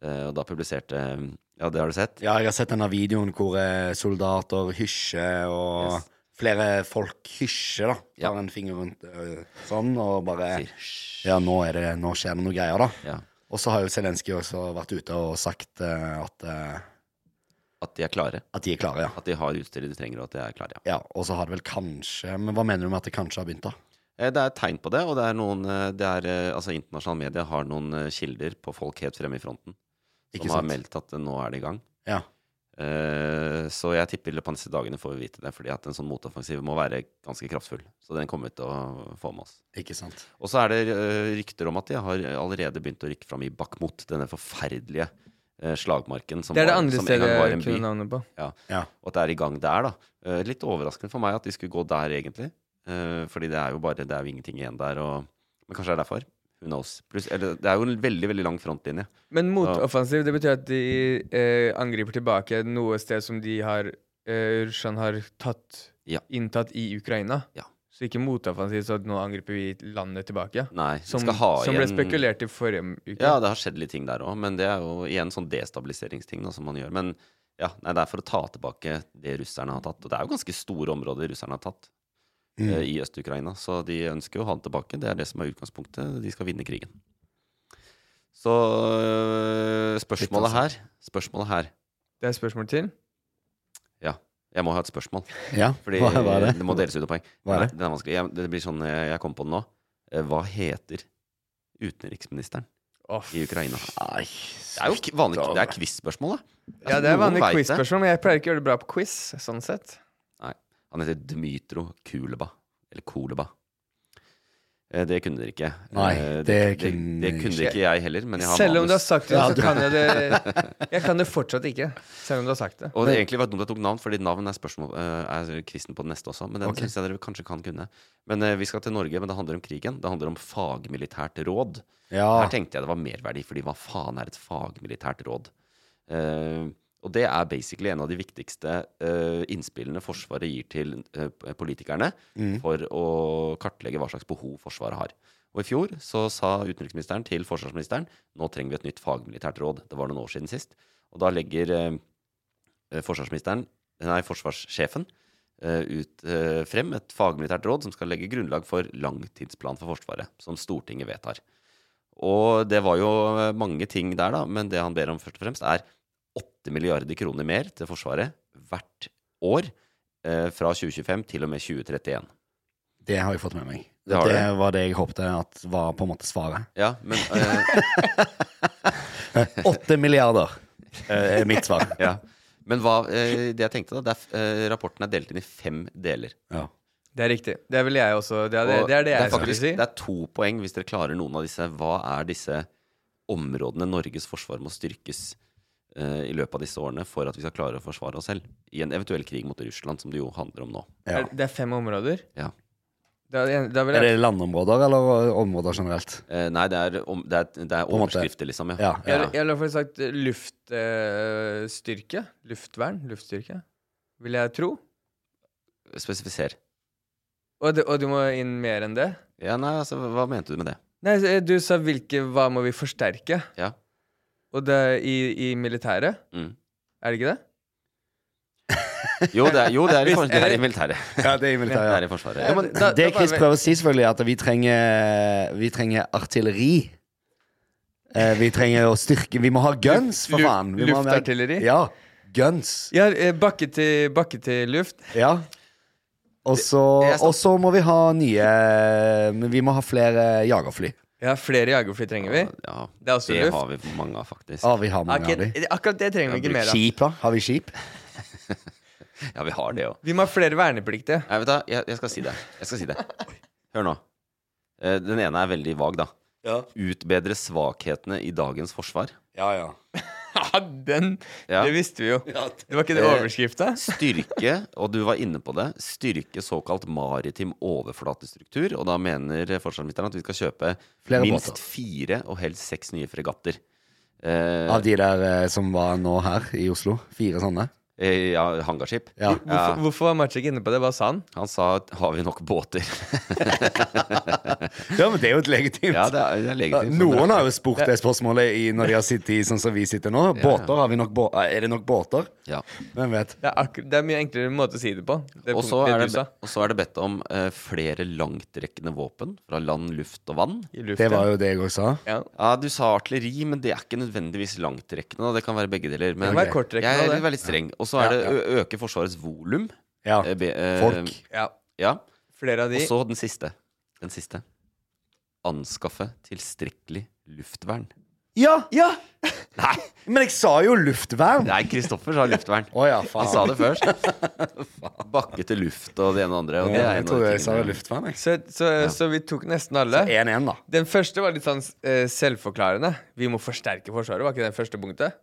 Speaker 1: Eh, og da publiserte Ja, det har du sett?
Speaker 3: ja, jeg har sett denne videoen hvor eh, soldater hysjer, og
Speaker 1: Yes.
Speaker 3: flere folk hysjer, da.
Speaker 1: Ja.
Speaker 3: Tar en finger rundt eh, sånn, og
Speaker 1: Sier,
Speaker 3: bare
Speaker 1: «Hysj».
Speaker 3: Ja, nå, er det, nå skjer det noe greier, da.
Speaker 1: Ja.
Speaker 3: Og så har jo Zelenskyj også vært ute og sagt eh, at, eh,
Speaker 1: At de er klare.
Speaker 3: at de er klare, ja.
Speaker 1: At de har utstyret de trenger, og at de er klare, ja.
Speaker 3: ja. Og så har det vel kanskje Men hva mener du med at det kanskje har begynt, da?
Speaker 1: Eh, Det er tegn på det, og det er noen eh, det er, eh, Altså, internasjonale medier har noen eh, kilder på folk helt fremme i fronten som
Speaker 3: Ikke
Speaker 1: har
Speaker 3: sant?
Speaker 1: meldt at eh, nå er det i gang.
Speaker 3: Ja.
Speaker 1: Eh, Så jeg tipper i løpet av disse dagene får vi vite det, fordi at en sånn motoffensiv må være ganske kraftfull. Så den kommer vi til å få med oss.
Speaker 3: Ikke sant.
Speaker 1: Og så er det eh, rykter om at de har allerede begynt å rykke fram i Bakhmut, denne forferdelige eh, slagmarken som,
Speaker 2: Det er det
Speaker 1: var-
Speaker 2: andre
Speaker 1: som en
Speaker 2: stedet
Speaker 1: gang var
Speaker 2: jeg
Speaker 1: en by.
Speaker 2: kunne navnet på.
Speaker 3: Ja.
Speaker 1: Og at det er i gang der, da. Eh, Litt overraskende for meg at de skulle gå der, egentlig. Eh, Fordi det er jo bare Det er jo ingenting igjen der, og Men kanskje det er derfor. Who knows. Pluss, eller, det er jo en veldig, veldig lang frontlinje.
Speaker 2: Men motoffensiv, det betyr at de eh, angriper tilbake noe sted som de har eh, Russland har tatt
Speaker 1: Ja.
Speaker 2: inntatt i Ukraina.
Speaker 1: Ja.
Speaker 2: Så ikke motoffensiv, så at nå angriper vi landet tilbake.
Speaker 1: Nei, de
Speaker 2: Som,
Speaker 1: skal ha
Speaker 2: som ble
Speaker 1: igjen-
Speaker 2: spekulert i forrige uke.
Speaker 1: Ja, det har skjedd litt ting der òg, men det er jo igjen sånn destabiliseringsting da, som man gjør. Men ja, nei, det er for å ta tilbake det russerne har tatt. Og det er jo ganske store områder russerne har tatt
Speaker 3: Mm.
Speaker 1: eh, i Øst-Ukraina, så de ønsker jo å ha det tilbake. Det er det som er utgangspunktet. De skal vinne krigen. Så øh, spørsmålet
Speaker 3: altså.
Speaker 1: her Spørsmålet her
Speaker 2: Det er spørsmål til.
Speaker 1: Ja, jeg må ha et spørsmål.
Speaker 3: ja.
Speaker 1: Fordi
Speaker 3: hva, hva er det?
Speaker 1: det må deles ut av poeng.
Speaker 3: Hva er det?
Speaker 1: Nei, Den er vanskelig. Jeg, det blir sånn eh, Jeg kom på den nå. Eh, Hva heter utenriksministeren i Ukraina. det er jo k- vanlig Det er quiz-spørsmål, da.
Speaker 2: Ja, det er
Speaker 1: noen
Speaker 2: vanlig
Speaker 1: vet det.
Speaker 2: quiz-spørsmål, men jeg pleier ikke å gjøre det bra på quiz. sånn sett.
Speaker 1: Nei. Han heter Dmytro Kuleba. Eller Koleba. Eh, Det kunne dere ikke.
Speaker 3: Nei,
Speaker 1: Eh,
Speaker 3: det
Speaker 1: det,
Speaker 3: kunne
Speaker 1: det kunne ikke jeg heller, men jeg har
Speaker 2: Selv om du har
Speaker 1: manus.
Speaker 2: sagt det, så kan jeg det Jeg kan det fortsatt ikke. Selv om du har sagt det.
Speaker 1: Og det egentlig var dumt jeg tok navn, fordi navn er spørsmål eh, Er quizen på den neste også. Men den
Speaker 2: Ok.
Speaker 1: synes jeg dere kanskje kan kunne. Men eh, vi skal til Norge, men det handler om krigen. Det handler om fagmilitært råd.
Speaker 3: Ja.
Speaker 1: Her tenkte jeg det var merverdi, fordi hva faen er et fagmilitært råd? Eh, og det er basically en av de viktigste eh, innspillene Forsvaret gir til eh, politikerne
Speaker 3: Mm.
Speaker 1: for å kartlegge hva slags behov Forsvaret har. Og i fjor så sa utenriksministeren til forsvarsministeren nå trenger vi et nytt fagmilitært råd. Det var noen år siden sist. Og da legger eh, eh, forsvarsministeren, nei, forsvarssjefen eh, ut, eh, frem et fagmilitært råd som skal legge grunnlag for langtidsplan for Forsvaret, som Stortinget vedtar. Og det var jo eh, mange ting der, da, men det han ber om først og fremst, er 8 milliarder kroner mer til Forsvaret hvert år eh, fra 2025 til og med 2031.
Speaker 3: Det har jeg fått med meg.
Speaker 1: Det
Speaker 3: Det,
Speaker 1: har
Speaker 3: var det jeg håpte at var på en måte svaret.
Speaker 1: Ja, men eh,
Speaker 3: Åtte milliarder eh, er mitt svar.
Speaker 1: ja. Men hva, eh, det jeg tenkte, da, det er, eh, rapporten er delt inn i fem deler.
Speaker 3: Ja.
Speaker 2: Det er riktig. Det vil jeg også. Det er det,
Speaker 1: Og
Speaker 2: det, er det jeg
Speaker 1: er faktisk,
Speaker 2: skulle si.
Speaker 1: Det er to poeng hvis dere klarer noen av disse. Hva er disse områdene Norges forsvar må styrkes eh, i løpet av disse årene for at vi skal klare å forsvare oss selv i en eventuell krig mot Russland, som det jo handler om nå?
Speaker 2: Er, det er fem områder.
Speaker 1: Ja.
Speaker 2: Da, da vil
Speaker 3: Er det
Speaker 2: jeg,
Speaker 3: landområder eller områder generelt?
Speaker 1: Eh, nei, det er, om, det er, det er
Speaker 3: På en måte.
Speaker 1: overskrifter, liksom.
Speaker 3: Ja,
Speaker 2: jeg, jeg ville i hvert fall sagt luftstyrke. styrke luftvern. Luftstyrke. Vil jeg tro.
Speaker 1: Spesifiser.
Speaker 2: Og, det, og du må inn mer enn det.
Speaker 1: Ja, nei, altså, hva mente du med det?
Speaker 2: Nei, så, eh, du sa hvilke Hva må vi forsterke?
Speaker 1: Ja.
Speaker 2: Og det er i, i militæret?
Speaker 1: Mm.
Speaker 2: Er det ikke det?
Speaker 1: Jo, det er, jo, det er, i,
Speaker 2: Hvis-
Speaker 1: for- det er i
Speaker 2: eller-
Speaker 1: militæret.
Speaker 3: Ja, det er i militæret, ja.
Speaker 1: Det er i Forsvaret.
Speaker 2: Ja, men da- da
Speaker 3: Det
Speaker 2: bare
Speaker 3: Chris
Speaker 2: vi-
Speaker 3: prøver å si, selvfølgelig, er at vi trenger, vi trenger artilleri. Eh, Vi trenger å styrke Vi må ha guns, for
Speaker 2: Lu-
Speaker 3: faen! Vi må ha mer-
Speaker 2: luftartilleri?
Speaker 3: Ja. Guns.
Speaker 2: Ja, eh, bakke til, bakke til luft.
Speaker 3: Ja. Og så og så må vi ha nye Vi må ha flere jagerfly.
Speaker 2: Ja, flere jagerfly trenger vi.
Speaker 1: Ja,
Speaker 2: Det er også
Speaker 1: det
Speaker 2: luft.
Speaker 1: har vi for mange av, faktisk.
Speaker 3: Ja, vi har mange
Speaker 2: Ok,
Speaker 3: av de.
Speaker 2: akkurat det trenger vi ikke mer av.
Speaker 3: Skip, da? Har vi skip?
Speaker 1: Ja, vi har det òg.
Speaker 2: Vi må ha flere vernepliktige.
Speaker 1: Nei, vet du, hva, jeg, jeg skal si det. Jeg skal si det. Hør nå. Eh, Den ene er veldig vag, da.
Speaker 3: Ja.
Speaker 1: Utbedre svakhetene i dagens forsvar.
Speaker 3: Ja, ja.
Speaker 2: Ja, den
Speaker 1: Ja.
Speaker 2: Det visste vi jo. Det var ikke det
Speaker 1: Eh,
Speaker 2: overskrifta?
Speaker 1: Styrke, og du var inne på det, styrke såkalt maritim overflatestruktur. Og da mener forsvarsministeren at vi skal kjøpe
Speaker 3: Flere
Speaker 1: minst
Speaker 3: båter.
Speaker 1: fire og helst seks nye fregatter. Eh,
Speaker 3: Av de der eh, som var nå her i Oslo. Fire sånne.
Speaker 1: eh, ja, hangarskip.
Speaker 3: Ja.
Speaker 2: Hvorfor, hvorfor var Maciek inne på det? Hva sa han?
Speaker 1: Han sa at har vi nok båter?
Speaker 3: Ja, men det er jo et legitimt.
Speaker 1: ja, det er, det er
Speaker 3: Ja,
Speaker 1: legitimt.
Speaker 3: Noen har jo spurt det spørsmålet i, når de har sittet i sånn som vi sitter nå. Båter, har vi nok bå eh, Er det nok båter?
Speaker 1: Ja.
Speaker 3: Hvem vet?
Speaker 2: Det er, akkur det er mye enklere måte å si det på. Det
Speaker 1: Og så
Speaker 2: punktet
Speaker 1: er
Speaker 2: du
Speaker 1: det,
Speaker 2: sa.
Speaker 1: og så er det bedt om eh, flere langtrekkende våpen fra land, luft og vann.
Speaker 2: I luften.
Speaker 3: Det var jo det jeg òg sa.
Speaker 2: ja.
Speaker 1: Ja, Du sa artilleri, men det er ikke nødvendigvis langtrekkende. da. Det kan være begge deler. Men
Speaker 2: Det kan være kortrekkende,
Speaker 1: jeg
Speaker 2: det.
Speaker 1: er veldig streng. Og så er det ø- øke Forsvarets volum.
Speaker 3: Ja.
Speaker 1: Eh, be- eh,
Speaker 3: Folk.
Speaker 2: ja.
Speaker 1: Ja.
Speaker 2: Flere av de.
Speaker 1: Og så den siste. Den siste. Anskaffe tilstrekkelig luftvern.
Speaker 3: Ja!
Speaker 2: Ja!
Speaker 3: Nei! Men jeg sa jo luftvern!
Speaker 1: Nei, Kristoffer sa luftvern.
Speaker 3: Å ja,
Speaker 1: Han
Speaker 3: faen.
Speaker 1: sa det først. Bakke til luft og det ene og det andre. Og det
Speaker 3: Ja,
Speaker 1: er
Speaker 3: jeg
Speaker 1: en av
Speaker 3: trodde
Speaker 1: de
Speaker 3: jeg sa
Speaker 1: tingene.
Speaker 3: luftvern, jeg.
Speaker 2: Så, så, så vi tok nesten alle.
Speaker 3: 1-1, da.
Speaker 2: Den første var litt sånn eh, selvforklarende. Vi må forsterke Forsvaret, var ikke den første punktet?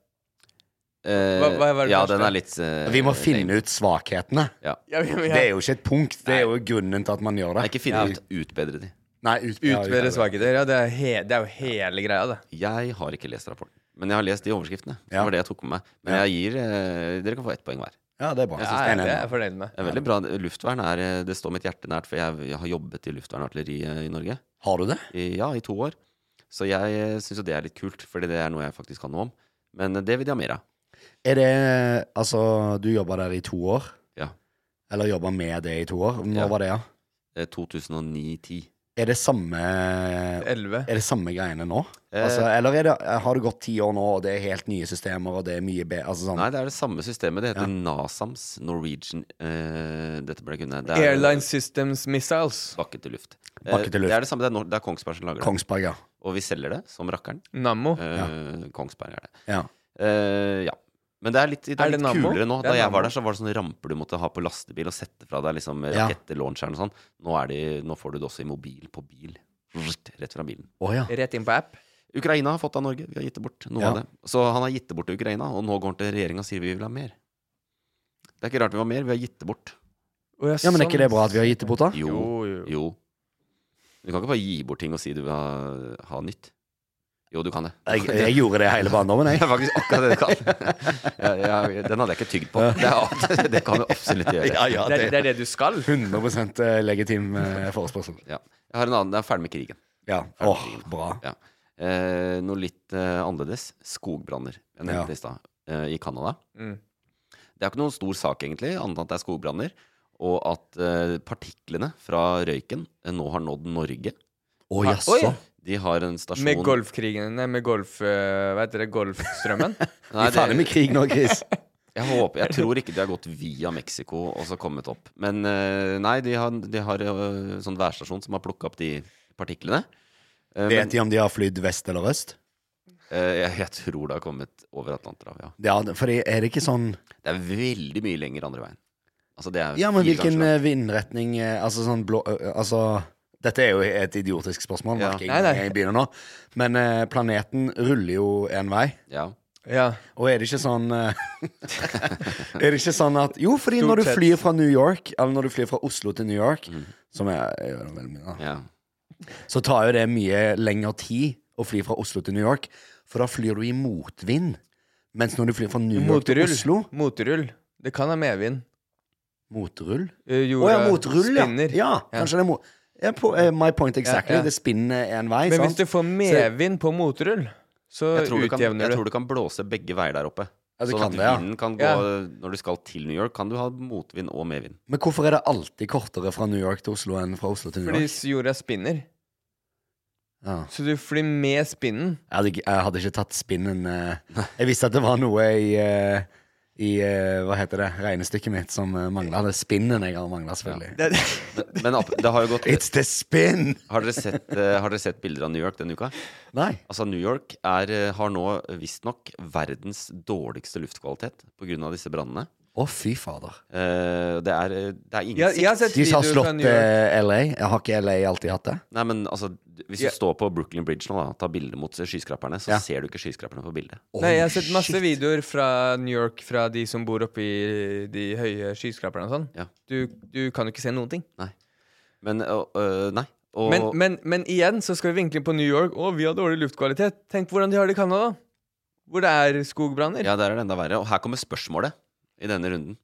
Speaker 1: Eh,
Speaker 2: Hva- hva var det
Speaker 1: ja,
Speaker 2: første?
Speaker 1: den er litt eh,
Speaker 3: Vi må finne ut svakhetene.
Speaker 1: Ja.
Speaker 2: Ja, vi,
Speaker 3: Det er jo ikke et punkt. Det er jo grunnen til at man gjør det.
Speaker 1: Nei, ikke finne ut. Utbedre de.
Speaker 3: Nei, ut, ja,
Speaker 2: Ut med dere svakheter. Ja, det er, he, det er jo hele greia, det.
Speaker 1: Jeg har ikke lest rapporten. Men jeg har lest de overskriftene. Det
Speaker 3: Ja.
Speaker 1: var det jeg tok med meg. Men
Speaker 3: Ja.
Speaker 1: jeg gir eh, Dere kan få ett poeng hver.
Speaker 3: Ja, det er bra.
Speaker 2: Ja, det er jeg fornøyd med.
Speaker 1: Det er veldig bra. Luftvern er eh, Det står mitt hjerte nært, for jeg, jeg har jobbet i luftvernartilleri eh, i Norge.
Speaker 3: Har du det?
Speaker 1: I, ja, i to år. Så jeg syns jo det er litt kult, fordi det er noe jeg faktisk kan noe om. Men eh, det vil jeg ha mer av.
Speaker 3: Er det Altså, du jobba der i to år?
Speaker 1: Ja.
Speaker 3: Eller jobba med det i to år? Når
Speaker 1: Ja.
Speaker 3: var det, ja?
Speaker 1: Eh, 2009-10.
Speaker 3: Er det samme
Speaker 2: Elleve.
Speaker 3: Er det samme greiene nå?
Speaker 1: Eh.
Speaker 3: altså, eller er det, har det gått ti år nå, og det er helt nye systemer, og det er mye bedre altså, sånn.
Speaker 1: Nei, det er det samme systemet. Det heter NASAMS. Norwegian eh, Dette burde jeg kunne. Det er
Speaker 2: Airline Systems Missiles.
Speaker 1: Bakke til luft. Eh,
Speaker 3: Bakke til luft.
Speaker 1: Det er det samme. Det er, Nor- det er Kongsberg som lager det.
Speaker 3: Kongsberg, ja.
Speaker 1: Og vi selger det som rakkeren.
Speaker 2: Nammo.
Speaker 1: Eh, Kongsberg er det.
Speaker 3: Ja.
Speaker 1: Eh, ja. Men det er litt, det er
Speaker 2: Er det
Speaker 1: litt
Speaker 2: Nammo?
Speaker 1: kulere nå.
Speaker 2: Det er
Speaker 1: Da jeg var
Speaker 2: Nammo.
Speaker 1: der, så var det sånne ramper du måtte ha på lastebil og sette fra deg liksom
Speaker 3: Ja.
Speaker 1: rakettelauncheren og sånn. Nå, er de, nå får du det også i mobil på bil. Rett fra bilen.
Speaker 3: Å ja.
Speaker 2: Rett inn på app.
Speaker 1: Ukraina har fått av Norge. Vi har gitt det bort. Noe
Speaker 3: Ja.
Speaker 1: av det. Så han har gitt det bort til Ukraina, og nå går han til regjeringa og sier vi vil ha mer. Det er ikke rart vi vil ha mer, vi har gitt det bort.
Speaker 3: ja, men er ikke det bra at vi har gitt det bort, da?
Speaker 1: Jo, jo.
Speaker 2: Jo, sånn- jo.
Speaker 1: Du kan ikke bare gi bort ting og si du vil ha, ha nytt. Jo, du kan det.
Speaker 3: Jeg, jeg gjorde det hele barndommen,
Speaker 1: Det
Speaker 3: jeg.
Speaker 1: er faktisk akkurat det du kan. Ja, ja, den hadde jeg ikke tygd på. Det, er, det kan du absolutt gjøre.
Speaker 3: Ja, ja,
Speaker 2: Det, er- det
Speaker 3: det
Speaker 2: er det du skal.
Speaker 3: 100 legitim eh, forespørsel.
Speaker 1: Ja. Jeg har en annen. Det er ferdig med krigen.
Speaker 3: Ja. Åh, bra.
Speaker 1: Ja. Eh, noe litt eh, annerledes. Skogbranner. Jeg nevnte
Speaker 3: Ja.
Speaker 1: det i stad. Eh, I Canada.
Speaker 2: Mm.
Speaker 1: Det er ikke noen stor sak, egentlig, annet enn at det er skogbranner. Og at eh, partiklene fra røyken eh, nå har nådd Norge.
Speaker 3: Å,
Speaker 2: Oi.
Speaker 3: jaså.
Speaker 1: De har en stasjon
Speaker 2: Med golfkrigen Nei, med golf... eh, hva heter det? Golfstrømmen?
Speaker 1: Nei,
Speaker 3: Vi er ferdig med krig nå, Chris.
Speaker 1: Jeg håper, jeg tror ikke de har gått via Mexico og så kommet opp. Men eh, nei, de har, de har eh, sånn værstasjon som har plukka opp de partiklene. Eh, men,
Speaker 3: Vet de om de har flydd vest eller øst?
Speaker 1: eh, jeg, jeg tror det har kommet over Atlanterhavet, ja.
Speaker 3: Ja, fordi er det ikke sånn
Speaker 1: Det er veldig mye lenger andre veien. Altså, det er
Speaker 3: Ja, men
Speaker 1: fire ganger
Speaker 3: hvilken
Speaker 1: så langt.
Speaker 3: eh, vindretning eh, Altså sånn blå eh, Altså dette er jo et idiotisk spørsmål,
Speaker 1: Ja.
Speaker 3: merker jeg,
Speaker 2: Nei, nei.
Speaker 3: når jeg begynner nå. Men eh, planeten ruller jo en vei.
Speaker 1: ja.
Speaker 2: Ja.
Speaker 3: Og er det ikke sånn eh, Er det ikke sånn at Jo, fordi
Speaker 2: Stort
Speaker 3: når du
Speaker 2: sett.
Speaker 3: flyr fra New York, eller når du flyr fra Oslo til New York, som er, er vel mye, da,
Speaker 1: ja.
Speaker 3: så tar jo det mye lengre tid å fly fra Oslo til New York, for da flyr du i motvind. Mens når du flyr fra New York til
Speaker 2: Motrull.
Speaker 3: Oslo
Speaker 2: Motrull. Det kan ha medvind.
Speaker 3: Motrull?
Speaker 2: Eh,
Speaker 3: Å
Speaker 2: Jorda
Speaker 3: ja, motrull, ja.
Speaker 2: spinner.
Speaker 3: ja. Kanskje det er mot... Ja, på, eh, my point exactly.
Speaker 2: Ja, ja.
Speaker 3: Det spinner en vei,
Speaker 2: Men hvis
Speaker 3: sant?
Speaker 2: du får medvind på motrull, så
Speaker 1: Jeg, tror du kan,
Speaker 2: utjevner
Speaker 1: jeg
Speaker 2: du.
Speaker 1: tror du kan blåse begge veier der oppe.
Speaker 3: Ja,
Speaker 1: sånn
Speaker 3: du Altså, kan
Speaker 1: at
Speaker 3: det, ja.
Speaker 1: vinden kan gå
Speaker 2: Ja.
Speaker 1: Når du skal til New York, kan du ha motvind og medvind.
Speaker 3: Men hvorfor er det alltid kortere fra New York til Oslo enn fra Oslo til New
Speaker 2: Fordi
Speaker 3: York?
Speaker 2: s- jorda spinner.
Speaker 3: Ja.
Speaker 2: Så du flyr med spinnen.
Speaker 3: Jeg, hadde, ikke- jeg hadde ikke tatt spinnen eh. Jeg visste at det var noe i, eh, i eh, hva heter det, regnestykket mitt som uh, mangla. Det er spinnen jeg har mangla, selvfølgelig.
Speaker 1: Men, men ap- det har jo gått
Speaker 3: It's the spin!
Speaker 1: har dere, sett, eh, har dere sett bilder av New York denne uka?
Speaker 3: Nei.
Speaker 1: Altså, New York er, eh, har nå visstnok verdens dårligste luftkvalitet pågrunn av disse brannene.
Speaker 3: Å, fy fader.
Speaker 1: Eh, det, er, eh, det er ingen
Speaker 2: Jeg, jeg har sett
Speaker 3: De som har
Speaker 2: videoer fra
Speaker 3: slått
Speaker 2: New York.
Speaker 3: eh, LA. Jeg har ikke LA alltid hatt det?
Speaker 1: Nei, men altså, d- Hvis
Speaker 2: Ja.
Speaker 1: du står på Brooklyn Bridge nå da, og tar bilde mot skyskraperne, så
Speaker 3: Ja.
Speaker 1: ser du ikke skyskraperne på bildet.
Speaker 2: Nei, jeg har
Speaker 3: Oi,
Speaker 2: sett masse
Speaker 3: shit.
Speaker 2: videoer fra New York fra de som bor oppe i de høye skyskraperne og sånn.
Speaker 1: Ja.
Speaker 2: Du, du kan jo ikke se noen ting.
Speaker 1: Men og, øh, nei. Og,
Speaker 2: Men, men, men igjen så skal vi vinkle på New York. Å, vi har dårlig luftkvalitet. Tenk hvordan de har det i Canada, hvor det er skogbranner.
Speaker 1: Ja, der er det enda verre. Og her kommer spørsmålet i denne runden.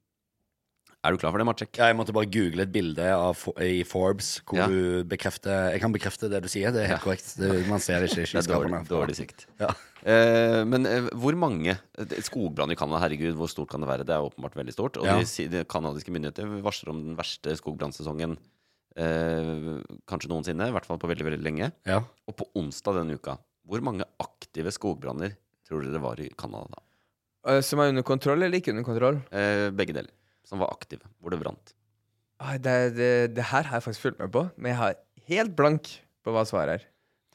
Speaker 1: Er du klar for det, Marcek?
Speaker 3: Ja, jeg måtte bare google et bilde av, Fo- i Forbes hvor
Speaker 1: Ja.
Speaker 3: du bekrefter Jeg kan bekrefte det du sier, det er helt korrekt. Det, man ser ikke
Speaker 1: Det er dårlig,
Speaker 3: skyskraperne.
Speaker 1: dårlig sikt.
Speaker 3: Ja.
Speaker 1: Eh, men eh, hvor mange det- Skogbrann i Canada, herregud, hvor stort kan det være? Det er åpenbart veldig stort. Og
Speaker 3: Ja.
Speaker 1: de, si- de kanadiske myndigheter varsler om den verste skogbrannsesongen eh, kanskje noensinne. I hvert fall på veldig, veldig lenge.
Speaker 3: Ja.
Speaker 1: Og på onsdag denne uka, hvor mange aktive skogbranner tror dere det var i Canada?
Speaker 2: Eh, Som er under kontroll eller ikke under kontroll.
Speaker 1: Eh, begge deler. Som var aktive. Hvor det brant.
Speaker 2: Ah, Det, det, det her har jeg faktisk fulgt med på, men jeg har helt blank på hva svaret er.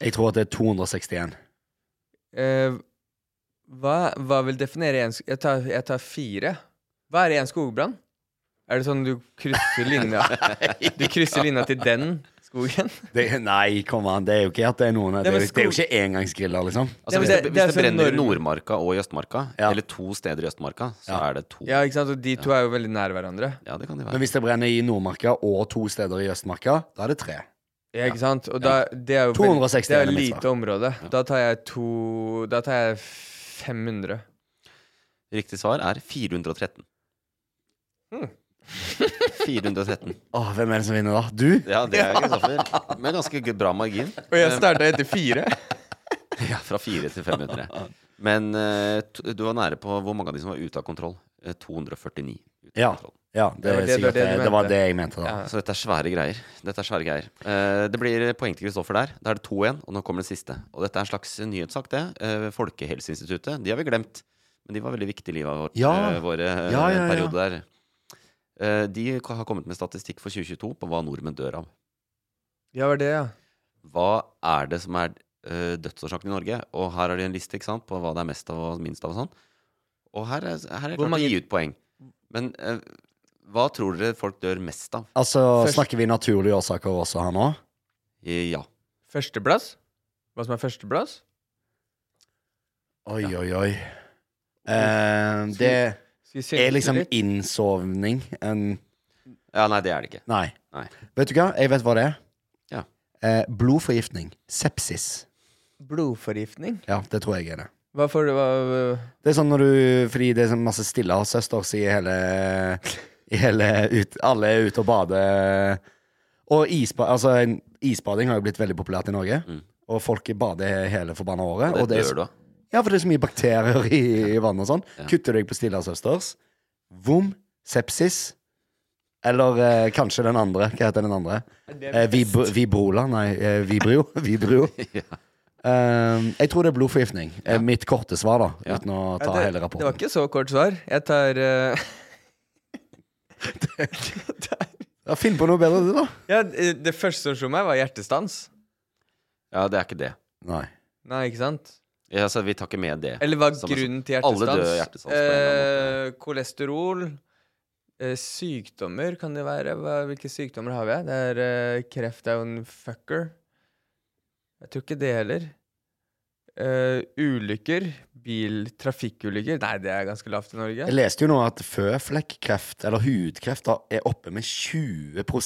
Speaker 3: Jeg tror at det er 261.
Speaker 2: Eh, hva, hva vil definere en sk- jeg tar, jeg tar fire. Hva er en skogbrann? Er det sånn du krysser linja Du krysser linja til den skogen?
Speaker 3: Det, nei, kom an, det er jo ikke at det er noen Det,
Speaker 2: Nei,
Speaker 3: er
Speaker 2: men
Speaker 3: jo- det er jo
Speaker 2: skog-
Speaker 3: ikke engangsgriller, liksom.
Speaker 1: Altså,
Speaker 2: Nei, men
Speaker 1: hvis
Speaker 2: det-
Speaker 1: det,
Speaker 2: det er
Speaker 1: hvis det
Speaker 2: sånn
Speaker 1: brenner i
Speaker 2: når-
Speaker 1: Nordmarka og i Østmarka,
Speaker 3: Ja.
Speaker 1: eller to steder i Østmarka, så
Speaker 3: Ja.
Speaker 1: er det to. Ja.
Speaker 2: Ja, ikke sant? Og de to er jo veldig nær hverandre.
Speaker 1: det kan de
Speaker 3: Men
Speaker 1: være.
Speaker 3: hvis det brenner i Nordmarka og to steder i Østmarka, da er det tre.
Speaker 2: Ja, ikke sant? Og da, det er jo
Speaker 3: 260
Speaker 2: det er jo
Speaker 3: er det mitt
Speaker 2: lite område. Da tar jeg to Da tar jeg 500.
Speaker 1: Riktig svar er 413. 413.
Speaker 3: Åh, hvem er det som vinner da? Du?
Speaker 1: Ja, det er Kristoffer. Med ganske g- bra margin.
Speaker 2: Og jeg starta etter fire.
Speaker 1: Ja, fra 4 til 500. Men eh, t- du var nære på hvor mange av de som var ute av kontroll. Eh, 249. Ute av
Speaker 3: Ja.
Speaker 1: kontroll.
Speaker 3: Ja, det,
Speaker 2: Det var det- det
Speaker 3: er
Speaker 2: var
Speaker 3: sikkert
Speaker 2: det
Speaker 3: det,
Speaker 2: du
Speaker 3: det var
Speaker 2: mente.
Speaker 3: det jeg mente, da.
Speaker 2: Ja.
Speaker 1: Så dette er svære greier. Dette er svære greier. Eh, det blir poeng til Kristoffer der. Da er det 2-1, og nå kommer den siste. Og dette er en slags nyhetssak, det. Eh, Folkehelseinstituttet. De har vi glemt. Men de var veldig viktige i livet vårt
Speaker 3: Ja.
Speaker 1: eh, våre eh,
Speaker 3: Ja, ja, ja.
Speaker 1: periode der. Eh, de k- har kommet med statistikk for 2022 på hva nordmenn dør av.
Speaker 2: Ja, var det, ja.
Speaker 1: Hva er det som er eh, dødsårsaken i Norge. Og her har de en liste ikke sant, på hva det er mest av og minst av. Og sånn Og her er, her er det
Speaker 3: Hvor
Speaker 1: klart å gi ut poeng. Men eh, hva tror dere folk dør mest av?
Speaker 3: Altså,
Speaker 1: Først-
Speaker 3: snakker vi naturlige årsaker også her nå?
Speaker 1: Ja.
Speaker 2: Førsteplass? Hva som er førsteplass?
Speaker 3: Oi, oi, oi. Eh, det
Speaker 2: Skal vi synke
Speaker 3: er liksom
Speaker 2: litt?
Speaker 3: innsovning. En
Speaker 1: Ja, nei, det er det ikke.
Speaker 3: Nei.
Speaker 1: Nei.
Speaker 3: Vet du hva? Jeg vet hva det er.
Speaker 1: Ja.
Speaker 3: Eh, blodforgiftning. Sepsis.
Speaker 2: Blodforgiftning?
Speaker 3: Ja, det tror jeg er det.
Speaker 2: Hva får du hva,
Speaker 3: Det er sånn når du Fordi det er sånn masse stillehavssøster i hele, i hele ut, Alle er ute og bader. Og isba, altså, en- isbading har jo blitt veldig populært i Norge. Og folk bader hele forbanna året.
Speaker 1: Og Mm. det
Speaker 3: er
Speaker 1: dør du
Speaker 3: så,
Speaker 1: av.
Speaker 3: Ja, for det er så mye bakterier i, i vannet og sånn. Kutter deg på stillehavssøsters. Vom. Sepsis. Eller eh, kanskje den andre. Hva heter den andre? Eh, vib vibrola? Nei, eh, Vibrio. Vibrio. Eh, jeg tror det er blodforgiftning. Eh, Mitt korte svar, da. Uten å ta
Speaker 2: Ja, det,
Speaker 3: hele
Speaker 2: det var
Speaker 3: rapporten.
Speaker 2: ikke så kort svar. Jeg tar eh,
Speaker 3: Ja, Finn på noe bedre, du, da.
Speaker 2: ja, Det første som slo meg, var hjertestans.
Speaker 1: Ja, det er ikke det.
Speaker 3: Nei.
Speaker 2: Nei, ikke sant?
Speaker 1: Ja, så vi tar ikke med det.
Speaker 2: Eller hva er
Speaker 1: Som er
Speaker 2: grunnen
Speaker 1: sånn.
Speaker 2: til
Speaker 1: Alle dør av
Speaker 2: hjertestans?
Speaker 1: hjertestans. på en eller annen måte.
Speaker 2: Eh, kolesterol. Eh, sykdommer kan det være. Hva, hvilke sykdommer har vi? Det er eh, kreft er jo en fucker. Jeg tror ikke det heller. Eh, ulykker. Bil, trafikkulykker. Nei, det er ganske lavt i Norge.
Speaker 3: Jeg leste jo nå at føflekkreft, eller hudkreft, da, er oppe med 20 på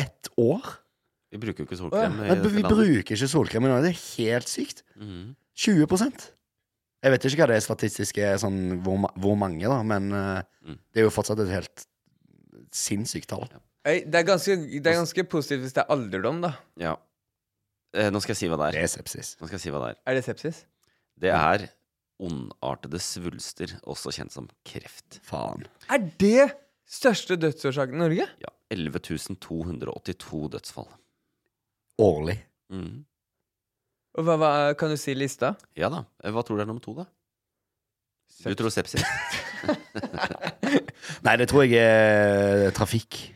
Speaker 3: ett år.
Speaker 1: Vi bruker jo ikke solkrem. i
Speaker 3: Nei,
Speaker 1: dette
Speaker 3: vi
Speaker 1: landet.
Speaker 3: bruker ikke solkrem i Norge. Det er helt sykt.
Speaker 1: Mhm.
Speaker 3: 20 Jeg vet ikke hva det er statistiske sånn, hvor, ma- hvor mange, da, men eh,
Speaker 1: Mm.
Speaker 3: det er jo fortsatt et helt sinnssykt tall.
Speaker 2: Ei, det, er ganske, det er ganske positivt hvis det er alderdom, da.
Speaker 1: Ja. Eh, nå skal jeg si hva det er.
Speaker 3: Det er sepsis.
Speaker 1: Nå skal jeg si hva det er.
Speaker 2: Er det sepsis?
Speaker 1: Det
Speaker 3: Mm.
Speaker 1: er ondartede svulster, også kjent som kreft.
Speaker 3: Faen.
Speaker 2: Er det største dødsårsaken i Norge?
Speaker 1: Ja. 11 282 dødsfall.
Speaker 3: Årlig.
Speaker 1: Mhm.
Speaker 2: Og hva, hva, kan du si lista?
Speaker 1: Ja da. Eh, Hva tror du er nummer to, da? Du tror sepsis.
Speaker 3: Nei, det tror jeg er trafikk.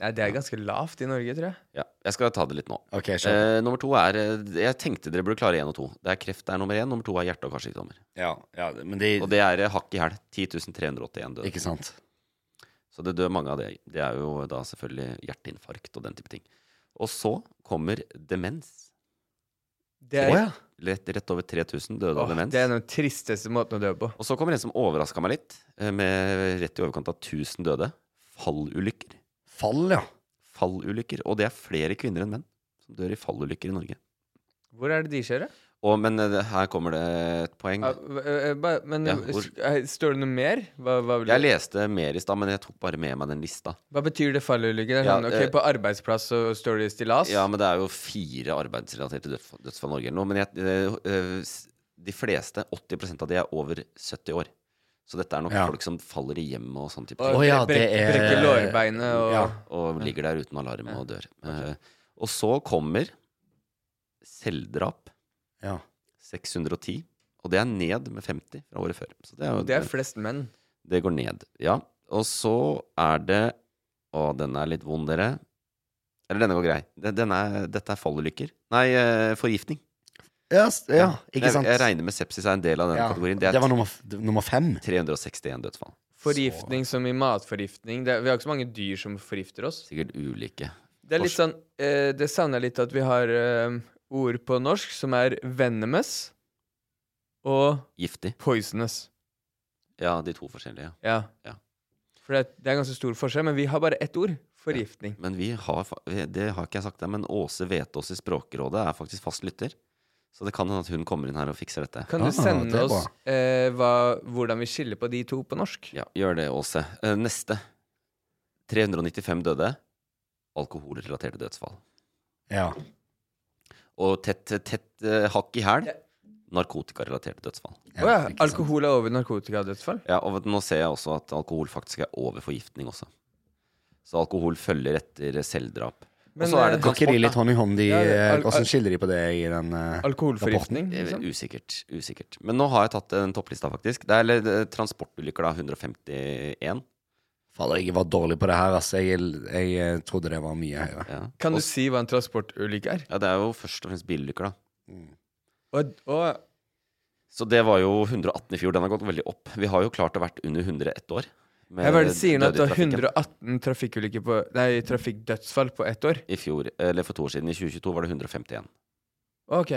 Speaker 2: Nei, det er ganske lavt i Norge, tror jeg.
Speaker 1: ja. Jeg skal ta det litt nå.
Speaker 3: Ok, skjønner.
Speaker 1: Eh, nummer to er eh, Jeg tenkte dere burde klare én og to. Det er kreft det er nummer én. Nummer to er hjerte- og karsykdommer.
Speaker 3: Ja, ja, men det
Speaker 1: Og det er eh, hakk i hæl. 10 381 døde.
Speaker 3: Ikke sant.
Speaker 1: Så det dør mange av det. Det er jo da selvfølgelig hjerteinfarkt og den type ting. Og så kommer demens.
Speaker 2: Det er,
Speaker 1: Tre- Rett, rett over 3000 døde
Speaker 2: Åh,
Speaker 1: av demens.
Speaker 2: det er den tristeste måten å dø på.
Speaker 1: Og så kommer en som overraska meg litt, eh, med rett i overkant av 1000 døde. Fallulykker.
Speaker 3: Fall, ja.
Speaker 1: Fallulykker. Og det er flere kvinner enn menn som dør i fallulykker i Norge.
Speaker 2: Hvor er det de skjer, da?
Speaker 1: Og, men eh, her kommer det et poeng.
Speaker 2: Ja, v- eh, ba- Men
Speaker 1: Ja,
Speaker 2: eh,
Speaker 1: hvor-
Speaker 2: s- eh, står det noe mer? Hva, hva, vil
Speaker 1: Jeg
Speaker 2: du-
Speaker 1: leste mer i stad, men jeg tok bare med meg den lista.
Speaker 2: hva betyr det fallulykke? Det er
Speaker 1: Ja,
Speaker 2: sånn,
Speaker 1: eh,
Speaker 2: ok, På arbeidsplass så står det i
Speaker 3: Altså-
Speaker 2: stillas.
Speaker 1: Ja, men det er jo fire arbeidsrelaterte dødsf- dødsfall i Norge eller noe. Men jeg, eh, eh, s- de fleste, 80 av de, er over 70 år. Så dette er nok
Speaker 3: Ja.
Speaker 1: folk som faller i hjemmet og sånn type ting.
Speaker 2: Og
Speaker 3: Å ja,
Speaker 2: brek-
Speaker 3: det er-
Speaker 2: Brekker lårbeinet og
Speaker 3: Ja.
Speaker 1: Og ligger der uten alarm og dør. Eh, og så kommer selvdrap.
Speaker 3: ja.
Speaker 1: 610. Og det er ned med 50 fra året før. Så det, er jo,
Speaker 2: Det er flest menn.
Speaker 1: det går ned. Ja. Og så er det Å, denne er litt vond, dere. Eller denne går grei. Den- Den er, dette er fallulykker. Nei, eh, forgiftning.
Speaker 3: Ja, s- ja, ikke
Speaker 1: jeg,
Speaker 3: sant.
Speaker 1: jeg regner med sepsis er en del av den
Speaker 3: Ja,
Speaker 1: kategorien. Det er
Speaker 3: det var nummer, f- nummer fem.
Speaker 1: 361 dødsfall.
Speaker 2: Forgiftning som i matforgiftning. Det, er- vi har ikke så mange dyr som forgifter oss.
Speaker 1: Sikkert ulike.
Speaker 2: Det er litt sånn eh, Det savner jeg litt at vi har eh, ord på norsk som er venomous og
Speaker 1: Giftig.
Speaker 2: poisonous.
Speaker 1: Ja, de to forskjellige.
Speaker 2: Ja.
Speaker 1: Ja.
Speaker 2: For det, det er ganske stor forskjell, men vi har bare ett ord. Forgiftning.
Speaker 1: Men vi har, fa- vi- det har ikke jeg sagt deg, men Åse Vetås i Språkrådet er faktisk fast lytter. Så det kan hende at hun kommer inn her og fikser dette.
Speaker 2: Kan
Speaker 3: Ah,
Speaker 2: du sende
Speaker 3: det er
Speaker 2: oss eh, hva, hvordan vi skiller på de to på norsk?
Speaker 1: Ja, gjør det, Åse. Eh, Neste. 395 døde. Alkoholrelaterte dødsfall.
Speaker 3: Ja.
Speaker 1: Og tett, tett eh, hakk i hæl. Narkotikarelaterte dødsfall.
Speaker 2: Å ja. Alkohol er over narkotikadødsfall?
Speaker 1: Ja, og nå ser jeg også at alkohol faktisk er over forgiftning også. Så alkohol følger etter selvdrap. Og
Speaker 2: Men,
Speaker 1: så er det
Speaker 2: eh,
Speaker 3: Går ikke de
Speaker 1: transport,
Speaker 3: litt
Speaker 1: da.
Speaker 3: hånd i hånd, de
Speaker 2: Ja, det-
Speaker 3: eh,
Speaker 2: al- al-
Speaker 3: Hvordan skiller de på det i den eh,
Speaker 2: Alkoholforgiftning?
Speaker 3: rapporten?
Speaker 1: Det er
Speaker 2: Liksom.
Speaker 1: Eh, Usikkert. usikkert. Men nå har jeg tatt en topplista, faktisk. Det er eller, eh, transportulykker, da. 151.
Speaker 3: Fader, jeg var dårlig på det her, altså. Jeg, jeg, eh, trodde det var mye høyere.
Speaker 2: Kan du si hva en transportulykke er?
Speaker 1: Ja, det er jo først og fremst bilulykker, da.
Speaker 2: Og, og
Speaker 1: Så det var jo 118 i fjor. Den har gått veldig opp. Vi har jo klart å vært under 100 ett år. med
Speaker 2: jeg bare sier at
Speaker 1: døde
Speaker 2: det
Speaker 1: i
Speaker 2: er
Speaker 1: trafikken.
Speaker 2: 118 trafikkulykker på Nei, trafikkdødsfall på ett år.
Speaker 1: I fjor, eller for to år siden, i 2022, var det 151.
Speaker 2: OK.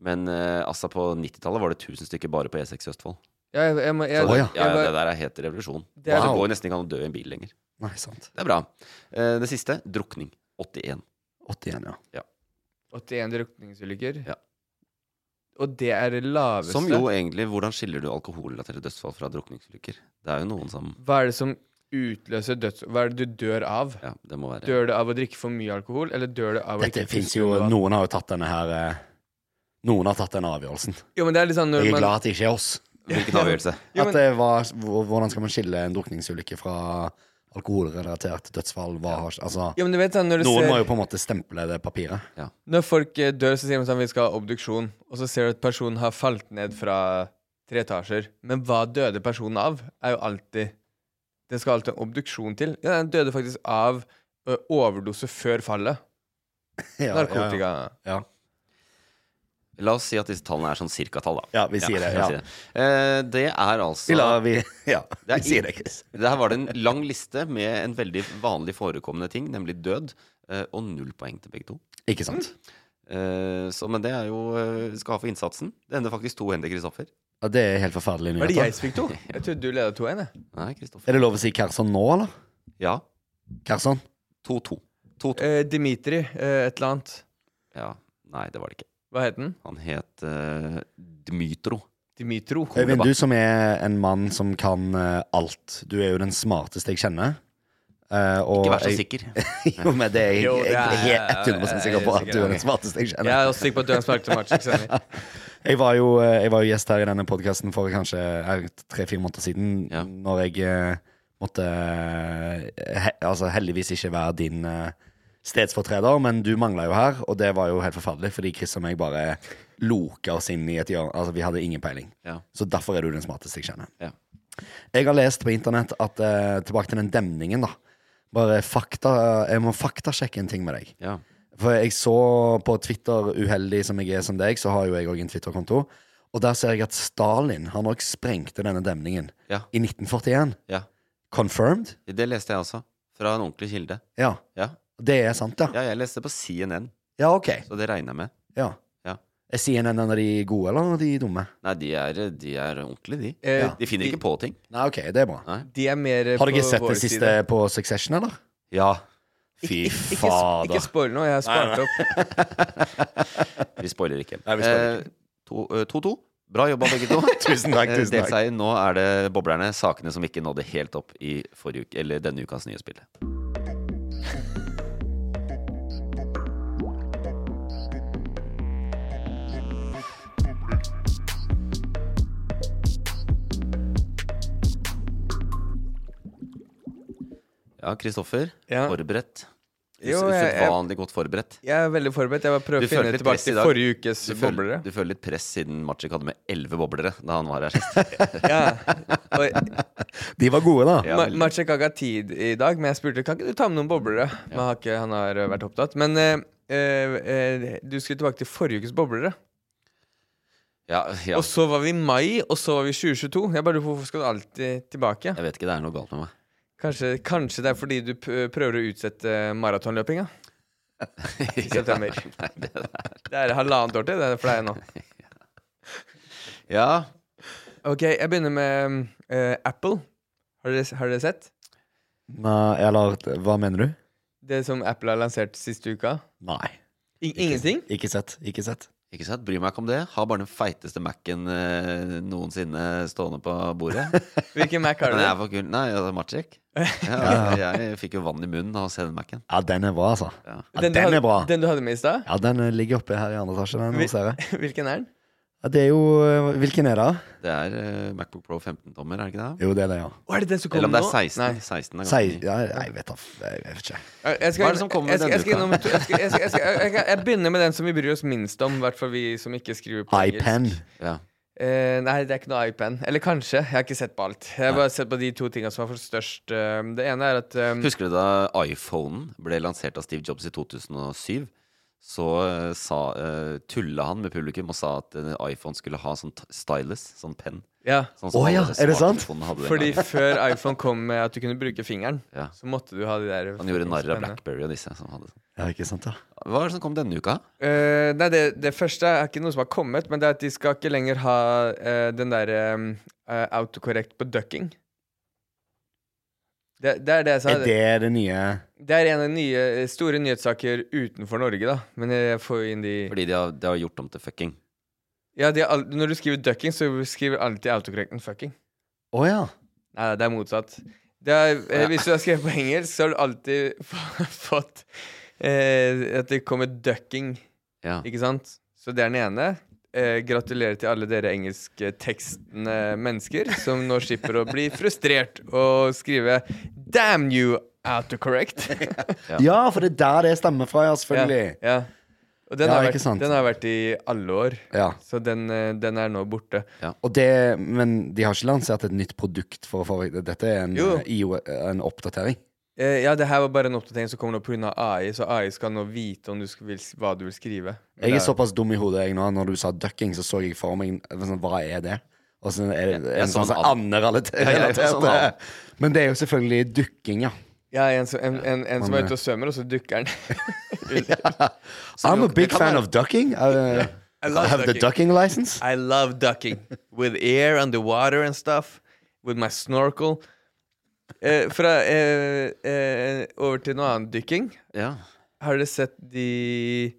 Speaker 1: Men eh, altså på 90-tallet var det 1000 stykker bare på E6 i Østfold.
Speaker 2: Ja, jeg, jeg, må- jeg,
Speaker 1: Så det,
Speaker 2: jeg,
Speaker 1: ja,
Speaker 2: bare-
Speaker 1: det der er helt revolusjon.
Speaker 2: Det er-
Speaker 1: Det går nesten ikke an å dø i en bil lenger.
Speaker 3: Nei, sant.
Speaker 1: Det er bra. Eh, det siste drukning. 81.
Speaker 3: 81, ja.
Speaker 2: 81 drukningsulykker.
Speaker 1: Ja.
Speaker 2: Og det er det laveste.
Speaker 1: Som jo egentlig Hvordan skiller du alkoholrelaterte dødsfall fra drukningsulykker? Det er jo noen som
Speaker 2: Hva er det som utløser døds... Hva er det du dør av?
Speaker 1: Ja, det må være
Speaker 2: Dør du av å drikke for mye alkohol, eller dør du av å
Speaker 3: Dette
Speaker 2: ikke
Speaker 3: fins
Speaker 2: drikke
Speaker 3: jo
Speaker 2: noe vann?
Speaker 3: Noen har jo tatt denne her eh, Noen har tatt den avgjørelsen.
Speaker 2: Jo, men det er litt sånn når
Speaker 3: Jeg er
Speaker 2: man
Speaker 3: glad at det ikke er oss.
Speaker 1: Hvilken avgjørelse?
Speaker 2: Jo, men-
Speaker 3: At det var, hvor- hvordan skal man skille en drukningsulykke fra alkoholrelatert dødsfall? Hva har, altså,
Speaker 2: Jo, men du vet sånn når du
Speaker 3: noen
Speaker 2: ser
Speaker 3: må jo på en måte stemple det papiret.
Speaker 2: Når folk eh, dør, så sier de sånn vi skal ha obduksjon, og så ser du at personen har falt ned fra tre etasjer. Men hva døde personen av, er jo alltid Det skal alltid en obduksjon til. Ja, den døde faktisk av ø, overdose før fallet.
Speaker 3: Ja,
Speaker 2: Narkotika.
Speaker 3: Ja, ja.
Speaker 1: La oss si at disse tallene er sånn cirka-tall, da.
Speaker 3: Ja, vi sier det,
Speaker 1: vi
Speaker 3: ja.
Speaker 1: sier det. Eh, det er altså
Speaker 3: Vi lar vi Ja,
Speaker 1: Det
Speaker 3: vi
Speaker 1: er-
Speaker 3: sier det, Chris.
Speaker 1: Det her var det en lang liste med en veldig vanlig forekommende ting, nemlig død. eh, Og null poeng til begge to.
Speaker 3: Ikke sant?
Speaker 1: Eh, Så, men det er jo eh, Skal ha for innsatsen. Det ender faktisk to hender, Kristoffer.
Speaker 3: Ja, det er helt forferdelige
Speaker 2: Var det jeg
Speaker 3: nyheter.
Speaker 2: som fikk to? Jeg trodde du leda 2-1, jeg.
Speaker 1: Nei, Kristoffer.
Speaker 3: Er det lov å si Kersson nå, eller?
Speaker 1: Ja.
Speaker 3: Kersson?
Speaker 1: 2-2.
Speaker 2: Eh, Dimitri eh, et eller annet.
Speaker 1: Ja. Nei, det var det ikke.
Speaker 2: Hva het den?
Speaker 1: Han het eh, Dmytro.
Speaker 2: Dimitro.
Speaker 3: Øyvind, du som er en mann som kan eh, alt. Du er jo den smarteste jeg kjenner. Eh, og
Speaker 1: Ikke vær så
Speaker 3: jeg-
Speaker 1: sikker.
Speaker 3: jo, men det er jeg,
Speaker 2: Jo, det
Speaker 3: jeg,
Speaker 2: er-
Speaker 3: jeg er 100 sikker på at du er den smarteste jeg
Speaker 2: Jeg er
Speaker 3: kjenner.
Speaker 2: også sikker på at du er en smartere match. ikke sant?
Speaker 3: Jeg var jo, eh, jeg var jo gjest her i denne podkasten for kanskje tre-fire måneder siden, når jeg eh, måtte eh, he, Altså heldigvis ikke være din eh, stedsfortreder, men du mangla jo her, og det var jo helt forferdelig, fordi Chris og meg bare loka oss inn i et hjørne. Altså, vi hadde ingen peiling.
Speaker 1: Ja.
Speaker 3: Så derfor er du den smarteste jeg kjenner.
Speaker 1: Ja.
Speaker 3: Jeg har lest på internett at eh, Tilbake til den demningen, da. Bare fakta eh, Jeg må faktasjekke en ting med deg.
Speaker 1: Ja.
Speaker 3: For jeg så på Twitter, uheldig som jeg er som deg, så har jo jeg òg en Twitter-konto. Og der ser jeg at Stalin han òg sprengte denne demningen
Speaker 1: Ja.
Speaker 3: i 1941.
Speaker 1: ja.
Speaker 3: Confirmed?
Speaker 1: Det leste jeg også. Fra en ordentlig kilde.
Speaker 3: Ja.
Speaker 1: Ja.
Speaker 3: Det er sant, ja.
Speaker 1: ja, jeg leste på CNN,
Speaker 3: Ja, ok.
Speaker 1: så det regner jeg med.
Speaker 3: Ja.
Speaker 1: Ja.
Speaker 3: Er CNN en av de gode, eller en av de dumme?
Speaker 1: Nei, de er, eh, de er ordentlige, de.
Speaker 2: Eh,
Speaker 1: De finner ikke på ting.
Speaker 3: Nei, ok, det er bra.
Speaker 2: De er mer eh,
Speaker 3: Har dere
Speaker 2: på
Speaker 3: sett
Speaker 2: vår
Speaker 3: det siste
Speaker 2: side.
Speaker 3: på Succession, eller?
Speaker 1: Ja.
Speaker 3: Fy
Speaker 2: Ikke, sp- ikke
Speaker 3: fader.
Speaker 2: spoil noe, jeg har spart opp.
Speaker 1: Vi spoiler ikke.
Speaker 3: Nei, vi spoiler
Speaker 1: Eh, to- eh, 2-2. Bra jobba, begge to.
Speaker 3: Tusen takk,
Speaker 1: Eh,
Speaker 3: tusen
Speaker 1: Delt
Speaker 3: takk.
Speaker 1: seier. Nå er det boblerne, sakene som ikke nådde helt opp i forrige uke, eller denne ukas nye spill. Ja, Kristoffer.
Speaker 2: Ja.
Speaker 1: Forberedt.
Speaker 2: Jo,
Speaker 1: Us-
Speaker 2: jeg- jeg-
Speaker 1: Usedvanlig godt forberedt.
Speaker 2: Jeg er veldig forberedt. Jeg bare prøver å
Speaker 1: føler
Speaker 2: finne
Speaker 1: litt
Speaker 2: tilbake
Speaker 1: press i
Speaker 2: til
Speaker 1: dag.
Speaker 2: forrige ukes
Speaker 1: Du føler,
Speaker 2: boblere.
Speaker 1: du føler litt press siden Maciek hadde med elleve boblere da han var her sist.
Speaker 2: Ja. Og
Speaker 3: De var gode, da.
Speaker 1: Ja,
Speaker 2: Ma
Speaker 1: veldig.
Speaker 2: Maciek har ikke hatt tid i dag, men jeg spurte kan ikke du ta med noen boblere. Men han har ikke, han har eh, vært opptatt. Men eh, eh, eh, du skulle tilbake til forrige ukes boblere.
Speaker 1: ja, ja.
Speaker 2: Og så var vi i mai, og så var vi i 2022. Jeg bare lurer på Hvorfor skal du alltid tilbake?
Speaker 1: Jeg vet ikke, det er noe galt med meg.
Speaker 2: Kanskje, kanskje det er fordi du p- prøver å utsette maratonløpinga? I september.
Speaker 1: Nei, det der.
Speaker 2: Det er halvannet år til det er for deg nå.
Speaker 1: Ja,
Speaker 2: Ok, jeg begynner med eh, Apple. Har dere, har dere sett?
Speaker 3: Nei, eller hva mener du?
Speaker 2: Det som Apple har lansert siste uka?
Speaker 3: Nei.
Speaker 2: I ingenting?
Speaker 3: Ikke sett. Ikke sett.
Speaker 1: ikke sant? Bryr meg ikke om det. Har bare den feiteste Mac-en eh, noensinne stående på bordet.
Speaker 2: Hvilken Mac har
Speaker 1: Men jeg er
Speaker 2: du?
Speaker 1: for kul. Nei, ja, det er Maciek. Ja, jeg fikk jo vann i munnen av å se den Mac-en.
Speaker 3: Ja, den er bra, altså.
Speaker 1: Ja.
Speaker 3: Ja,
Speaker 2: du
Speaker 3: den,
Speaker 2: hadde-
Speaker 3: er bra.
Speaker 2: Den du hadde med i stad?
Speaker 3: Ja, den eh, ligger oppe her i andre etasje. Den,
Speaker 2: Vi-
Speaker 3: hos dere.
Speaker 2: Hvilken er den?
Speaker 3: ja, det er jo eh, Hvilken er det?
Speaker 1: Det er eh, Macbook Pro 15-tommer, er det ikke det?
Speaker 3: Jo, det er det, ja.
Speaker 2: Å, er det den som
Speaker 1: Eller
Speaker 2: kommer
Speaker 1: om det
Speaker 2: nå?
Speaker 1: er 16.
Speaker 2: Nei.
Speaker 1: 16 er ganske
Speaker 3: Si,
Speaker 1: ny.
Speaker 3: ja jeg vet da f- Jeg vet ikke.
Speaker 2: Jeg- Jeg skal,
Speaker 1: Hva er det som kommer
Speaker 2: jeg skal, jeg skal,
Speaker 1: denne
Speaker 2: innom- jeg skal, jeg skal, jeg skal, jeg, jeg, jeg begynner med den som vi bryr oss minst om, i hvert fall vi som ikke skriver på
Speaker 3: iPen.
Speaker 2: engelsk.
Speaker 1: Ja.
Speaker 2: Eh, nei, det er ikke noe iPen. Eller kanskje. Jeg har ikke sett på alt. Jeg har bare sett på de to tingene som har fått størst eh, Det ene er at
Speaker 3: Mm.
Speaker 2: eh,
Speaker 1: Husker du da iPhonen ble lansert av Steve Jobs i 2007? Så eh, sa, eh, tulla han med publikum og sa at eh, iPhone skulle ha sånn t- stylus, sånn penn.
Speaker 2: Ja.
Speaker 1: Sånn som
Speaker 3: Å ja,
Speaker 1: alle
Speaker 3: er det sant?
Speaker 1: smartphone hadde den
Speaker 2: Fordi
Speaker 1: gangen.
Speaker 2: før iPhone kom med at du kunne bruke fingeren,
Speaker 1: Ja.
Speaker 2: så måtte du ha de der
Speaker 1: Han gjorde narr av
Speaker 2: pennene.
Speaker 1: Blackberry og disse som hadde sånn.
Speaker 3: Ja, ikke sant, da?
Speaker 1: Hva er det som kom denne uka?
Speaker 2: Eh, nei, det, det første er ikke noe som har kommet, men det er at de skal ikke lenger ha eh, den derre autokorrekt på ducking. Det, det er det jeg sa.
Speaker 3: Er det det nye
Speaker 2: Det er en av de nye, store nyhetssaker utenfor Norge, da. Men jeg får jo inn de
Speaker 1: Fordi de har, de har gjort om til fucking.
Speaker 2: Ja, de har al Når du skriver ducking, så skriver alltid autocorrecten fucking.
Speaker 3: Å ja.
Speaker 2: Nei, det er motsatt. Det er, eh, hvis du har skrevet på engelsk, så har du alltid f- fått eh, at det kommer ducking.
Speaker 1: Ja.
Speaker 2: Ikke sant? Så det er den ene. Eh, gratulerer til alle dere engelsktekstende mennesker som nå slipper å bli frustrert og skrive 'damn you autocorrect'.
Speaker 3: ja. for det er der det stemmer fra, ja, selvfølgelig.
Speaker 2: Ja, ja. Og den,
Speaker 3: Ja,
Speaker 2: har
Speaker 3: ikke
Speaker 2: vært,
Speaker 3: sant.
Speaker 2: den har vært i alle år,
Speaker 3: Ja.
Speaker 2: så den, eh, den er nå borte.
Speaker 3: Og det, men de har ikke lansert et nytt produkt for forrige Dette er en,
Speaker 2: Jo.
Speaker 3: eh, IO, en oppdatering.
Speaker 2: Eh, ja, det her var bare en oppdatering som kommer nå pga. AI, så AI skal nå vite om du sk- vil, s- hva du vil skrive. Men
Speaker 3: Jeg
Speaker 2: det
Speaker 3: er såpass dum i hodet jeg nå. Når du sa ducking, så så jeg for meg sånn, Hva er det? Og så er det
Speaker 1: Jeg
Speaker 3: en
Speaker 1: så
Speaker 3: sånn som
Speaker 1: en and. Ja, jeg
Speaker 3: anderelatert.
Speaker 1: så en and.
Speaker 3: Men det er jo selvfølgelig dukking, ja.
Speaker 2: Ja, en, som- en, en, en som
Speaker 3: Man,
Speaker 2: er ute og svømmer, og så dukker den.
Speaker 3: I'm a
Speaker 1: det
Speaker 3: big
Speaker 1: kan
Speaker 3: fan
Speaker 1: være-
Speaker 3: of ducking. I,
Speaker 2: I
Speaker 3: I
Speaker 2: love
Speaker 3: have the
Speaker 2: ducking.
Speaker 3: ducking license.
Speaker 2: I love ducking. With air underwater and stuff. With my snorkel. Eh, fra eh, eh, over til noe annet dykking.
Speaker 1: Ja.
Speaker 2: Har dere sett de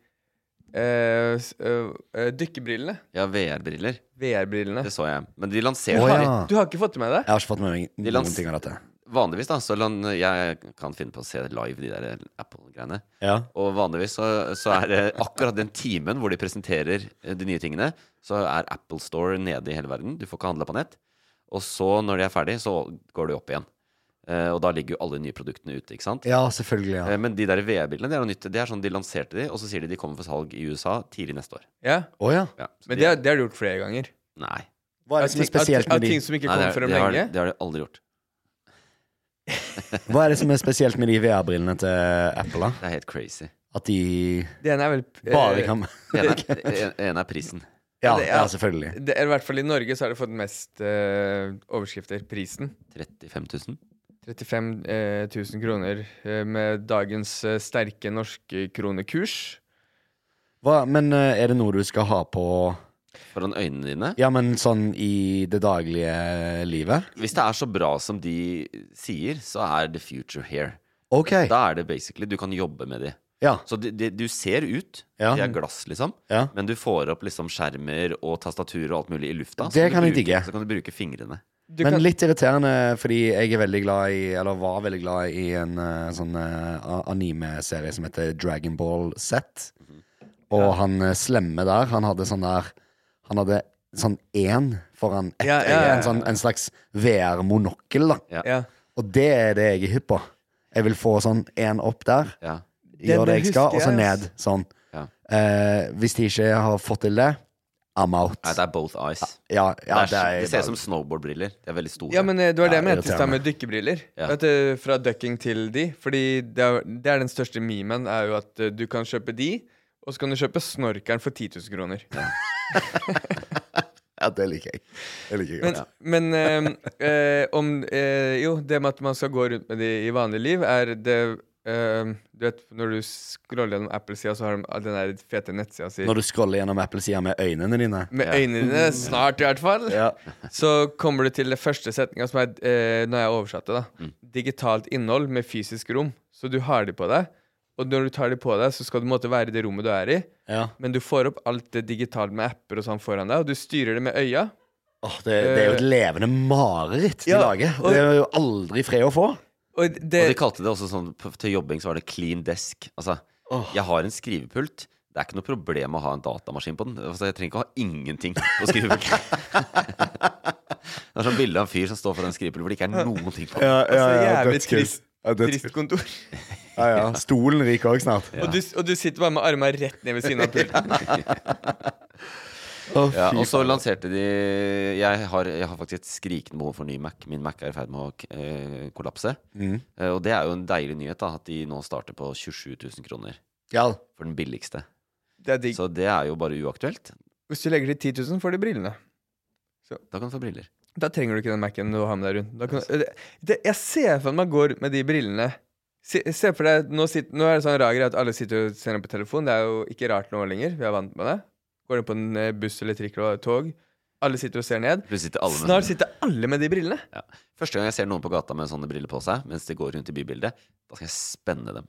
Speaker 2: eh, s- eh, eh, dykkerbrillene?
Speaker 1: ja, VR-briller.
Speaker 2: VR-brillene.
Speaker 1: Det så jeg. Men de lanserte
Speaker 3: Å,
Speaker 1: de.
Speaker 3: ja.
Speaker 2: Du har ikke fått det med deg?
Speaker 3: Jeg har ikke fått med meg
Speaker 1: De
Speaker 3: noen
Speaker 1: lans-
Speaker 3: ting av dette.
Speaker 1: Vanligvis, da, så lan, jeg kan finne på å se live de der Apple-greiene.
Speaker 3: Ja.
Speaker 1: Og vanligvis så, så er det akkurat den timen hvor de presenterer eh, de nye tingene, så er Apple Store nede i hele verden. Du får ikke handla på nett. Og så, når de er ferdig, så går de opp igjen. Eh, og da ligger jo alle nye produktene ute, ikke sant?
Speaker 3: ja, selvfølgelig.
Speaker 1: Eh,
Speaker 3: ja
Speaker 1: Men de der VR-bilene, det er noe nytt. Det er sånn de lanserte de, og så sier de de kommer for salg i USA tidlig neste år.
Speaker 2: Ja.
Speaker 3: Å ja.
Speaker 1: Ja, så
Speaker 2: Men
Speaker 1: de
Speaker 2: det,
Speaker 1: er-
Speaker 2: har- det har du gjort flere ganger.
Speaker 1: Nei.
Speaker 3: Hva er
Speaker 2: Av
Speaker 3: det
Speaker 2: ting-
Speaker 3: som er
Speaker 2: av
Speaker 3: spesielt
Speaker 2: ting- av
Speaker 3: med de
Speaker 2: ting som ikke
Speaker 1: Nei,
Speaker 2: kom
Speaker 1: det, er-
Speaker 2: frem
Speaker 1: det, har,
Speaker 2: lenge.
Speaker 1: det har de aldri gjort.
Speaker 3: Hva er det som er spesielt med de VR-brillene til Apple? da?
Speaker 1: Det er helt crazy.
Speaker 3: At de
Speaker 2: Det ene er vel eh,
Speaker 3: bare kan
Speaker 1: Det ene er, det ene er prisen.
Speaker 3: Ja,
Speaker 2: det er-
Speaker 3: ja selvfølgelig.
Speaker 2: det, I hvert fall i Norge så har det fått mest eh, overskrifter. Prisen.
Speaker 1: 35 000.
Speaker 2: 35 eh, 000 kroner eh, med dagens eh, sterke norske kronekurs.
Speaker 3: Hva, men eh, er det noe du skal ha på
Speaker 1: Foran øynene dine.
Speaker 3: Ja, men sånn i det daglige livet?
Speaker 1: Hvis det er så bra som de sier, så er the future here.
Speaker 3: OK.
Speaker 1: Da er det basically Du kan jobbe med de.
Speaker 3: Ja.
Speaker 1: Så de, de, du ser ut.
Speaker 3: Ja.
Speaker 1: De er glass, liksom.
Speaker 3: Ja.
Speaker 1: Men du får opp liksom skjermer og tastatur og alt mulig i lufta. så
Speaker 3: Det
Speaker 1: du
Speaker 3: kan jeg
Speaker 1: bruker-
Speaker 3: digge.
Speaker 1: Så kan du bruke fingrene.
Speaker 2: Du
Speaker 3: men
Speaker 2: kan-
Speaker 3: litt irriterende, fordi jeg er veldig glad i, eller var veldig glad i, en eh, sånn eh, a- anime-serie som heter Dragonball Z. Og han eh, slemme der, han hadde sånn der Han hadde sånn én foran ett
Speaker 2: Ja, ja, ja,
Speaker 3: øye. En, sånn, en slags VR-monokkel, da.
Speaker 1: Ja.
Speaker 2: Ja.
Speaker 3: Og det er det jeg er hypp på. Jeg vil få sånn én opp der.
Speaker 1: Ja.
Speaker 3: gjør det jeg skal,
Speaker 2: husker
Speaker 3: og så
Speaker 2: jeg,
Speaker 3: ned. Sånn.
Speaker 1: Ja.
Speaker 3: Eh, hvis de ikke har fått til det, I'm out.
Speaker 1: Nei, det er both eyes.
Speaker 3: ja, ja,
Speaker 1: det, er, det ser ut
Speaker 3: bare-
Speaker 1: som snowboardbriller. De er veldig store.
Speaker 2: Ja, men eh, det var det
Speaker 3: Ja,
Speaker 2: jeg mente i stad
Speaker 3: irriterende.
Speaker 2: med dykkebriller.
Speaker 1: Ja.
Speaker 2: At, eh, fra ducking til de. Fordi det er, det er den største memen, er jo at eh, du kan kjøpe de, og så kan du kjøpe snorkeren for 10 000 kroner.
Speaker 3: Ja, det liker jeg. Det liker jeg
Speaker 2: Men,
Speaker 3: godt.
Speaker 2: men eh, eh, om eh, Jo, det med at man skal gå rundt med det i vanlig liv, er det eh, Du vet, når du scroller gjennom Apple-sida, så har de all den der fete nettsida si.
Speaker 3: Når du scroller gjennom Apple-sida med øynene dine.
Speaker 2: Med øynene dine, snart i hvert fall.
Speaker 3: Ja.
Speaker 2: Så kommer du til det første setninga, som er eh, når jeg oversatte,
Speaker 3: Mm.
Speaker 2: da. Digitalt innhold med fysisk rom. Så du har de på deg. Og når du tar de på deg, så skal du måtte være i det rommet du er i.
Speaker 3: ja.
Speaker 2: Men du får opp alt det digitalt med apper og sånn foran deg, og du styrer det med øya.
Speaker 3: Åh, det, det er jo et levende mareritt
Speaker 2: Eh,
Speaker 3: de
Speaker 2: Ja,
Speaker 3: lager.
Speaker 2: og-
Speaker 3: Det er jo aldri fred å få.
Speaker 2: Og det,
Speaker 1: Og de kalte det også sånn på- Til jobbing så var det clean desk. Altså, jeg har en skrivepult. Det er ikke noe problem å ha en datamaskin på den. Altså, jeg trenger ikke å ha ingenting på skrivepulten. det er sånn bilde av en fyr som står foran en skrivepult hvor det ikke er noen ting på.
Speaker 3: Ja,
Speaker 2: ja, ja, Altså, jævlig dødskult. trist- trist kontor.
Speaker 3: Stolen ryker òg snart.
Speaker 2: Og, du, og du sitter bare med armene rett ned ved siden av pulten.
Speaker 3: Å,
Speaker 1: ja,
Speaker 3: fy
Speaker 1: og så
Speaker 3: faen.
Speaker 1: lanserte de jeg har, jeg har faktisk et skrikende behov for ny Mac. Min Mac er i ferd med å eh, kollapse.
Speaker 3: Mhm.
Speaker 1: Eh, og det er jo en deilig nyhet, da, at de nå starter på 27 000 kroner.
Speaker 3: Ja.
Speaker 1: For den billigste.
Speaker 2: Det er digg.
Speaker 1: Så det er jo bare uaktuelt.
Speaker 2: Hvis du legger til 10 000, får du brillene.
Speaker 1: Da kan du få briller.
Speaker 2: Da trenger du ikke den Mac-en du har med deg rundt. Da kan, det, det, jeg ser for meg går med de brillene. Se, se for deg, nå, sitt- nå er det sånn rar greie at alle sitter og ser på telefon. Det er jo ikke rart nå lenger. Vi er vant med det. Går du på en eh, buss eller trikk eller tog, alle sitter og ser ned.
Speaker 1: Plutselig sitter alle med
Speaker 2: Snart
Speaker 1: sånne-
Speaker 2: sitter alle med de brillene.
Speaker 1: Ja. Første gang jeg ser noen på gata med sånne briller på seg, mens de går rundt i bybildet, da skal jeg spenne dem.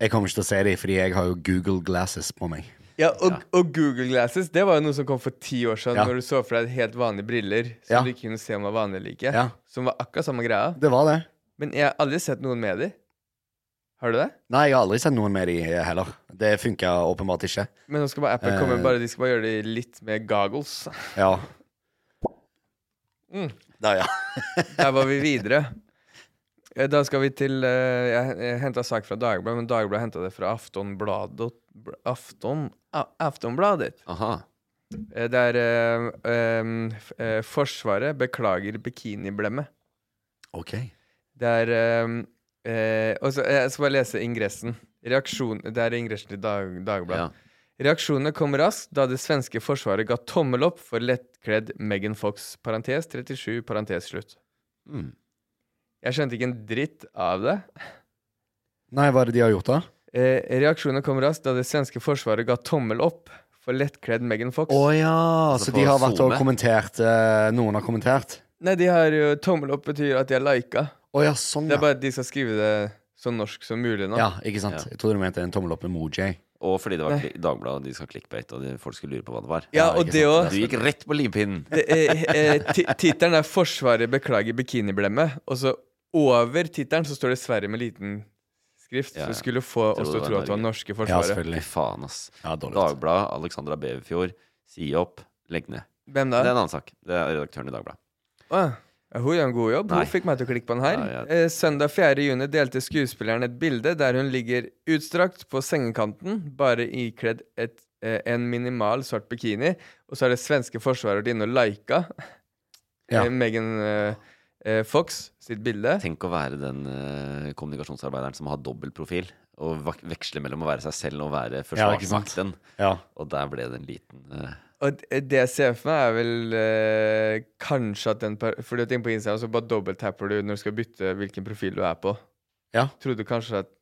Speaker 3: Jeg kommer ikke til å se dem, fordi jeg har jo Google Glasses på meg.
Speaker 2: Ja, og, og Google Glasses det var jo noe som kom for ti år siden,
Speaker 3: Ja.
Speaker 2: når du så for deg helt vanlige briller som
Speaker 3: Ja.
Speaker 2: du ikke kunne se om var vanlige eller ikke.
Speaker 3: Ja.
Speaker 2: Som var akkurat samme greia.
Speaker 3: Det var det.
Speaker 2: Men jeg har aldri sett noen med de. Har du det?
Speaker 3: Nei, jeg har aldri sett noen med de heller. Det funka åpenbart ikke.
Speaker 2: Men nå skal bare Apple komme
Speaker 3: Eh.
Speaker 2: bare, De skal bare gjøre det litt med goggles.
Speaker 3: Ja.
Speaker 2: Mm.
Speaker 3: Der, ja.
Speaker 2: Der var vi videre. Eh, Da skal vi til eh, Jeg, jeg henta sak fra Dagbladet, men Dagbladet henta det fra Aftonbladet. bl- Afton, A- Aftonbladet. Eh, Det er eh, em, f- eh, Forsvaret beklager bikiniblemmet.
Speaker 3: Ok.
Speaker 2: Det er ehm, eh, og så, Jeg skal bare lese ingressen. Reaksjon, det er ingressen til dag, Dagbladet. Reaksjonene kom raskt da det svenske forsvaret ga tommel opp for lettkledd Megan Fox, parentes 37, parentes slutt.
Speaker 3: Hmm.
Speaker 1: Mm.
Speaker 2: Jeg skjønte ikke en dritt av det.
Speaker 3: Nei, hva er det de har gjort, da?
Speaker 2: Eh, reaksjonene kom raskt da det svenske forsvaret ga tommel opp for lettkledd Megan Fox.
Speaker 3: Å ja, så de har vært og kommentert eh, Noen har kommentert?
Speaker 2: Nei, de har jo tommel opp betyr at de har lika.
Speaker 3: Å ja, sånn,
Speaker 2: Det er
Speaker 3: ja.
Speaker 2: bare at de skal skrive det så norsk som mulig nå.
Speaker 3: Ja, ikke sant? Jeg trodde du mente en tommel opp emoji.
Speaker 1: Og fordi det var
Speaker 2: Nei.
Speaker 1: kli- Dagbladet, og de skal clickbait, og de, folk skulle lure på hva det var.
Speaker 2: Ja, og
Speaker 1: ikke
Speaker 2: det
Speaker 1: sant?
Speaker 2: også.
Speaker 1: Du gikk rett på limpinnen.
Speaker 2: Det er- eh, ti- Tittelen er 'Forsvaret beklager bikiniblemmet', og så over tittelen så står det 'Sverige' med liten skrift.
Speaker 1: Ja, ja.
Speaker 2: Så det skulle få
Speaker 1: Tror
Speaker 2: oss til å
Speaker 1: det
Speaker 2: tro
Speaker 1: var
Speaker 2: at det var
Speaker 1: Norge.
Speaker 2: norske forsvaret.
Speaker 3: selvfølgelig.
Speaker 1: Fy faen, ass.
Speaker 3: Ja, dårlig.
Speaker 1: Dagbladet, Alexandra Beverfjord, si opp, legg ned.
Speaker 2: Hvem da?
Speaker 1: Det er en annen sak. Det er redaktøren i Dagbladet.
Speaker 2: Åh, ja, hun gjør en god jobb.
Speaker 1: Nei.
Speaker 2: Hun fikk meg til å klikke på den her.
Speaker 1: Ja, ja.
Speaker 2: Eh, Søndag 4. juni delte skuespilleren et bilde der hun ligger utstrakt på sengekanten, bare ikledd et, eh, en minimal svart bikini, og så har det svenske forsvaret vært inne og lika
Speaker 3: Ja.
Speaker 2: eh, Megan eh, eh, Fox sitt bilde.
Speaker 1: Tenk å være den eh, kommunikasjonsarbeideren som har dobbel profil, og vak- veksle mellom å være seg selv og å være
Speaker 3: Ja, ikke sant?
Speaker 1: forsvarsmakten.
Speaker 3: Ja.
Speaker 1: Og der ble det en liten eh,
Speaker 2: Og d- det jeg ser for meg, er vel eh, kanskje at den per Fordi at inne på Instagram så bare dobbelttapper du når du skal bytte hvilken profil du er på.
Speaker 3: Ja.
Speaker 2: Trodde kanskje at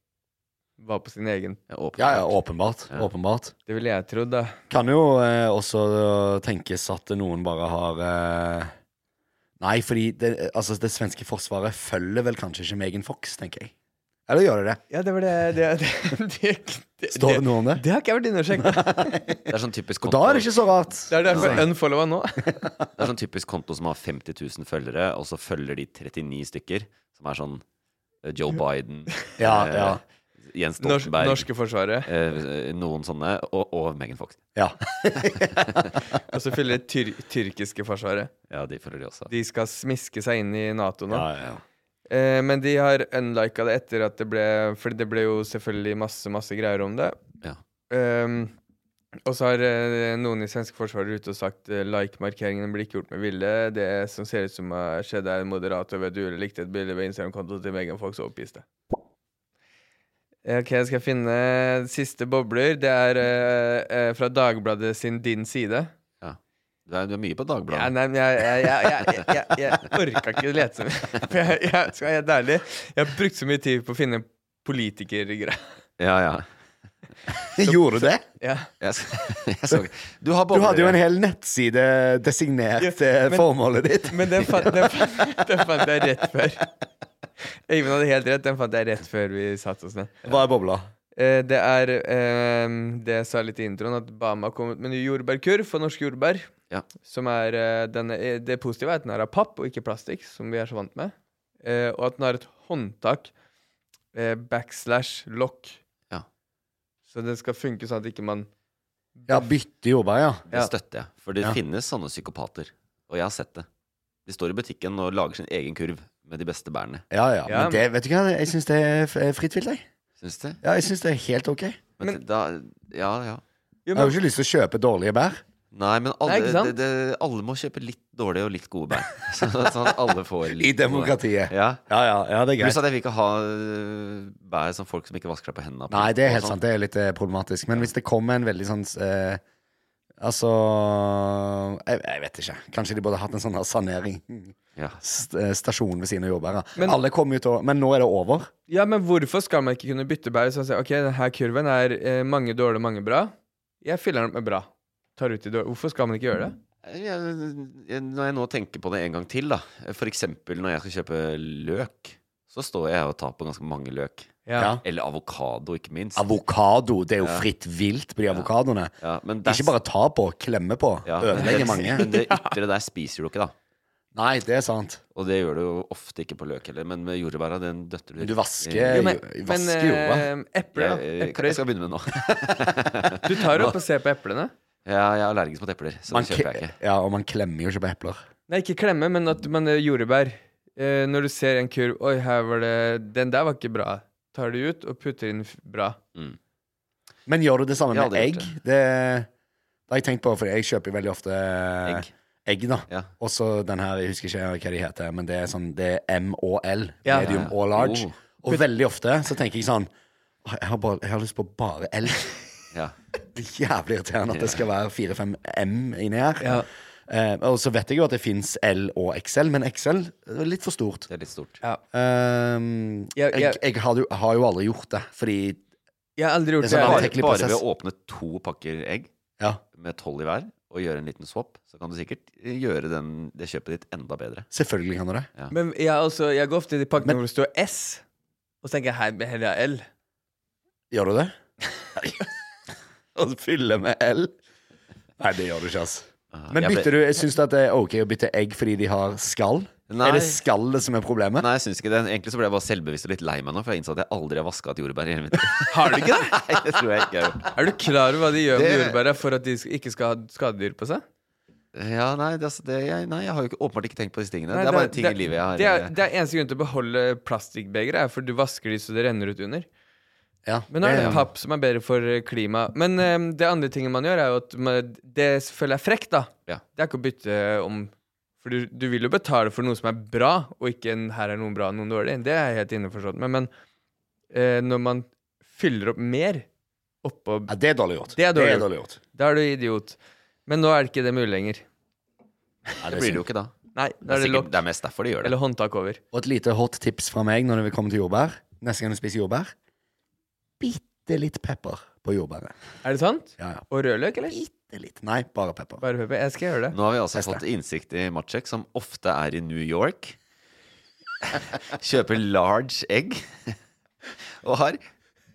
Speaker 2: var på sin egen.
Speaker 3: Ja, ja, åpenbart. Åpenbart.
Speaker 2: Det ville jeg trodd, da.
Speaker 3: Kan jo eh, også tenkes at noen bare har eh, Nei, fordi det, altså, det svenske forsvaret følger vel kanskje ikke Megan Fox, tenker jeg. Eller gjør det det?
Speaker 2: Ja, det var det Det, det, det, det,
Speaker 3: Står det noe om det?
Speaker 2: det har ikke jeg vært inne og sjekket.
Speaker 1: Det er sånn typisk
Speaker 3: Og da er det ikke så rart.
Speaker 2: Det er derfor
Speaker 1: Nei.
Speaker 2: unfollowa nå.
Speaker 1: Det er sånn typisk konto som har 50 000 følgere, og så følger de 39 stykker, som er sånn eh, Joe Biden,
Speaker 3: Ja,
Speaker 1: eh,
Speaker 3: ja.
Speaker 1: Jens
Speaker 2: Norsk,
Speaker 1: Stoltenberg
Speaker 2: norske Forsvaret.
Speaker 1: eh, Noen sånne, og, og Megan Fox.
Speaker 3: Ja.
Speaker 2: Og så fyller det tyr tyrkiske Forsvaret.
Speaker 1: Ja, de følger de også.
Speaker 2: De skal smiske seg inn i Nato nå.
Speaker 3: Ja, ja, ja.
Speaker 2: Eh, men de har unlika det etter at det ble For det ble jo selvfølgelig masse, masse greier om det.
Speaker 1: Ja.
Speaker 2: Ehm, og så har eh, noen i svenske forsvaret ute og sagt eh, like-markeringene blir ikke gjort med vilje. Det som ser ut som har skjedd, er en moderator ved et uhell likte et bilde ved Instagram-kontoen til Megan Fox og oppgiste. Ok, jeg skal finne siste bobler. Det er eh, eh, fra Dagbladet sin Din side.
Speaker 1: Ja. Du, er, du er mye på Dagbladet.
Speaker 2: Ja, nei, men jeg, jeg, jeg, jeg, jeg, jeg, jeg orka ikke å lete så mye. For jeg, jeg skal være helt ærlig, jeg har brukt så mye tid på å finne politikergreier.
Speaker 1: Ja, ja.
Speaker 3: Gjorde du det?
Speaker 2: Ja.
Speaker 1: Jeg, s- jeg så Du har
Speaker 3: Du
Speaker 1: bobler.
Speaker 3: hadde jo en hel nettside designert eh,
Speaker 2: men-
Speaker 3: formålet ditt.
Speaker 2: Men den fant, den, fant, den fant jeg rett før. Øyvind hadde helt rett, den fant jeg rett før vi satte oss ned.
Speaker 3: Hva er bobla?
Speaker 2: Eh, Det er eh, det jeg sa litt i introen, at Bama har kommet med ny jordbærkurv for norske jordbær.
Speaker 1: Ja.
Speaker 2: Som er, eh, den er, det positive er at den er av papp og ikke plastikk, som vi er så vant med. Eh, og at den har et håndtak eh, backslash lock.
Speaker 1: Ja.
Speaker 2: Så den skal funke sånn at ikke man
Speaker 3: Ja, bytte jordbær, ja.
Speaker 1: Det
Speaker 2: Ja.
Speaker 1: støtter jeg. For det
Speaker 3: Ja.
Speaker 1: finnes sånne psykopater. Og jeg har sett det. De står i butikken og lager sin egen kurv med de beste bærene.
Speaker 3: Ja, ja.
Speaker 2: Ja,
Speaker 3: Men det, vet du hva, jeg syns det er f- fritt vilt, jeg.
Speaker 1: Syns du?
Speaker 3: Ja, jeg syns det er helt ok. Jeg
Speaker 1: Men, da Ja, ja.
Speaker 2: Jo,
Speaker 3: har
Speaker 2: men,
Speaker 3: jo ikke lyst til å kjøpe dårlige bær.
Speaker 1: Nei, men alle,
Speaker 2: Nei, ikke sant?
Speaker 1: det, det, alle må kjøpe litt dårlige og litt gode bein. Så, sånn at alle får litt
Speaker 3: I demokratiet.
Speaker 1: Gode. Ja.
Speaker 3: Ja, ja, ja, det er greit.
Speaker 1: Pluss at jeg vil ikke ha øh, bær som folk som ikke vasker seg på hendene.
Speaker 3: Nei, det er
Speaker 1: og
Speaker 3: helt
Speaker 1: sånn.
Speaker 3: sant. Det er litt eh, problematisk. Men hvis det kommer en veldig sånn eh, Altså jeg, jeg vet ikke. Kanskje de burde hatt en sånn her sanering.
Speaker 1: Ja.
Speaker 3: St eh, stasjon ved siden av jordbæra.
Speaker 2: Men-
Speaker 3: Alle kommer jo til å Men nå er det over.
Speaker 2: Ja, men hvorfor skal man ikke kunne bytte bær? Sånn at, ok, denne kurven er eh, mange dårlige, mange bra. Jeg fyller den opp med bra. Tar ut de dårlige. Hvorfor skal man ikke gjøre det?
Speaker 1: Jeg, jeg, når jeg nå tenker på det en gang til, da. For eksempel når jeg skal kjøpe løk, så står jeg og tar på ganske mange løk.
Speaker 3: Ja. Ja.
Speaker 1: Eller avokado, ikke minst.
Speaker 3: Avokado. Det er jo
Speaker 1: Ja.
Speaker 3: fritt vilt på de avokadoene.
Speaker 1: Ja, men det er-
Speaker 3: Ikke bare ta på, klemme på.
Speaker 1: Ja, men
Speaker 3: Ødelegge
Speaker 1: det-
Speaker 3: mange.
Speaker 1: Men det ytre der spiser du ikke, da.
Speaker 3: Nei, det er sant.
Speaker 1: Og det gjør du jo ofte ikke på løk heller, men med jordbæra, den døtter du
Speaker 3: Du vasker-
Speaker 1: i-
Speaker 3: Jo, men-
Speaker 1: i- Eh,
Speaker 3: men,
Speaker 1: vasker jorda.
Speaker 2: eh, epler, da.
Speaker 1: Jeg, jeg,
Speaker 2: Epler.
Speaker 1: jeg skal begynne med det nå.
Speaker 2: Du tar opp og ser på eplene.
Speaker 1: Ja, jeg er allergisk mot epler, så
Speaker 3: Man
Speaker 1: det kjøper jeg
Speaker 3: ke-
Speaker 1: ikke.
Speaker 3: ja, og man klemmer jo ikke på epler.
Speaker 2: Nei, ikke klemme, men at man er jordbær. Eh, når du ser en kurv Oi, her var det Den der var ikke bra. Tar du ut og putter inn f- bra.
Speaker 3: Men gjør du det samme
Speaker 2: Jeg
Speaker 3: med
Speaker 2: hadde
Speaker 3: egg?
Speaker 2: gjort
Speaker 3: Det, det har jeg tenkt på, for jeg kjøper jo veldig ofte eh, egg. da. Og så den her, jeg husker ikke hva de heter, men det er sånn, det er M og L.
Speaker 2: Ja.
Speaker 3: Medium
Speaker 2: Ja, ja.
Speaker 3: og large.
Speaker 2: Oh.
Speaker 3: Og veldig ofte så tenker jeg sånn «Åh, Jeg har, bare, jeg har lyst på bare L.
Speaker 1: Ja.
Speaker 3: Det er jævlig irriterende at det skal være 4-5 M inni her.
Speaker 2: Ja.
Speaker 3: Eh, og så vet jeg jo at det fins L og XL, men XL er litt for stort.
Speaker 1: Det er litt stort.
Speaker 2: Ja.
Speaker 3: Ehm,
Speaker 2: Ja,
Speaker 3: jeg
Speaker 2: ja.
Speaker 3: jeg har, jo, har jo aldri gjort det, fordi
Speaker 2: Jeg har aldri gjort
Speaker 3: Det
Speaker 2: det.
Speaker 3: er sånn
Speaker 2: heller.
Speaker 1: Bare,
Speaker 3: teknisk
Speaker 1: bare
Speaker 3: prosess.
Speaker 1: ved å åpne to pakker egg
Speaker 3: Ja.
Speaker 1: med tolv i hver, og gjøre en liten swap, så kan du sikkert eh, gjøre den, det kjøpet ditt enda bedre.
Speaker 3: Selvfølgelig kan du det.
Speaker 1: Ja.
Speaker 2: Men jeg, er også, jeg går ofte til pakkene hvor det står S, og så tenker jeg her heller jeg L.
Speaker 3: Gjør du det? Og fylle med L? Nei, det gjør du ikke, ass. Men
Speaker 1: jeg ble-
Speaker 3: bytter du, syns du at det er ok å bytte egg fordi de har skall?
Speaker 1: Nei.
Speaker 3: Er det skallet som er problemet?
Speaker 1: Nei, jeg syns ikke det. Egentlig så ble jeg bare selvbevisst og litt lei meg nå, for jeg innså at jeg aldri har vaska et jordbær i hele mitt liv.
Speaker 2: Har du ikke det?
Speaker 1: Nei, det tror jeg ikke jeg har gjort.
Speaker 2: Er du klar over hva de gjør med
Speaker 1: Det-
Speaker 2: jordbæra for at de sk- ikke skal ha skadedyr på seg?
Speaker 1: Ja, nei, det, altså, det, jeg, nei, jeg har jo ikke, åpenbart ikke tenkt på disse tingene.
Speaker 2: Nei,
Speaker 1: det er bare ting i livet jeg har eh,
Speaker 2: Det er, det er eneste grunn til å beholde plastikkbegeret, er for du vasker de så det renner ut under.
Speaker 3: Ja,
Speaker 2: Men nå er det
Speaker 3: det-
Speaker 2: papp som er bedre for eh, klima. Men eh, det andre tingen man gjør, er jo at man, det selvfølgelig er frekt, da.
Speaker 1: Ja.
Speaker 2: Det er ikke å bytte eh, om For du, du vil jo betale for noe som er bra, og ikke en 'her er noen bra, noen dårlig'. Det er jeg helt innforstått med. Men eh, når man fyller opp mer oppå
Speaker 3: Ja, det er dårlig gjort.
Speaker 2: Det er dårlig,
Speaker 3: dårlig gjort.
Speaker 2: Da er du idiot. Men nå er det ikke det mulig lenger.
Speaker 1: Nei, det blir det jo ikke da.
Speaker 2: Nei,
Speaker 1: Det er,
Speaker 2: da er det
Speaker 1: sikkert,
Speaker 2: lokk
Speaker 1: det er mest derfor de gjør det.
Speaker 2: eller håndtak over.
Speaker 3: Og et lite hot tips fra meg når det vil komme til jordbær. Neste gang du spiser jordbær, bitte litt pepper på jordbæret.
Speaker 2: Er det sant?
Speaker 3: Ja, ja.
Speaker 2: Og rødløk, eller?
Speaker 3: Bitte litt. Nei, bare pepper.
Speaker 2: Bare pepper. Jeg skal gjøre det.
Speaker 1: Nå har vi altså
Speaker 3: Teste.
Speaker 1: fått innsikt i Matsjek, som ofte er i New York. Kjøper large egg. Og har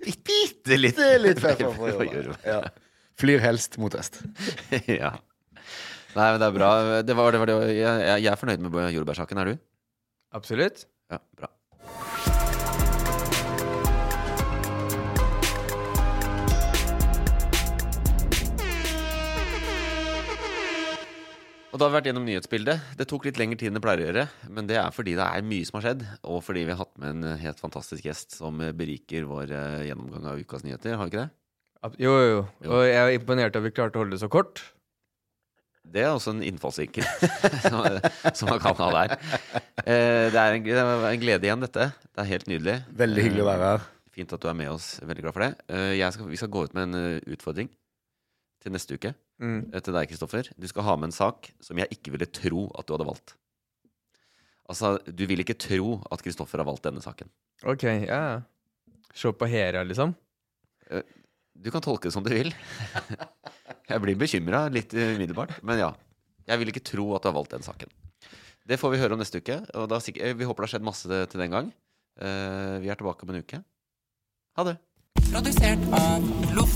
Speaker 1: bitte litt
Speaker 3: Bitte litt pepper på
Speaker 1: å
Speaker 3: jordbær.
Speaker 1: gjøre.
Speaker 3: Ja. Flyr helst mot øst.
Speaker 1: ja. Nei, men det er bra. Det var, det var, det var, jeg, jeg er fornøyd med jordbærsaken. Er du?
Speaker 2: Absolutt.
Speaker 1: Ja, bra. Og da har vi vært gjennom nyhetsbildet. Det tok litt lengre tid enn det pleier å gjøre, men det er fordi det er mye som har skjedd, og fordi vi har hatt med en eh, helt fantastisk gjest som beriker vår eh, gjennomgang av ukas nyheter, har vi ikke det?
Speaker 2: Ab- Jo, jo, jo. Og jeg er imponert over at vi klarte å holde det så kort.
Speaker 1: Det er også en innfallsvinkel som, som man kan ha der. Eh, Det er en, det er en glede igjen, dette. Det er helt nydelig.
Speaker 3: Veldig hyggelig å være her.
Speaker 1: Eh, Fint at du er med oss. Veldig glad for det. Eh, Jeg skal, vi skal gå ut med en eh, utfordring til neste uke.
Speaker 2: Mm.
Speaker 1: Eh, Til deg, Kristoffer. Du skal ha med en sak som jeg ikke ville tro at du hadde valgt. Altså, du vil ikke tro at Kristoffer har valgt denne saken.
Speaker 2: Ok, ja. Se på Hera, liksom.
Speaker 1: Du kan tolke det som du vil. Jeg blir bekymra litt umiddelbart, men ja. Jeg vil ikke tro at du har valgt den saken. Det får vi høre om neste uke. Og da, sikk- eh, vi håper det har skjedd masse til den gang. Eh, Vi er tilbake om en uke. Ha det.
Speaker 6: Produsert av Loff.